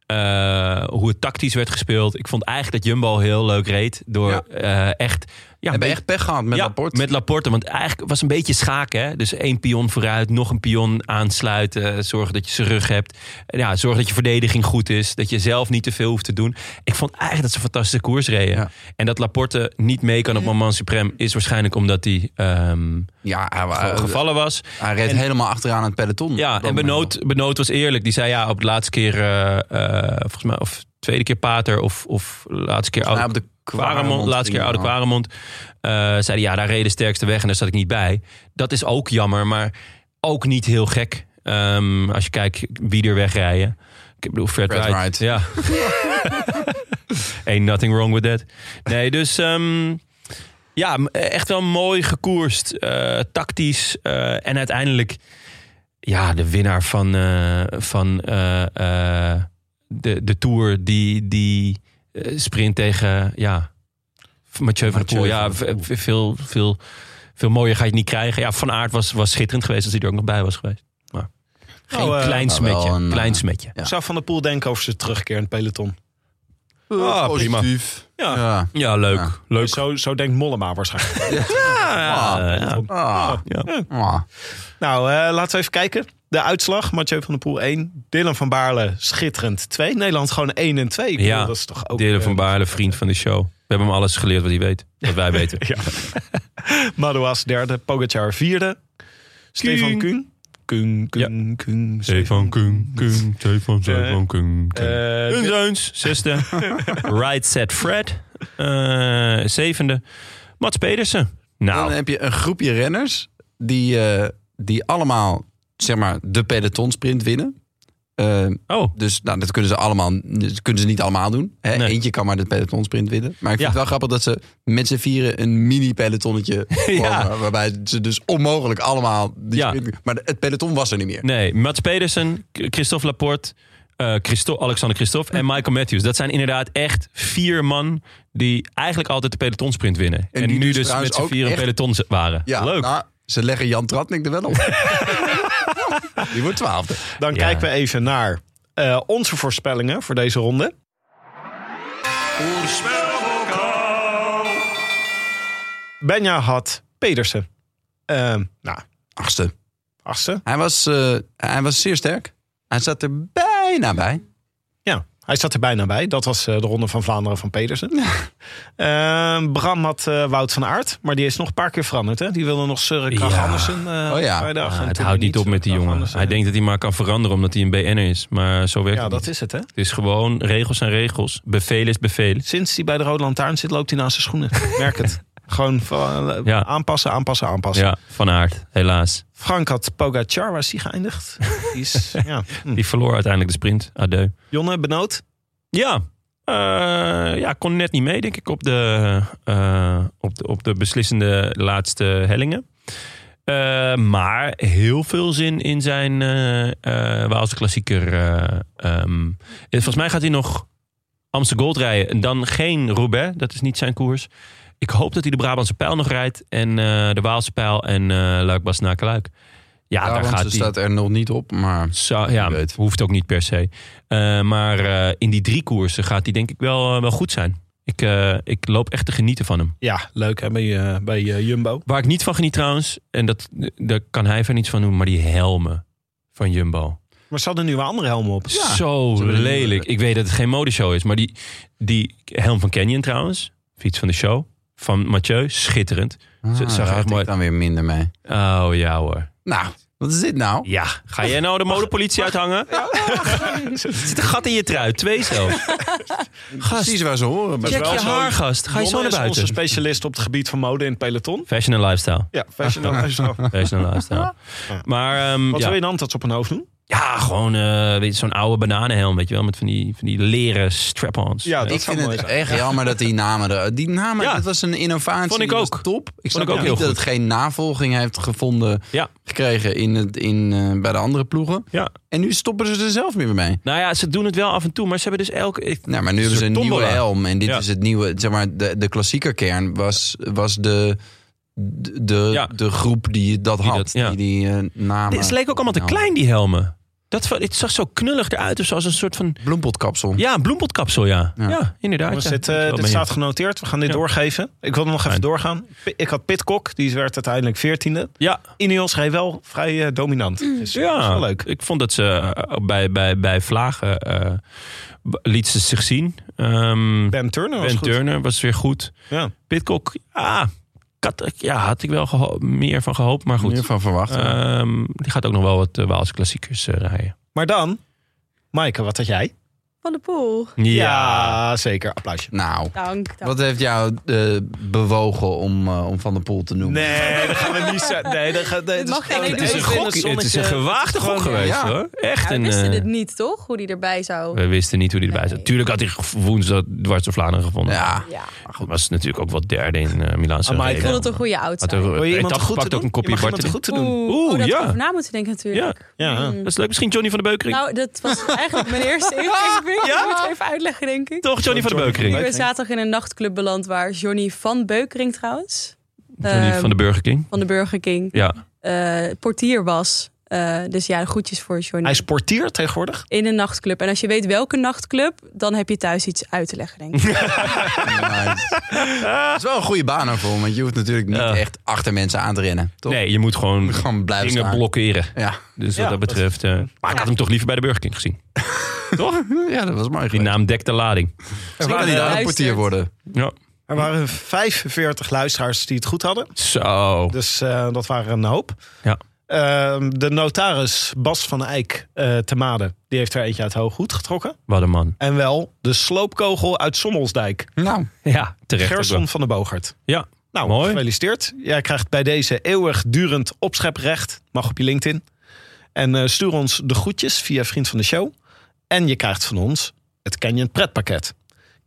[SPEAKER 1] eh, hoe het tactisch werd gespeeld. Ik vond eigenlijk dat Jumbo heel leuk reed. Door
[SPEAKER 2] Ja.
[SPEAKER 1] eh, echt... Ja,
[SPEAKER 2] We hebben echt pech gehad met
[SPEAKER 1] ja,
[SPEAKER 2] rapport.
[SPEAKER 1] Met Laporte, want eigenlijk was het een beetje schaken. Hè? Dus één pion vooruit, nog een pion aansluiten. Zorgen dat je zijn rug hebt. Ja, zorgen dat je verdediging goed is. Dat je zelf niet te veel hoeft te doen. Ik vond eigenlijk dat ze een fantastische koers reden.
[SPEAKER 2] Ja.
[SPEAKER 1] En dat Laporte niet mee kan op Moment Supreme... is waarschijnlijk omdat hij ehm,
[SPEAKER 2] ja, hij, hij-
[SPEAKER 1] gevallen was.
[SPEAKER 2] hij reed
[SPEAKER 1] en-
[SPEAKER 2] helemaal achteraan het peloton.
[SPEAKER 1] Ja,
[SPEAKER 2] Dan-
[SPEAKER 1] en Benoot, Benoot was eerlijk. Die zei ja, op de laatste keer... eh, eh, volgens mij, of tweede keer Pater of, of laatste keer...
[SPEAKER 2] Nou, op de
[SPEAKER 1] Quaremont, laatste keer oude Quaremont. eh, zei hij, ja, daar reed de sterkste weg en daar zat ik niet bij. Dat is ook jammer, maar ook niet heel gek. Ehm, als je kijkt wie er wegrijden. Ik bedoel, Fred,
[SPEAKER 2] Fred
[SPEAKER 1] Wright.
[SPEAKER 2] Wright.
[SPEAKER 1] Ja. Ain't nothing wrong with that. Nee, dus... ehm, ja, m- echt wel mooi gekoerst. eh, tactisch. eh, en uiteindelijk... Ja, de winnaar van, eh, van eh, eh, de, de Tour die... die eh, sprint tegen ja, Mathieu van der Poel.
[SPEAKER 2] Mathieu
[SPEAKER 1] Ja,
[SPEAKER 2] van der
[SPEAKER 1] ve-
[SPEAKER 2] Poel.
[SPEAKER 1] ve- veel, veel, veel mooier ga je het niet krijgen. Ja, Van Aert was, was schitterend geweest als hij er ook nog bij was geweest. Maar geen
[SPEAKER 4] eh,
[SPEAKER 1] klein
[SPEAKER 2] maar Nou, wel
[SPEAKER 1] smetje.
[SPEAKER 2] een,
[SPEAKER 1] klein
[SPEAKER 2] eh,
[SPEAKER 1] smetje.
[SPEAKER 2] Ja.
[SPEAKER 4] Zou Van der Poel denken over zijn terugkeer in het peloton?
[SPEAKER 1] Ah, prima.
[SPEAKER 2] Positief.
[SPEAKER 4] Ja.
[SPEAKER 2] ja.
[SPEAKER 1] Ja, leuk.
[SPEAKER 2] Ja.
[SPEAKER 1] Leuk.
[SPEAKER 4] Zo, zo denkt Mollema waarschijnlijk.
[SPEAKER 1] Ja, ja.
[SPEAKER 2] Ah. Ah.
[SPEAKER 4] Nou, eh, laten we even kijken. De uitslag, Mathieu van der Poel 1. Dylan van Baarle, schitterend 2. Nederland gewoon 1 en 2. Ik bedoel,
[SPEAKER 1] Ja,
[SPEAKER 4] dat is toch ook...
[SPEAKER 1] Dylan van
[SPEAKER 4] eh,
[SPEAKER 1] Baarle, vriend van de show. We hebben hem alles geleerd wat hij weet. Wat wij weten.
[SPEAKER 4] Madouas derde, Pogacar vierde. Stefan Kuhn. Kuhn, Kuhn, Kuhn.
[SPEAKER 1] Stefan Kung, Kung, Stefan,
[SPEAKER 4] Stefan
[SPEAKER 1] Kung.
[SPEAKER 4] Eh,
[SPEAKER 1] Hun Zeuns, zesde. right Set Fred, eh, zevende. Mats Pedersen.
[SPEAKER 2] Dan
[SPEAKER 1] Nou,
[SPEAKER 2] heb je een groepje renners die, eh, die allemaal zeg maar, de pelotonsprint winnen. Eh,
[SPEAKER 1] oh,
[SPEAKER 2] dus nou, dat kunnen ze allemaal dat kunnen ze niet allemaal doen. Hè?
[SPEAKER 1] Nee.
[SPEAKER 2] Eentje kan maar de pelotonsprint winnen. Maar ik vind
[SPEAKER 1] Ja.
[SPEAKER 2] het wel grappig dat ze met z'n vieren een mini-pelotonnetje vormen.
[SPEAKER 1] Ja.
[SPEAKER 2] Waarbij ze dus onmogelijk allemaal... Die
[SPEAKER 1] Ja.
[SPEAKER 2] sprint- maar de- het peloton was er niet meer.
[SPEAKER 1] nee. Mats Pedersen, K- Christophe Laporte, eh, Christo- Alexander Christophe en Michael Matthews. Dat zijn inderdaad echt vier man die eigenlijk altijd de pelotonsprint winnen. En,
[SPEAKER 2] die
[SPEAKER 1] nu
[SPEAKER 2] dus
[SPEAKER 1] dus,
[SPEAKER 2] trouwens
[SPEAKER 1] met z'n
[SPEAKER 2] ook
[SPEAKER 1] vier een
[SPEAKER 2] echt-
[SPEAKER 1] peloton z- waren.
[SPEAKER 2] Ja,
[SPEAKER 1] Leuk. Ah,
[SPEAKER 2] nou, ze leggen Jan Tratnik er wel op. die wordt twaalfde.
[SPEAKER 4] Dan
[SPEAKER 1] Ja.
[SPEAKER 4] kijken we even naar eh, onze voorspellingen voor deze ronde. Benja had Pedersen. Ehm, nou,
[SPEAKER 2] Achtste.
[SPEAKER 4] achtste.
[SPEAKER 2] Hij was, eh, hij was zeer sterk. Hij zat er bijna bij.
[SPEAKER 4] Ja, hij zat er bijna bij. Dat was eh, de Ronde van Vlaanderen van Pedersen. Ehm, Bram had eh, Wout van Aard, maar die is nog een paar keer veranderd. Hè? Die wilde nog Søren Kragh
[SPEAKER 1] Ja.
[SPEAKER 4] Andersen eh,
[SPEAKER 2] Oh ja.
[SPEAKER 4] vrijdag. En
[SPEAKER 1] Ah, het
[SPEAKER 4] toen
[SPEAKER 1] houdt niet op met die
[SPEAKER 4] Kragh
[SPEAKER 1] jongen.
[SPEAKER 4] Andersen.
[SPEAKER 1] Hij denkt dat hij maar kan veranderen omdat hij een BN'er is. Maar zo werkt
[SPEAKER 4] Ja,
[SPEAKER 1] het
[SPEAKER 4] dat
[SPEAKER 1] niet.
[SPEAKER 4] is het hè.
[SPEAKER 1] Het is gewoon regels zijn regels. Bevel is bevel.
[SPEAKER 4] Sinds hij bij de Rode Lantaarn zit, loopt hij naast zijn schoenen. Ik Merk het. Gewoon van, eh,
[SPEAKER 1] Ja.
[SPEAKER 4] aanpassen, aanpassen, aanpassen.
[SPEAKER 1] Ja, van aard, helaas.
[SPEAKER 4] Frank had Pogacar, waar is die geëindigd? Die is, ja. hm.
[SPEAKER 1] Die verloor uiteindelijk de sprint. Adieu.
[SPEAKER 4] Jonne, benoot?
[SPEAKER 1] Ja, eh, ja kon net niet mee, denk ik, op de, eh, op de, op de beslissende laatste hellingen. Eh, maar heel veel zin in zijn eh eh, Waalse klassieker. eh, ehm. En Volgens mij gaat hij nog Amsterdam Gold rijden. En dan geen Roubaix, dat is niet zijn koers. Ik hoop dat hij de Brabantse pijl nog rijdt. En eh, de Waalse pijl en eh Luik-Bastenaken-Luik. Ja,
[SPEAKER 2] Ja,
[SPEAKER 1] daar
[SPEAKER 2] want
[SPEAKER 1] gaat
[SPEAKER 2] ze
[SPEAKER 1] hij.
[SPEAKER 2] staat er nog niet op, maar...
[SPEAKER 1] Zo, ja,
[SPEAKER 2] Wie weet.
[SPEAKER 1] hoeft ook niet per se. Eh, maar eh, in die drie koersen gaat hij denk ik wel, eh, wel goed zijn. Ik, eh, ik loop echt te genieten van hem.
[SPEAKER 4] Ja, leuk hè, bij, eh, bij eh, Jumbo.
[SPEAKER 1] Waar ik niet van geniet trouwens, en dat, daar kan hij verder niets van doen, maar die helmen van Jumbo.
[SPEAKER 4] Maar ze hadden nu weer andere helm op.
[SPEAKER 1] Zo
[SPEAKER 2] ze willen
[SPEAKER 1] lelijk.
[SPEAKER 2] niet-
[SPEAKER 1] Ik weet dat het geen modeshow is, maar die, die helm van Canyon trouwens, fiets van de show, van Mathieu, schitterend.
[SPEAKER 2] Ah,
[SPEAKER 1] zag
[SPEAKER 2] daar
[SPEAKER 1] echt
[SPEAKER 2] had
[SPEAKER 1] mooi-
[SPEAKER 2] ik dan weer minder mee.
[SPEAKER 1] Oh ja hoor.
[SPEAKER 2] Nou, wat is dit nou?
[SPEAKER 1] Ja, ga jij nou de modepolitie uithangen? Er zit een gat in je trui, twee zelfs. Gast,
[SPEAKER 2] Precies waar ze horen. bij-
[SPEAKER 1] Check
[SPEAKER 4] wel
[SPEAKER 1] je
[SPEAKER 4] zo-
[SPEAKER 1] haar, gast. Ga je zo
[SPEAKER 4] Jonne
[SPEAKER 1] naar
[SPEAKER 4] is
[SPEAKER 1] buiten.
[SPEAKER 4] onze specialist op het gebied van mode in het peloton.
[SPEAKER 1] Fashion en lifestyle.
[SPEAKER 4] Ja, fashion en lifestyle.
[SPEAKER 1] Fashion en lifestyle. Maar ehm,
[SPEAKER 4] Wat
[SPEAKER 1] ja.
[SPEAKER 4] wil je dan dat ze op hun hoofd doen?
[SPEAKER 1] ja, gewoon eh, weet je, zo'n oude bananenhelm, weet je wel, met van die, van die leren strap-ons.
[SPEAKER 4] Ja, dat
[SPEAKER 2] ik
[SPEAKER 4] zou
[SPEAKER 2] vind
[SPEAKER 4] mooi
[SPEAKER 2] het
[SPEAKER 4] zijn.
[SPEAKER 2] echt jammer dat die namen er... Die namen,
[SPEAKER 1] Ja.
[SPEAKER 2] dat was een innovatie.
[SPEAKER 1] Vond ik
[SPEAKER 2] die was
[SPEAKER 1] ook.
[SPEAKER 2] top. Ik snap
[SPEAKER 1] ik ook
[SPEAKER 2] niet
[SPEAKER 1] heel
[SPEAKER 2] dat
[SPEAKER 1] goed.
[SPEAKER 2] het geen navolging heeft gevonden...
[SPEAKER 1] Ja.
[SPEAKER 2] gekregen in het, in, eh, bij de andere ploegen.
[SPEAKER 1] Ja.
[SPEAKER 2] En nu stoppen ze er zelf niet meer mee.
[SPEAKER 1] Nou ja, ze doen het wel af en toe, maar ze hebben dus elke... ik-
[SPEAKER 2] Nou, maar nu
[SPEAKER 1] Een
[SPEAKER 2] hebben ze een
[SPEAKER 1] soort
[SPEAKER 2] nieuwe
[SPEAKER 1] tombola.
[SPEAKER 2] helm. En dit
[SPEAKER 1] Ja.
[SPEAKER 2] is het nieuwe... Zeg maar, de, de klassieke kern was, was de... De,
[SPEAKER 1] Ja.
[SPEAKER 2] de groep die dat had,
[SPEAKER 1] dat- ja.
[SPEAKER 2] die die eh, namen...
[SPEAKER 1] Het leek ook allemaal te
[SPEAKER 2] Nou,
[SPEAKER 1] klein, die helmen. Dat, va- het zag zo knullig eruit, dus als een soort van...
[SPEAKER 2] Bloempotkapsel.
[SPEAKER 1] Ja, een bloempotkapsel, ja. Ja,
[SPEAKER 2] Ja.
[SPEAKER 1] inderdaad.
[SPEAKER 4] Jongens,
[SPEAKER 1] ja.
[SPEAKER 4] dit, eh,
[SPEAKER 1] Ik ben wel
[SPEAKER 4] dit
[SPEAKER 1] mee
[SPEAKER 4] staat
[SPEAKER 1] eens.
[SPEAKER 4] genoteerd. We gaan dit
[SPEAKER 1] Ja.
[SPEAKER 4] doorgeven. Ik wil nog even
[SPEAKER 1] Fijn.
[SPEAKER 4] doorgaan. P- Ik had Pitcock, die werd uiteindelijk veertiende.
[SPEAKER 1] Ja,
[SPEAKER 4] Ineos reed wel vrij eh, dominant.
[SPEAKER 1] Mm.
[SPEAKER 4] Dus, dat is
[SPEAKER 1] ja.
[SPEAKER 4] wel leuk.
[SPEAKER 1] ik vond dat ze eh, bij, bij, bij Vlagen eh, b- liet ze zich zien. Ehm ben
[SPEAKER 4] Ben Turner was goed.
[SPEAKER 1] Turner was weer goed.
[SPEAKER 4] Ja.
[SPEAKER 1] Pitcock, ah, kat, ja, had ik wel geho- meer van gehoopt, maar goed.
[SPEAKER 2] Goed. van verwacht.
[SPEAKER 1] Ehm, die gaat ook nog wel wat eh, Waalse klassiekers eh, rijden.
[SPEAKER 4] Maar dan, Maaike, wat had jij?
[SPEAKER 7] Van de Poel.
[SPEAKER 4] zeker. Applausje.
[SPEAKER 2] nou,
[SPEAKER 7] Dank. dank.
[SPEAKER 2] wat heeft jou eh, bewogen om, eh, om Van der Poel te noemen?
[SPEAKER 4] Nee, dat gaan we niet zo- Nee, dat gaat, nee,
[SPEAKER 7] Dit
[SPEAKER 4] dat
[SPEAKER 7] mag geen
[SPEAKER 4] nee,
[SPEAKER 7] idee.
[SPEAKER 1] Het is een
[SPEAKER 7] Even
[SPEAKER 1] gok, het is een gewaagde gok
[SPEAKER 4] Gewoon,
[SPEAKER 1] geweest
[SPEAKER 2] ja.
[SPEAKER 1] hoor. Echt.
[SPEAKER 7] Ja, we
[SPEAKER 1] een,
[SPEAKER 7] wisten
[SPEAKER 1] eh,
[SPEAKER 7] het niet, toch? Hoe die erbij zou...
[SPEAKER 1] we wisten niet hoe die erbij
[SPEAKER 7] Nee.
[SPEAKER 1] zat. Tuurlijk had hij woensdag dwars door Vlaanderen gevonden.
[SPEAKER 2] Ja,
[SPEAKER 7] Ja.
[SPEAKER 1] Maar goed, was natuurlijk ook wel derde in eh, Milan. Milaanse
[SPEAKER 4] Ah, maar ik
[SPEAKER 7] Ik
[SPEAKER 1] regen.
[SPEAKER 7] vond het een goede oud
[SPEAKER 1] Had
[SPEAKER 7] zijn.
[SPEAKER 1] er
[SPEAKER 4] Wil je
[SPEAKER 1] een
[SPEAKER 4] iemand
[SPEAKER 1] etappe
[SPEAKER 4] goed te
[SPEAKER 1] gepakt,
[SPEAKER 4] doen?
[SPEAKER 1] ook een kopje
[SPEAKER 4] Je mag iemand
[SPEAKER 1] Bart.
[SPEAKER 4] goed te doen.
[SPEAKER 1] Oeh,
[SPEAKER 7] oh, daar
[SPEAKER 1] ja.
[SPEAKER 7] had ik over na moeten denken natuurlijk.
[SPEAKER 4] Ja.
[SPEAKER 1] Dat is leuk. Misschien Johnny van de Beukering.
[SPEAKER 7] Nou, dat was eigenlijk mijn eerste ingeving.
[SPEAKER 1] Ja?
[SPEAKER 7] Ik moet het even uitleggen, denk ik.
[SPEAKER 1] Toch Johnny van de
[SPEAKER 7] Ik
[SPEAKER 1] Beukering.
[SPEAKER 7] ben zaterdag in een nachtclub beland waar Johnny van Beukering trouwens,
[SPEAKER 1] Johnny
[SPEAKER 7] Ehm,
[SPEAKER 1] van de Burger King.
[SPEAKER 7] van de Burger King,
[SPEAKER 1] Ja.
[SPEAKER 7] eh, portier was. Eh, dus ja, groetjes voor Johnny.
[SPEAKER 4] Hij sporteert tegenwoordig.
[SPEAKER 7] in een nachtclub. En als je weet welke nachtclub, dan heb je thuis iets uit te leggen, denk ik.
[SPEAKER 2] nice. Het is wel een goede baan ervoor, want je hoeft natuurlijk niet
[SPEAKER 1] Ja.
[SPEAKER 2] echt achter mensen aan te rennen. Toch?
[SPEAKER 1] Nee, je moet gewoon
[SPEAKER 2] Gewoon blijven
[SPEAKER 1] dingen
[SPEAKER 2] staan.
[SPEAKER 1] blokkeren.
[SPEAKER 2] Ja.
[SPEAKER 1] Dus wat
[SPEAKER 4] Ja,
[SPEAKER 1] dat
[SPEAKER 4] dat-
[SPEAKER 1] betreft. eh, maar ik had hem toch liever bij de Burger King gezien. Toch?
[SPEAKER 2] ja, dat was mooi
[SPEAKER 1] Die
[SPEAKER 2] geweest.
[SPEAKER 1] naam dekt de lading.
[SPEAKER 2] Misschien kan hij daar een
[SPEAKER 7] Luistert.
[SPEAKER 2] portier worden.
[SPEAKER 1] Ja.
[SPEAKER 4] Er waren 45 luisteraars die het goed hadden.
[SPEAKER 1] Zo.
[SPEAKER 4] Dus eh, dat waren een hoop.
[SPEAKER 1] Ja.
[SPEAKER 4] Ehm, de notaris Bas van Eyck eh te Made, die heeft er eentje uit Hooghoed getrokken.
[SPEAKER 1] Wat een man.
[SPEAKER 4] En wel de sloopkogel uit Sommelsdijk.
[SPEAKER 2] Nou,
[SPEAKER 1] Ja, terecht. ook wel.
[SPEAKER 4] Gerson van de Bogert.
[SPEAKER 1] Ja.
[SPEAKER 4] Nou,
[SPEAKER 1] Mooi.
[SPEAKER 4] gefeliciteerd. Jij krijgt bij deze eeuwigdurend opscheprecht. Mag op je LinkedIn. En eh, stuur ons de groetjes via Vriend van de Show. En je krijgt van ons het Canyon pretpakket.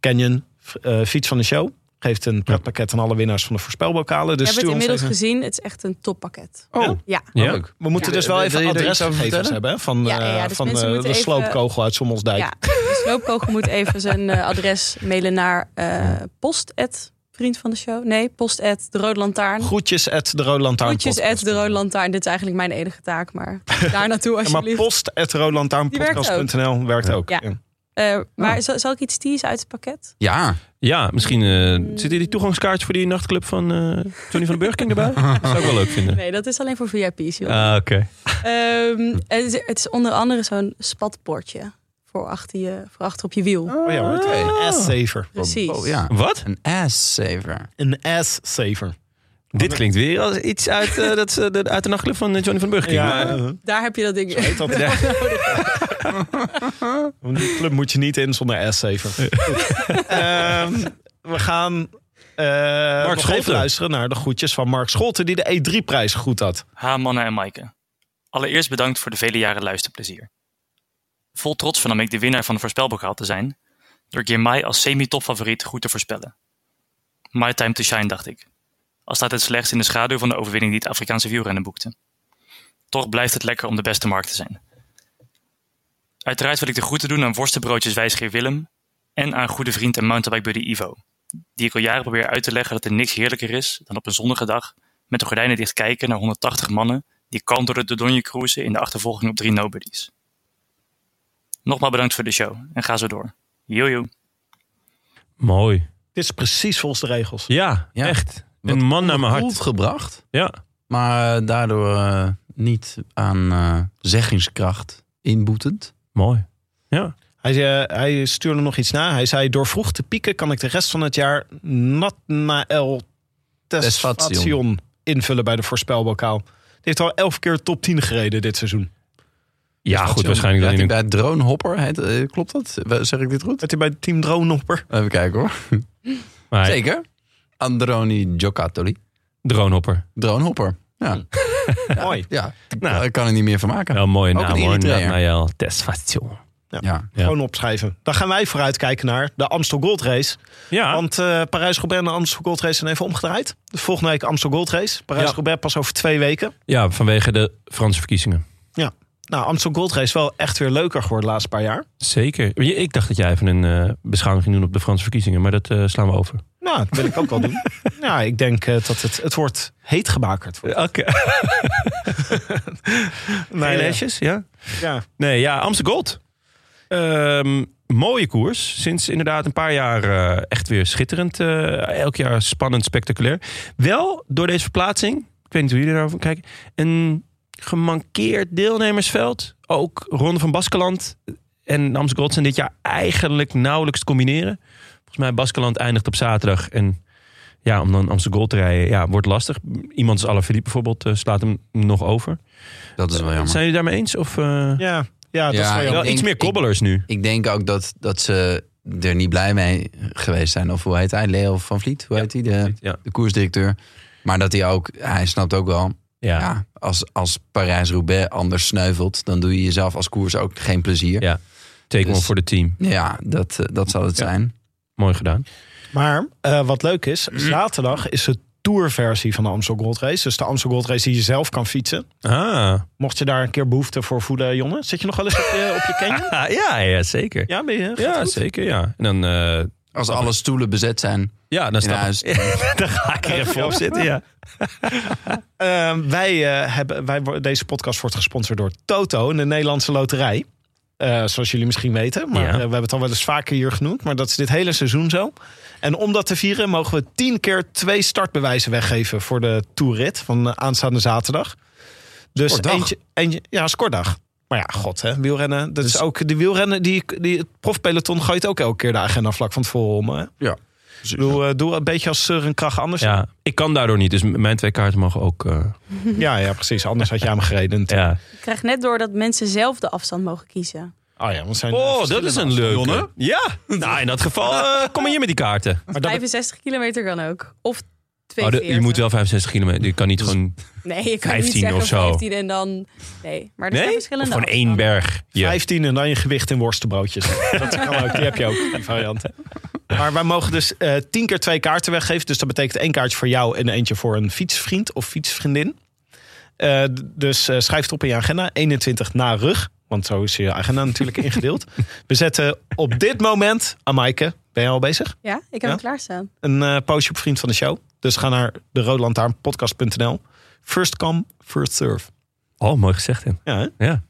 [SPEAKER 4] Canyon eh, Fiets van de Show geeft een pretpakket aan alle winnaars van de voorspelbokalen. Dus
[SPEAKER 7] Ik heb het
[SPEAKER 4] stuur ons
[SPEAKER 7] inmiddels
[SPEAKER 4] even-
[SPEAKER 7] gezien. Het is echt een toppakket.
[SPEAKER 2] oh,
[SPEAKER 7] Ja.
[SPEAKER 1] Ja.
[SPEAKER 2] leuk.
[SPEAKER 4] We moeten
[SPEAKER 2] Ja.
[SPEAKER 4] dus wel
[SPEAKER 2] Wil-
[SPEAKER 4] even
[SPEAKER 2] wil je er iets over
[SPEAKER 4] adresgegevens
[SPEAKER 2] vertellen?
[SPEAKER 4] hebben hè, van,
[SPEAKER 7] Ja, ja, ja,
[SPEAKER 4] eh,
[SPEAKER 7] dus
[SPEAKER 4] van
[SPEAKER 7] mensen
[SPEAKER 4] eh, de
[SPEAKER 7] moeten even-
[SPEAKER 4] sloopkogel uit Sommelsdijk.
[SPEAKER 7] Ja, de sloopkogel moet even zijn eh, adres mailen naar eh post at vriend van de show. Nee, post at de Rode Lantaarn.
[SPEAKER 4] Groetjes at de Rode Lantaarn
[SPEAKER 7] Groetjes at de Rode Lantaarn. Dit is eigenlijk mijn enige taak, maar daar naartoe
[SPEAKER 4] Maar
[SPEAKER 7] alsjeblieft.
[SPEAKER 4] post at roodlantaarnpodcast.nl werkt ook.
[SPEAKER 7] Ja.
[SPEAKER 4] Ja.
[SPEAKER 7] Eh, maar zal, zal ik iets teasen uit het pakket?
[SPEAKER 2] Ja,
[SPEAKER 1] Ja, misschien eh zitten die toegangskaartjes voor die nachtclub van eh, Tony van den Burgking erbij? Dat zou ik wel leuk vinden.
[SPEAKER 7] Nee, dat is alleen voor VIP's, joh.
[SPEAKER 1] Ah, oké.
[SPEAKER 7] Ehm, het, is, het is onder andere zo'n spatbordje voor achter, je, voor achter op je wiel.
[SPEAKER 4] Oh ja, wordt
[SPEAKER 2] Oké.
[SPEAKER 4] een ass-saver.
[SPEAKER 7] Precies.
[SPEAKER 2] Oh, ja.
[SPEAKER 1] Wat?
[SPEAKER 2] Een ass-saver.
[SPEAKER 4] Een ass-saver.
[SPEAKER 1] Dit klinkt weer als iets uit, eh, dat, ze- de- uit de nachtclub van eh, Johnny van den Burgking.
[SPEAKER 4] Ja,
[SPEAKER 1] maar-
[SPEAKER 4] eh,
[SPEAKER 7] Daar heb je dat ding.
[SPEAKER 4] heet dat. Want Die club moet je niet in zonder ass-saver. Ehm, we gaan eh nog even
[SPEAKER 1] Scholten.
[SPEAKER 4] luisteren naar de groetjes van Mark Scholten... die de E3-prijs goed had.
[SPEAKER 8] Ha, mannen en Maaike. Allereerst bedankt voor de vele jaren luisterplezier. Vol trots vernam ik de winnaar van de voorspelbokaal te zijn, door Girmay als semi-topfavoriet goed te voorspellen. My time to shine, dacht ik. Al staat het slechts in de schaduw van de overwinning die het Afrikaanse wielrennen boekte. Toch blijft het lekker om de beste markt te zijn. Uiteraard wil ik de groeten doen aan worstenbroodjes wijsgeer Willem en aan goede vriend en mountainbike buddy Ivo, die ik al jaren probeer uit te leggen dat er niks heerlijker is dan op een zonnige dag met de gordijnen dicht kijken naar 180 mannen die kalm door de Dordogne cruisen in de achtervolging op drie nobodies. Nogmaals bedankt voor de show en ga zo door. Jojo.
[SPEAKER 1] Mooi.
[SPEAKER 4] Dit is precies volgens de regels.
[SPEAKER 1] Ja,
[SPEAKER 2] Ja.
[SPEAKER 1] echt.
[SPEAKER 2] Wat
[SPEAKER 1] een man naar mijn
[SPEAKER 2] Goed
[SPEAKER 1] hart.
[SPEAKER 2] gebracht,
[SPEAKER 1] Ja.
[SPEAKER 2] maar eh, daardoor eh, niet aan eh, zeggingskracht inboetend.
[SPEAKER 1] Mooi.
[SPEAKER 4] Hij, eh, hij stuurde nog iets na. Hij zei, door vroeg te pieken kan ik de rest van het jaar Natnael Tesfation
[SPEAKER 2] Tesfation
[SPEAKER 4] invullen bij de voorspelbokaal. Die heeft al elf keer top 10 gereden dit seizoen.
[SPEAKER 1] Ja, goed,
[SPEAKER 2] Zo,
[SPEAKER 1] waarschijnlijk
[SPEAKER 2] rijdt
[SPEAKER 1] dan
[SPEAKER 2] hij
[SPEAKER 1] in een...
[SPEAKER 2] bij Dronehopper. Heet, eh, klopt dat? We- Zeg ik dit goed?
[SPEAKER 4] Dat hij bij Team Dronopper.
[SPEAKER 2] Even kijken hoor.
[SPEAKER 1] maar hij-
[SPEAKER 2] Zeker. Androni Giocattoli.
[SPEAKER 1] Dronehopper.
[SPEAKER 2] Dronehopper. Ja,
[SPEAKER 4] Mooi.
[SPEAKER 2] ja.
[SPEAKER 1] Hm. Nou.
[SPEAKER 2] daar kan ik niet meer van maken.
[SPEAKER 1] Wel mooi
[SPEAKER 2] Ook
[SPEAKER 1] naam
[SPEAKER 2] een
[SPEAKER 1] hoor.
[SPEAKER 2] Eritreër.
[SPEAKER 1] Najaal Testation.
[SPEAKER 2] Ja.
[SPEAKER 1] Ja.
[SPEAKER 4] Gewoon opschrijven. Dan gaan wij vooruitkijken naar de Amstel Gold Race.
[SPEAKER 2] Ah.
[SPEAKER 1] Ja,
[SPEAKER 4] Want eh, Parijs-Roubaix en de Amstel Gold Race zijn even omgedraaid. Dus volgende week Amstel Gold Race. Parijs-Roubaix pas over twee weken.
[SPEAKER 1] ja, vanwege de Franse verkiezingen.
[SPEAKER 4] Nou, Amstel Gold Race is wel echt weer leuker geworden de laatste paar jaar.
[SPEAKER 1] Zeker. Je- Ik dacht dat jij even een eh, beschouwing ging doen op de Franse verkiezingen, maar dat eh, slaan we over.
[SPEAKER 4] Nou, dat wil ik ook wel doen. Ja, ik denk eh, dat het, het wordt heet gebakerd. wordt.
[SPEAKER 2] Eh,
[SPEAKER 1] Oké.
[SPEAKER 4] ja.
[SPEAKER 1] Geen lesjes, ja?
[SPEAKER 4] Ja.
[SPEAKER 1] Nee, ja, Amsterdam Gold. Ehm, mooie koers. Sinds inderdaad een paar jaar eh, echt weer schitterend. Eh, elk jaar spannend, spectaculair. Wel door deze verplaatsing, ik weet niet hoe jullie daarover kijken, een gemankeerd deelnemersveld. Ook Ronde van Baskeland en Amsterdam Gold zijn dit jaar eigenlijk nauwelijks te combineren. Volgens mij Baskeland eindigt op zaterdag en ja, om dan Amsterdam Gold te rijden, ja, wordt lastig. Iemand als Alaphilippe bijvoorbeeld eh, slaat hem nog over.
[SPEAKER 2] dat is wel jammer.
[SPEAKER 1] Zijn jullie daarmee eens? Of, eh?
[SPEAKER 4] Ja, ja, dat
[SPEAKER 2] Ja,
[SPEAKER 4] is wel
[SPEAKER 2] ik
[SPEAKER 4] jammer.
[SPEAKER 1] Wel
[SPEAKER 2] denk-
[SPEAKER 1] iets meer kobbelers nu.
[SPEAKER 2] Ik denk ook dat, dat ze er niet blij mee geweest zijn. Of hoe heet hij? Leo van Vliet? Hoe heet hij? De,
[SPEAKER 1] Ja.
[SPEAKER 2] de koersdirecteur. Maar dat hij ook, hij snapt ook wel. Ja.
[SPEAKER 1] Ja.
[SPEAKER 2] als, als Parijs-Roubaix anders sneuvelt, dan doe je jezelf als koers ook geen plezier. Ja,
[SPEAKER 1] Ja. Take
[SPEAKER 2] Dus-
[SPEAKER 1] one voor het team.
[SPEAKER 2] dat, eh, dat zal het
[SPEAKER 1] Ja.
[SPEAKER 2] zijn.
[SPEAKER 1] Mooi gedaan.
[SPEAKER 4] Maar eh, wat leuk is, zaterdag is de tourversie van de Amstel Gold Race. Dus de Amstel Gold Race die je zelf kan fietsen.
[SPEAKER 1] Ah.
[SPEAKER 4] Mocht je daar een keer behoefte voor voelen, jongen. Zit je nog wel eens op je, op je canyon?
[SPEAKER 1] Ah, ja, ja, zeker.
[SPEAKER 4] Ja, ben je? gaat
[SPEAKER 1] Ja,
[SPEAKER 4] het goed?
[SPEAKER 1] zeker, ja. En dan, eh,
[SPEAKER 2] Als alle stoelen bezet zijn
[SPEAKER 1] ja, dan
[SPEAKER 2] in
[SPEAKER 1] stap
[SPEAKER 2] huis.
[SPEAKER 1] dan ga ik er even op zitten, ja.
[SPEAKER 4] Eh, wij, eh, hebben, wij, wo- deze podcast wordt gesponsord door Toto, de Nederlandse loterij. Eh, zoals jullie misschien weten. Maar
[SPEAKER 1] Ja.
[SPEAKER 4] eh, we hebben het al wel eens vaker hier genoemd. Maar dat is dit hele seizoen zo. En om dat te vieren mogen we tien keer twee startbewijzen weggeven... voor de toerrit van eh, aanstaande zaterdag. Dus
[SPEAKER 2] Sportdag.
[SPEAKER 4] eentje, eentje... Ja, scordag. Maar ja, god, hè, wielrennen. Dat
[SPEAKER 1] Dus-
[SPEAKER 4] is ook, die wielrennen, die, die, het profpeloton gooit ook elke keer de agenda vlak van tevoren om. Hè?
[SPEAKER 2] Ja.
[SPEAKER 4] Ik bedoel, eh, doe een beetje als Søren Krach anders. Ja.
[SPEAKER 1] ja. Ik kan daardoor niet, dus m- mijn twee kaarten mogen ook... eh,
[SPEAKER 4] ja, precies. Anders had je aan me gereden. natuurlijk.
[SPEAKER 1] ja.
[SPEAKER 7] Ik krijg net door dat mensen zelf de afstand mogen kiezen.
[SPEAKER 4] Oh ja, want zijn
[SPEAKER 1] Oh, dat is een leuke. Ja, nou in dat geval eh, kom maar hier met die kaarten.
[SPEAKER 4] Maar dat,
[SPEAKER 7] 65 kilometer kan ook. Of
[SPEAKER 1] Oh, de-
[SPEAKER 7] 42.
[SPEAKER 1] je moet wel 65 kilometer, je kan niet gewoon...
[SPEAKER 7] Nee, je kan
[SPEAKER 1] 15
[SPEAKER 7] niet zeggen
[SPEAKER 1] of zo.
[SPEAKER 7] 15 en dan... Nee, maar er zijn
[SPEAKER 1] Nee? Of
[SPEAKER 7] verschillende
[SPEAKER 1] gewoon één
[SPEAKER 7] afstanden.
[SPEAKER 1] berg. Ja.
[SPEAKER 4] 15 en dan je gewicht in worstenbroodjes. dat kan ook, die heb je ook, die variant. Maar wij mogen dus eh 10 keer twee kaarten weggeven. Dus dat betekent één kaartje voor jou en eentje voor een fietsvriend of fietsvriendin. Eh, d- dus eh, schrijf het op in je agenda. 21 na rug. Want zo is je agenda natuurlijk ingedeeld. We zetten op dit moment... Amaike, ben je al bezig?
[SPEAKER 7] Ja, ik heb hem
[SPEAKER 4] Ja?
[SPEAKER 7] klaarstaan.
[SPEAKER 4] een eh, postje op Vriend van de Show. Dus ga naar de roodlantaarnpodcast.nl. First come, first serve.
[SPEAKER 1] Oh, mooi gezegd, hè.
[SPEAKER 4] Ja, hè?
[SPEAKER 1] Ja.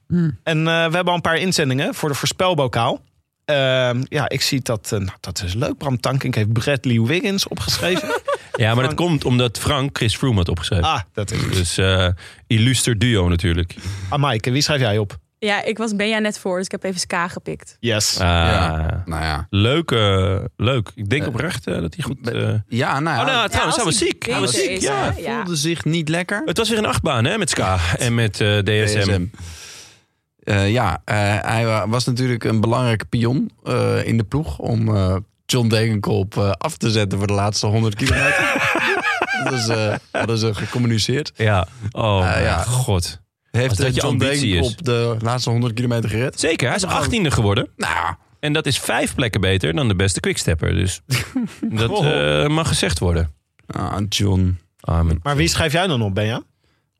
[SPEAKER 4] En eh, we hebben al een paar inzendingen voor de voorspelbokaal. Ehm, ja, ik zie dat. eh, nou, dat is leuk. Bram Tankink heeft Bradley Wiggins opgeschreven.
[SPEAKER 1] Ja, maar dat komt omdat Frank Chris Froome had opgeschreven.
[SPEAKER 4] ah, dat is.
[SPEAKER 1] Dus eh illuster duo natuurlijk.
[SPEAKER 4] Ah, Mike, en wie schrijf jij op?
[SPEAKER 7] Ja, ik was Benja net voor, dus ik heb even Ska gepikt.
[SPEAKER 4] Yes.
[SPEAKER 1] Ah,
[SPEAKER 2] Ja. Nou ja.
[SPEAKER 1] Leuk, eh, leuk. Ik denk oprecht eh, dat hij goed... eh,
[SPEAKER 2] Ja, nou ja.
[SPEAKER 1] Oh, nou, trouwens, hij was
[SPEAKER 7] hij
[SPEAKER 1] ziek. Hij
[SPEAKER 7] beter
[SPEAKER 1] was ziek,
[SPEAKER 7] is,
[SPEAKER 1] ja.
[SPEAKER 7] hè? Ja.
[SPEAKER 2] voelde zich niet lekker.
[SPEAKER 1] Het was weer een achtbaan, hè, met Ska en met eh, DSM.
[SPEAKER 2] DSM. Eh, ja, eh, hij wa- was natuurlijk een belangrijke pion eh, in de ploeg om eh, John Degenkolb eh, af te zetten voor de laatste 100 kilometer. dat is, eh, hadden ze gecommuniceerd.
[SPEAKER 1] Ja. Oh,
[SPEAKER 2] Ah, ja.
[SPEAKER 1] mijn god.
[SPEAKER 2] Heeft
[SPEAKER 1] dat
[SPEAKER 2] eh,
[SPEAKER 1] je
[SPEAKER 2] John
[SPEAKER 1] ambitie is.
[SPEAKER 2] Degenkolb de laatste 100 kilometer gered?
[SPEAKER 1] Zeker, hij is achttiende geworden.
[SPEAKER 2] Nou,
[SPEAKER 1] En dat is vijf plekken beter dan de beste quickstepper. Dus dat eh, mag gezegd worden.
[SPEAKER 2] ah, John.
[SPEAKER 1] Amen.
[SPEAKER 4] Maar wie schrijf jij dan op, Benja?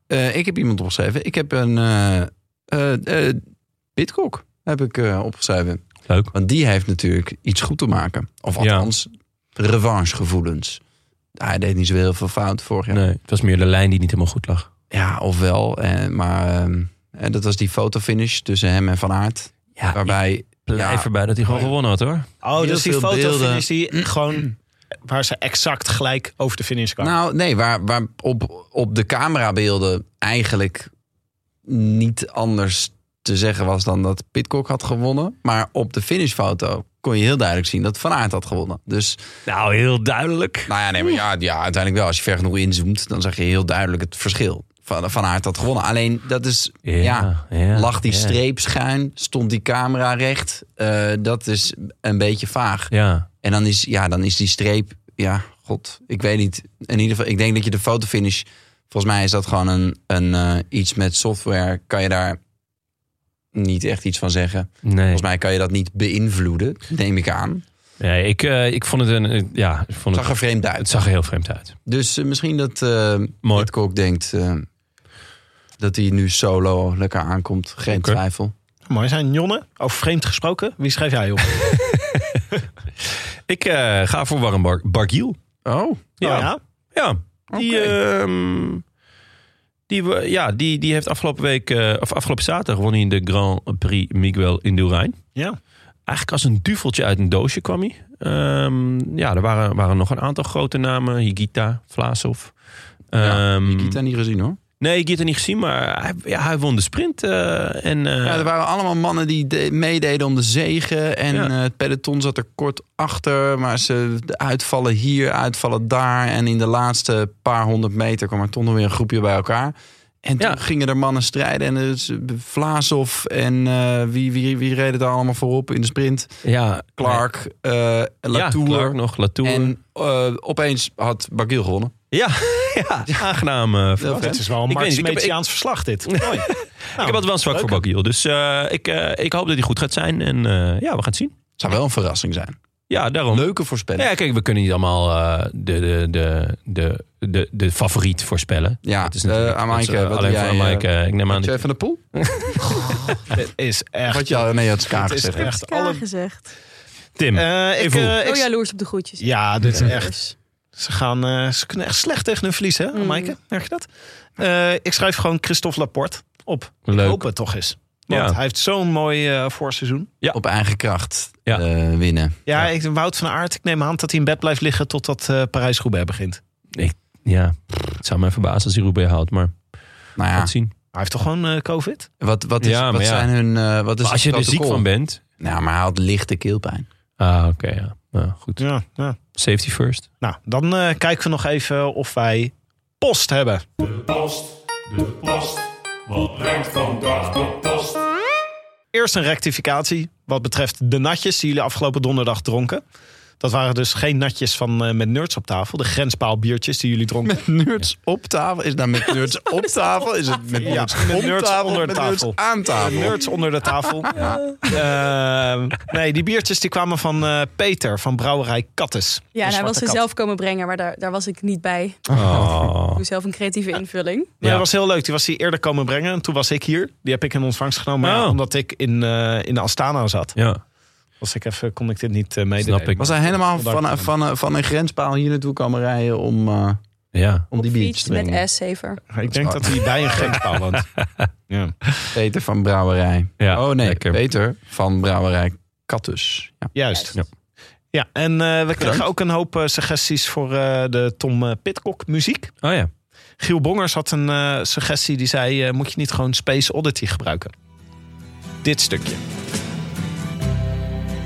[SPEAKER 2] Eh, ik heb iemand opgeschreven. Ik heb een eh eh, eh, Pitcock heb ik eh, opgeschreven.
[SPEAKER 1] Leuk.
[SPEAKER 2] Want die heeft natuurlijk iets goed te maken. Of
[SPEAKER 1] Ja.
[SPEAKER 2] althans, revanchegevoelens. Ah, Hij deed niet zo heel veel fout vorig jaar.
[SPEAKER 1] Nee, het was meer de lijn die niet helemaal goed lag.
[SPEAKER 2] Ja, ofwel. En, maar ehm, en dat was die fotofinish tussen hem en Van Aert.
[SPEAKER 1] Ja,
[SPEAKER 2] waarbij
[SPEAKER 1] Blijf
[SPEAKER 2] Ja.
[SPEAKER 1] erbij dat hij gewoon gewonnen had, hoor.
[SPEAKER 4] Oh,
[SPEAKER 2] Heel
[SPEAKER 4] dus die
[SPEAKER 2] veel
[SPEAKER 4] foto
[SPEAKER 2] beelden.
[SPEAKER 4] is die gewoon waar ze exact gelijk over de finish kwamen.
[SPEAKER 2] Nou, nee, waar, waar op, op de camerabeelden eigenlijk niet anders te zeggen was dan dat Pitcock had gewonnen. Maar op de finishfoto kon je heel duidelijk zien dat Van Aert had gewonnen. Dus,
[SPEAKER 1] Nou, heel duidelijk.
[SPEAKER 2] nou ja, nee, maar ja, ja, uiteindelijk wel. Als je ver genoeg inzoomt, dan zag je heel duidelijk het verschil. Van, van Aert had gewonnen. Alleen, dat is, ja, lag die
[SPEAKER 1] ja.
[SPEAKER 2] streep schuin? Stond die camera recht? Eh, dat is een beetje vaag.
[SPEAKER 1] Ja,
[SPEAKER 2] En dan is, ja, dan is die streep, ja, god, ik weet niet. In ieder geval, ik denk dat je de fotofinish, volgens mij is dat gewoon een, een eh, iets met software, kan je daar niet echt iets van zeggen.
[SPEAKER 1] nee.
[SPEAKER 2] Volgens mij kan je dat niet beïnvloeden, neem ik aan.
[SPEAKER 1] nee ik, eh, ik vond het een... eh, ja, ik
[SPEAKER 2] Het
[SPEAKER 1] vond het,
[SPEAKER 2] zag er vreemd
[SPEAKER 1] het
[SPEAKER 2] uit.
[SPEAKER 1] zag er heel vreemd uit.
[SPEAKER 2] Dus eh, misschien dat eh
[SPEAKER 1] Mooi.
[SPEAKER 2] Hitchcock denkt eh, dat hij nu solo lekker aankomt. Geen
[SPEAKER 1] Oké.
[SPEAKER 2] twijfel.
[SPEAKER 4] Mooi zijn, Jonne. Over vreemd gesproken, wie schrijf jij op?
[SPEAKER 1] Ik eh, ga voor Warren Bar Bargiel.
[SPEAKER 2] Oh,
[SPEAKER 1] Ja.
[SPEAKER 4] Oh ja?
[SPEAKER 1] Ja, die,
[SPEAKER 2] Oké.
[SPEAKER 1] ehm, die, we- ja, die, die heeft afgelopen week, eh, of afgelopen zaterdag, won hij de Grand Prix Miguel Indurain.
[SPEAKER 4] Ja.
[SPEAKER 1] Eigenlijk als een duveltje uit een doosje kwam hij. Ehm, ja, er waren, waren nog een aantal grote namen. Higita, Vlasov.
[SPEAKER 2] Ja,
[SPEAKER 1] Ehm,
[SPEAKER 2] Nikita niet gezien hoor.
[SPEAKER 1] Nee, Higita niet gezien, maar hij, ja, hij won de sprint. eh, en, eh,
[SPEAKER 2] Ja, er waren allemaal mannen die de- meededen om de zegen. En
[SPEAKER 1] Ja.
[SPEAKER 2] eh, het peloton zat er kort achter. Maar ze de uitvallen hier, uitvallen daar. En in de laatste paar honderd meter kwam er toch nog weer een groepje bij elkaar. En toen
[SPEAKER 1] Ja.
[SPEAKER 2] gingen er mannen strijden. En dus Vlaasov en eh, wie, wie, wie reden daar allemaal voorop in de sprint?
[SPEAKER 1] ja,
[SPEAKER 2] Clark, eh
[SPEAKER 1] Ja,
[SPEAKER 2] Latour.
[SPEAKER 1] Clark nog, Latour.
[SPEAKER 2] En eh, opeens had Barguil gewonnen.
[SPEAKER 1] ja, ja, aangenaam. eh, verrassing.
[SPEAKER 4] Het is wel een
[SPEAKER 1] Ik weet niet, ik heb-
[SPEAKER 4] Marx-Metiaans verslag dit.
[SPEAKER 2] Nou.
[SPEAKER 4] Mooi.
[SPEAKER 1] ik heb altijd wel een zwak
[SPEAKER 4] leuk.
[SPEAKER 1] voor Bakkiel. Dus eh, ik, eh, ik hoop dat hij goed gaat zijn. En eh, ja, we gaan het zien.
[SPEAKER 2] Zou wel een verrassing zijn.
[SPEAKER 1] Ja, daarom.
[SPEAKER 2] Leuke voorspelling.
[SPEAKER 1] Ja, kijk, we kunnen niet allemaal eh, de, de, de, de, de, de favoriet voorspellen.
[SPEAKER 2] Ja,
[SPEAKER 1] Dat is
[SPEAKER 2] eh,
[SPEAKER 1] natuurlijk-
[SPEAKER 2] Amaike,
[SPEAKER 1] dat is, eh,
[SPEAKER 2] wat doe
[SPEAKER 1] alleen voor
[SPEAKER 2] jij, eh,
[SPEAKER 1] Amaike. ik neem aan
[SPEAKER 2] Had jij
[SPEAKER 1] dat...
[SPEAKER 2] van de Poel?
[SPEAKER 4] Het is
[SPEAKER 2] Wat
[SPEAKER 4] echt...
[SPEAKER 2] je al nee, je had Ska
[SPEAKER 4] Het is
[SPEAKER 2] gezegd.
[SPEAKER 4] echt
[SPEAKER 7] Ska
[SPEAKER 4] alle...
[SPEAKER 7] gezegd.
[SPEAKER 1] Tim,
[SPEAKER 4] Eh, ik,
[SPEAKER 1] Evo.
[SPEAKER 4] eh, ik-
[SPEAKER 7] Oh, jaloers op de groetjes.
[SPEAKER 4] ja, dit is echt...
[SPEAKER 7] Jaloers.
[SPEAKER 4] Ze, gaan, eh, ze kunnen echt slecht tegen hun verlies, hè, Maaike? Merk je dat? Eh, ik schrijf gewoon Christophe Laporte op. Ik
[SPEAKER 1] Leuk.
[SPEAKER 4] hoop het toch eens. Want
[SPEAKER 1] Ja.
[SPEAKER 4] hij heeft zo'n mooi eh, voorseizoen.
[SPEAKER 2] Op eigen kracht
[SPEAKER 1] Ja.
[SPEAKER 2] eh, winnen.
[SPEAKER 4] Ja, Ik, Wout van Aert, ik neem aan dat hij in bed blijft liggen totdat eh Parijs-Roubaix begint.
[SPEAKER 1] ja, het zou mij verbazen als hij Roubaix houdt, maar
[SPEAKER 2] Nou
[SPEAKER 1] laat
[SPEAKER 2] ja,
[SPEAKER 1] het zien.
[SPEAKER 4] Hij heeft toch gewoon eh, COVID?
[SPEAKER 2] wat, wat, is,
[SPEAKER 1] Ja, maar
[SPEAKER 2] wat
[SPEAKER 1] ja.
[SPEAKER 2] zijn hun... eh, wat is
[SPEAKER 1] Maar als je
[SPEAKER 2] het
[SPEAKER 1] er ziek
[SPEAKER 2] protocol?
[SPEAKER 1] van bent...
[SPEAKER 2] Nou, maar hij had lichte keelpijn.
[SPEAKER 1] Ah, oké, ja. Nou, goed.
[SPEAKER 4] Ja, ja.
[SPEAKER 1] Safety first.
[SPEAKER 4] Nou, dan eh, kijken we nog even of wij post hebben. Eerst een rectificatie wat betreft de natjes die jullie afgelopen donderdag dronken. Dat waren dus geen natjes van eh, met nerds op tafel. De grenspaalbiertjes die jullie dronken.
[SPEAKER 2] Nerds op tafel? Is dat met nerds op tafel? Is het met nerds
[SPEAKER 4] met
[SPEAKER 2] op
[SPEAKER 4] nerds
[SPEAKER 2] tafel?
[SPEAKER 4] onder
[SPEAKER 2] of met nerds
[SPEAKER 4] tafel.
[SPEAKER 2] aan tafel?
[SPEAKER 4] Nerds onder de tafel. Ehm, nee, die biertjes die kwamen van eh, Peter van Brouwerij Kattes.
[SPEAKER 7] Ja, en
[SPEAKER 4] De
[SPEAKER 7] hij was nou,
[SPEAKER 4] Zwarte
[SPEAKER 7] ze
[SPEAKER 4] Kat.
[SPEAKER 7] zelf komen brengen, maar daar, daar was ik niet bij. Ik
[SPEAKER 1] Oh.
[SPEAKER 7] doe zelf een creatieve invulling.
[SPEAKER 4] Ja,
[SPEAKER 1] Ja.
[SPEAKER 4] dat was heel leuk. Die was hier eerder komen brengen. En toen was ik hier. Die heb ik in ontvangst genomen. maar ja,
[SPEAKER 1] Oh.
[SPEAKER 4] omdat ik in, eh, in Astana zat.
[SPEAKER 1] Ja,
[SPEAKER 4] Was ik even, kon ik dit niet mee meedelen.
[SPEAKER 1] snap ik.
[SPEAKER 2] Was hij helemaal van, van, van een grenspaal hier naartoe komen rijden om, eh,
[SPEAKER 1] Ja,
[SPEAKER 2] om die biertjes
[SPEAKER 7] Fiets
[SPEAKER 2] te brengen?
[SPEAKER 7] met S-saver.
[SPEAKER 4] Ik denk dat hij bij een grenspaal woont. ja.
[SPEAKER 2] Peter van Brouwerij.
[SPEAKER 1] ja.
[SPEAKER 2] oh nee,
[SPEAKER 1] lekker.
[SPEAKER 2] Peter van Brouwerij Katus. Ja.
[SPEAKER 4] Juist.
[SPEAKER 2] Ja.
[SPEAKER 4] Ja, en eh, we kregen ook een hoop eh, suggesties voor eh, de Tom eh, Pitcock muziek.
[SPEAKER 1] Oh ja.
[SPEAKER 4] Giel Bongers had een eh, suggestie die zei... eh, moet je niet gewoon Space Oddity gebruiken? Dit stukje.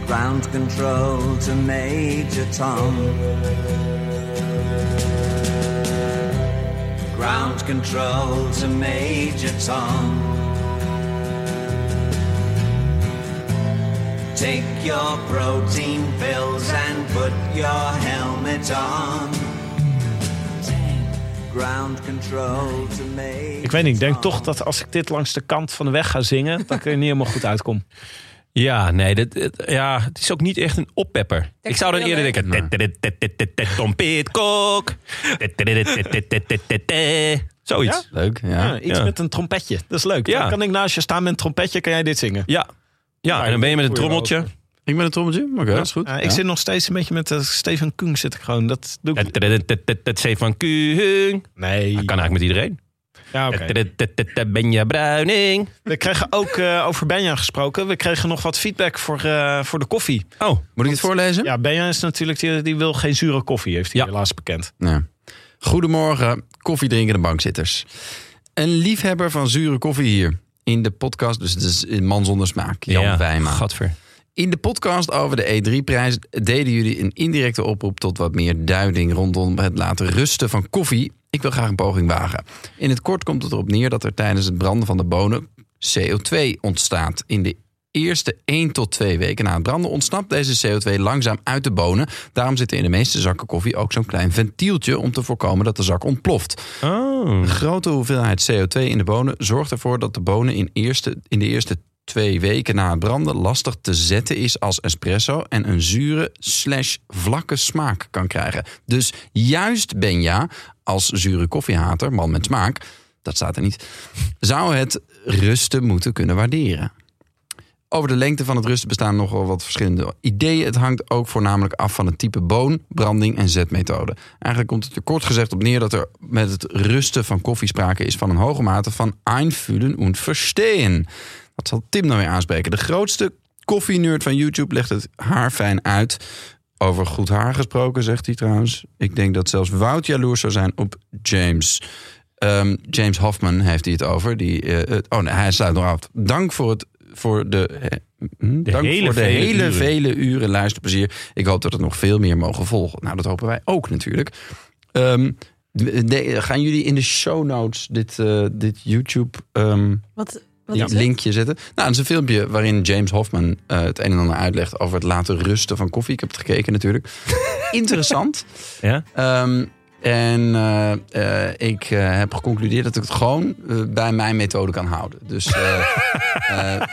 [SPEAKER 5] Ground control to Major Tom. Ground control to Major Tom. Take your protein pills and put your helmet on. Ground control to Major
[SPEAKER 4] Ik weet niet, ik denk
[SPEAKER 5] Tom.
[SPEAKER 4] toch dat als ik dit langs de kant van de weg ga zingen... dat ik er niet helemaal goed uitkom.
[SPEAKER 1] Ja, nee, dit, dit- ja, het is ook niet echt een oppepper. Ik zou dan
[SPEAKER 7] heel
[SPEAKER 1] eerder
[SPEAKER 7] leuk.
[SPEAKER 1] denken... "Tet, tet, tet, tet, tet, tet, Tom Pitcock. Tet, tet, tet, tet, tet, tet, tet, tet, tet." Zoiets.
[SPEAKER 2] Leuk, ja.
[SPEAKER 4] Ja, iets
[SPEAKER 1] ja.
[SPEAKER 4] met een trompetje. Dat is leuk.
[SPEAKER 1] Ja.
[SPEAKER 4] Dan kan ik naast je staan met een trompetje, kan jij dit zingen.
[SPEAKER 1] Ja. Ja, en dan ben je met een trommeltje.
[SPEAKER 2] Ik ben een trommeltje. Oké, dat is goed.
[SPEAKER 4] Ja, Eh, ik
[SPEAKER 2] Ja. Ah,
[SPEAKER 4] zit nog steeds een beetje met eh, Stefan Kung zit ik gewoon. Dat doe ik
[SPEAKER 1] Tet, tet, tet, tet, tet, tet, Stefan Kuhn.
[SPEAKER 4] Nee.
[SPEAKER 1] Dat kan eigenlijk met iedereen.
[SPEAKER 4] Ja, oké.
[SPEAKER 1] Tet, tet, tet, tet, tet, Benja Bruining.
[SPEAKER 4] We kregen ook eh, over Benja gesproken. We kregen nog wat feedback voor, eh, voor de koffie.
[SPEAKER 1] Oh,
[SPEAKER 2] Moet ik het voorlezen?
[SPEAKER 4] Ja, Benja is natuurlijk, die, die wil geen zure koffie, heeft hij
[SPEAKER 1] Ja.
[SPEAKER 4] helaas bekend.
[SPEAKER 2] Ja. Goedemorgen, koffiedrinkende bankzitters. Een liefhebber van zure koffie hier. In de podcast, dus het is een man zonder smaak, Jan
[SPEAKER 1] ja,
[SPEAKER 2] Wijma.
[SPEAKER 1] Gadver.
[SPEAKER 2] In de podcast over de E3-prijs deden jullie een indirecte oproep tot wat meer duiding rondom het laten rusten van koffie. Ik wil graag een poging wagen. In het kort komt het erop neer dat er tijdens het branden van de bonen CO2 ontstaat. In de eerste 1 tot 2 weken na het branden ontsnapt deze CO2 langzaam uit de bonen. Daarom zit er in de meeste zakken koffie ook zo'n klein ventieltje om te voorkomen dat de zak ontploft.
[SPEAKER 1] Oh.
[SPEAKER 2] Een grote hoeveelheid CO2 in de bonen zorgt ervoor dat de bonen in, eerste, in de eerste twee weken na het branden lastig te zetten is als espresso en een zure slash vlakke smaak kan krijgen. Dus juist Benja, als zure koffiehater, man met smaak, dat staat er niet, zou het rusten moeten kunnen waarderen. Over de lengte van het rusten bestaan nogal wat verschillende ideeën. Het hangt ook voornamelijk af van het type boon, branding en zetmethode. Eigenlijk komt het er kort gezegd op neer dat er met het rusten van koffie sprake is van een hoge mate van einfühlen en verstehen. Dat zal Tim nou weer aanspreken. De grootste koffienerd van YouTube legt het haar fijn uit. Over goed haar gesproken, zegt hij trouwens. Ik denk dat zelfs Wout jaloers zou zijn op James. Ehm, James Hoffman heeft hij het over. Die, eh, het- oh nee, hij sluit nog af. Dank voor het voor de, eh, hm, dank
[SPEAKER 1] hele
[SPEAKER 2] voor de
[SPEAKER 1] vele
[SPEAKER 2] hele
[SPEAKER 1] uren.
[SPEAKER 2] vele uren luisterplezier. Ik hoop dat er nog veel meer mogen volgen. Nou, dat hopen wij ook natuurlijk. Ehm, de- de- gaan jullie in de show notes dit, eh, dit YouTube ehm,
[SPEAKER 7] Wat, wat
[SPEAKER 2] ja.
[SPEAKER 7] is het?
[SPEAKER 2] linkje zetten. Nou, het is een filmpje waarin James Hoffman eh, het een en ander uitlegt over het laten rusten van koffie. Ik heb het gekeken natuurlijk. Interessant.
[SPEAKER 1] Ja?
[SPEAKER 2] Ehm, en eh, eh, ik eh, heb geconcludeerd dat ik het gewoon eh, bij mijn methode kan houden. Dus eh, eh,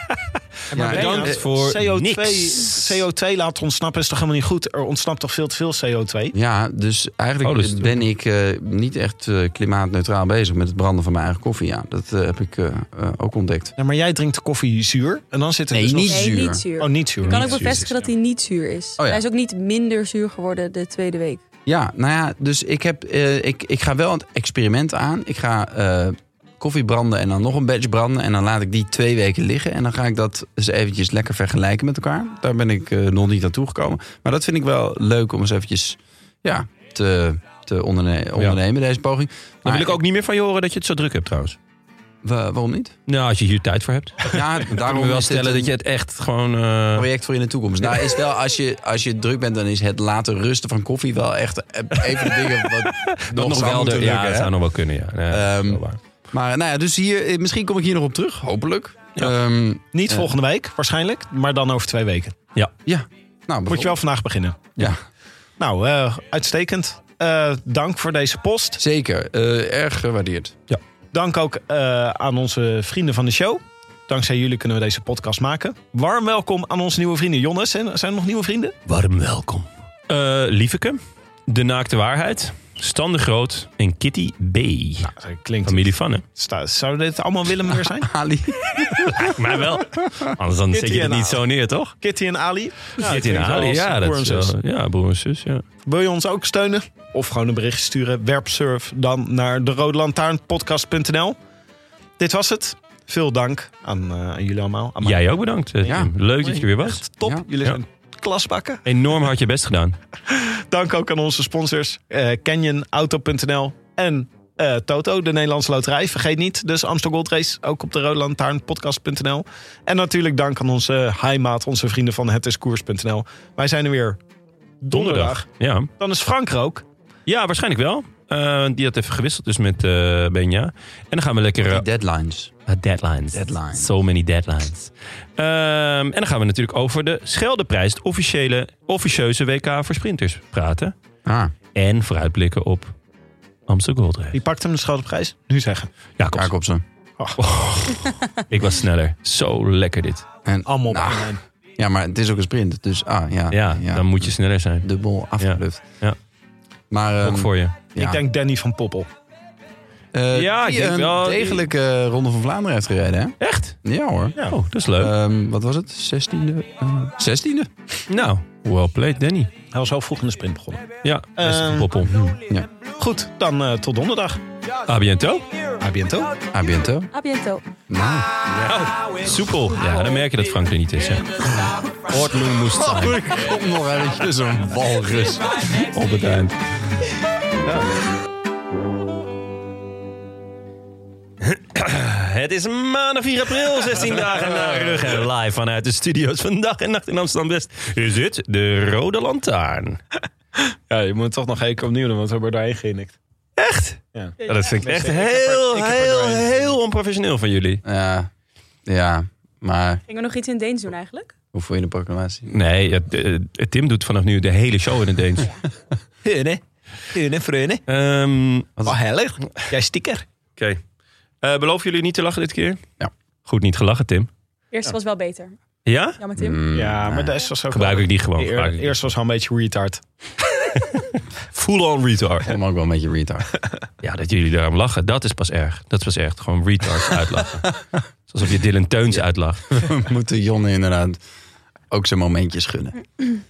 [SPEAKER 2] ja,
[SPEAKER 1] bedankt
[SPEAKER 2] eh,
[SPEAKER 1] voor
[SPEAKER 4] CO2,
[SPEAKER 1] niks.
[SPEAKER 4] CO2 laten ontsnappen is toch helemaal niet goed? Er ontsnapt toch veel te veel CO2?
[SPEAKER 2] Ja, dus eigenlijk
[SPEAKER 1] Oh, dus-
[SPEAKER 2] ben ik eh, niet echt eh, klimaatneutraal bezig met het branden van mijn eigen koffie. Ja, dat eh, heb ik eh, eh, ook ontdekt.
[SPEAKER 4] Ja, maar jij drinkt de koffie zuur en dan zit er
[SPEAKER 2] Nee,
[SPEAKER 4] dus nog-
[SPEAKER 2] niet
[SPEAKER 7] Nee,
[SPEAKER 2] zuur. Oh
[SPEAKER 7] niet zuur.
[SPEAKER 4] Oh, niet zuur.
[SPEAKER 7] kan
[SPEAKER 4] Niet
[SPEAKER 7] ook
[SPEAKER 4] zuur.
[SPEAKER 7] bevestigen dat hij niet zuur is.
[SPEAKER 2] ja.
[SPEAKER 7] Hij is ook niet minder zuur geworden de tweede week.
[SPEAKER 2] Ja, nou ja, dus ik, heb, eh, ik, ik ga wel een experiment aan. Ik ga eh, koffie branden en dan nog een badge branden. En dan laat ik die twee weken liggen. En dan ga ik dat eens eventjes lekker vergelijken met elkaar. Daar ben ik eh, nog niet aan toegekomen. Maar dat vind ik wel leuk om eens eventjes ja, te, te onderne- ondernemen, deze poging.
[SPEAKER 1] Dan
[SPEAKER 2] Maar
[SPEAKER 1] wil ik ook niet meer van je horen dat je het zo druk hebt trouwens.
[SPEAKER 2] wa- waarom niet?
[SPEAKER 1] Nou, als je hier tijd voor hebt.
[SPEAKER 2] Ja,
[SPEAKER 1] Daarom
[SPEAKER 2] daarom
[SPEAKER 1] wil wel
[SPEAKER 2] is dit
[SPEAKER 1] stellen
[SPEAKER 2] een- Oh
[SPEAKER 1] dat je het echt gewoon... eh,
[SPEAKER 2] project voor in de toekomst. Nou, is wel als je, als je druk bent, dan is het laten rusten van koffie wel echt eh, even de dingen wat nog,
[SPEAKER 1] nog
[SPEAKER 2] zou
[SPEAKER 1] wel
[SPEAKER 2] moeten
[SPEAKER 1] de-
[SPEAKER 2] lukken,
[SPEAKER 1] Ja, dat
[SPEAKER 2] hè?
[SPEAKER 1] zou nog wel kunnen, ja. Nee, dat
[SPEAKER 2] Ehm,
[SPEAKER 1] is wel waar.
[SPEAKER 2] Maar nou ja, dus hier, eh, misschien kom ik hier nog op terug, hopelijk. Ehm, Ja,
[SPEAKER 4] Niet volgende week waarschijnlijk, maar dan over twee weken.
[SPEAKER 2] ja. nou,
[SPEAKER 4] Moet je wel vandaag beginnen.
[SPEAKER 2] Ja,
[SPEAKER 4] Nou, eh, uitstekend. Eh, dank voor deze post.
[SPEAKER 2] zeker. Eh, erg gewaardeerd.
[SPEAKER 4] Dank ook eh, aan onze vrienden van de show. Dankzij jullie kunnen we deze podcast maken. Warm welkom aan onze nieuwe vrienden. Jonnes, zijn zijn er nog nieuwe vrienden?
[SPEAKER 1] Warm welkom. Eh Lieveke, De Naakte Waarheid, Stan de Groot en Kitty B.
[SPEAKER 4] Dat klinkt...
[SPEAKER 1] Familie van, hè?
[SPEAKER 4] Sta- Zou dit allemaal Willem weer zijn?
[SPEAKER 2] Ali.
[SPEAKER 1] Maar wel. Anders dan zet
[SPEAKER 4] Kitty
[SPEAKER 1] je het
[SPEAKER 4] en
[SPEAKER 1] niet
[SPEAKER 4] Ali.
[SPEAKER 1] zo neer, toch?
[SPEAKER 4] Kitty en Ali. Ja,
[SPEAKER 1] Kitty en
[SPEAKER 4] klinkt wel
[SPEAKER 1] Ali,
[SPEAKER 4] als
[SPEAKER 1] ja.
[SPEAKER 4] broer
[SPEAKER 1] Dat
[SPEAKER 4] en
[SPEAKER 1] is
[SPEAKER 4] zus.
[SPEAKER 1] wel- ja, broer en zus, ja.
[SPEAKER 4] Wil je ons ook steunen? Of gewoon een berichtje sturen? Werpsurf dan naar de Rode Lantaarn podcast.nl. Dit was het. Veel dank aan, eh, aan jullie allemaal. Aan mij.
[SPEAKER 1] Jij ook bedankt, eh,
[SPEAKER 2] Ja.
[SPEAKER 1] Tim. Leuk dat je er weer was.
[SPEAKER 4] Echt top.
[SPEAKER 2] Ja.
[SPEAKER 4] Jullie
[SPEAKER 1] Ja.
[SPEAKER 4] zijn klasbakken.
[SPEAKER 1] Enorm hard je best gedaan.
[SPEAKER 4] Dank ook aan onze sponsors eh CanyonAuto.nl en eh, Toto, de Nederlandse Loterij. Vergeet niet, dus Amstel Gold Race, ook op de Rode Lantaarn podcast.nl. En natuurlijk dank aan onze heimaat, onze vrienden van hetiskoers.nl. Wij zijn er weer donderdag.
[SPEAKER 1] Ja.
[SPEAKER 4] Dan is Frank er ook.
[SPEAKER 1] Ja, waarschijnlijk wel. Eh, die had even gewisseld dus met eh, Benja. En dan gaan we lekker... eh,
[SPEAKER 2] Die deadlines.
[SPEAKER 1] Ah, deadlines.
[SPEAKER 2] Deadlines.
[SPEAKER 1] So many deadlines. Ehm, en dan gaan we natuurlijk over de Scheldeprijs, het officiële, officieuze WK voor sprinters praten.
[SPEAKER 2] Ah,
[SPEAKER 1] En vooruitblikken op Amsterdam Gold Race.
[SPEAKER 4] Die pakt hem de schouders Nu zeggen.
[SPEAKER 1] Ja, kom.
[SPEAKER 2] Jacobsen.
[SPEAKER 1] Oh. Ik was sneller. Zo lekker dit.
[SPEAKER 2] En,
[SPEAKER 4] Allemaal
[SPEAKER 2] Nou,
[SPEAKER 4] op één.
[SPEAKER 2] ja, maar het is ook een sprint. Dus ah, ja,
[SPEAKER 1] Ja, dan moet je sneller zijn.
[SPEAKER 2] dubbel afgeluft.
[SPEAKER 1] Ja.
[SPEAKER 2] Maar ehm,
[SPEAKER 1] Ook voor je.
[SPEAKER 2] ja.
[SPEAKER 4] Ik denk Danny van Poppel.
[SPEAKER 2] Eh,
[SPEAKER 1] Ja, ik
[SPEAKER 2] die
[SPEAKER 1] denk
[SPEAKER 2] een
[SPEAKER 1] wel-
[SPEAKER 2] degelijke eh, Ronde van Vlaanderen heeft gereden, hè?
[SPEAKER 1] Echt?
[SPEAKER 2] Ja hoor.
[SPEAKER 1] Oh, dat is leuk.
[SPEAKER 2] Ehm, wat was het? 16e? eh 16e?
[SPEAKER 1] nou, well played Danny.
[SPEAKER 4] Hij was al vroeg in de sprint begonnen.
[SPEAKER 1] Ja, best
[SPEAKER 4] Ehm,
[SPEAKER 1] een poppel. Hm.
[SPEAKER 2] Ja.
[SPEAKER 4] Goed, dan eh, tot donderdag.
[SPEAKER 1] A bientôt.
[SPEAKER 4] A bientôt.
[SPEAKER 2] A biento.
[SPEAKER 7] A bientôt.
[SPEAKER 2] Nou.
[SPEAKER 1] Oh, soepel. Ja, dan merk je dat Frank er niet is. hè. Ordnung moest zijn.
[SPEAKER 2] Kom nog eventjes een walrus.
[SPEAKER 1] Op het eind. Het is maandag 4 april, 16 dagen na rug. En live vanuit de studio's van Dag en Nacht in Amsterdam-West is het de Rode Lantaarn.
[SPEAKER 4] Ja, je moet het toch nog één keer opnieuw doen, want we hebben er doorheen genikt.
[SPEAKER 1] Echt?
[SPEAKER 4] Ja.
[SPEAKER 1] Ja, dat vind ik echt
[SPEAKER 4] Ik heb er- ik heb er
[SPEAKER 1] heel, heel,
[SPEAKER 4] doorheen.
[SPEAKER 1] heel onprofessioneel van jullie.
[SPEAKER 2] Ja, ja, maar
[SPEAKER 7] Gingen we nog iets in Deens doen eigenlijk?
[SPEAKER 2] hoe voel je de proclamatie?
[SPEAKER 1] Nee, het- eh, Tim doet vanaf nu de hele show in het Deens.
[SPEAKER 4] Heune, heune, freune.
[SPEAKER 1] Ehm, Oké.
[SPEAKER 4] Wat heilig. Jij stikker.
[SPEAKER 1] Eh, beloven jullie niet te lachen dit keer?
[SPEAKER 2] Ja.
[SPEAKER 1] Goed niet gelachen, Tim.
[SPEAKER 7] Eerst was wel beter.
[SPEAKER 1] Ja?
[SPEAKER 7] Jammer
[SPEAKER 2] Mm.
[SPEAKER 7] Tim.
[SPEAKER 4] Ja, maar dat was ook
[SPEAKER 1] Gebruik ik die gewoon.
[SPEAKER 4] Eer-
[SPEAKER 1] Gebruik ik die.
[SPEAKER 4] e- eerst was hij een beetje retard.
[SPEAKER 1] Full on retard.
[SPEAKER 2] Kom ook wel een beetje retard.
[SPEAKER 1] Ja, dat jullie daarom lachen, dat is pas erg. Dat is pas echt gewoon retard uitlachen. Het is Alsof je Dylan Teuns uitlacht.
[SPEAKER 2] We moeten Jonne inderdaad ook zijn momentjes gunnen.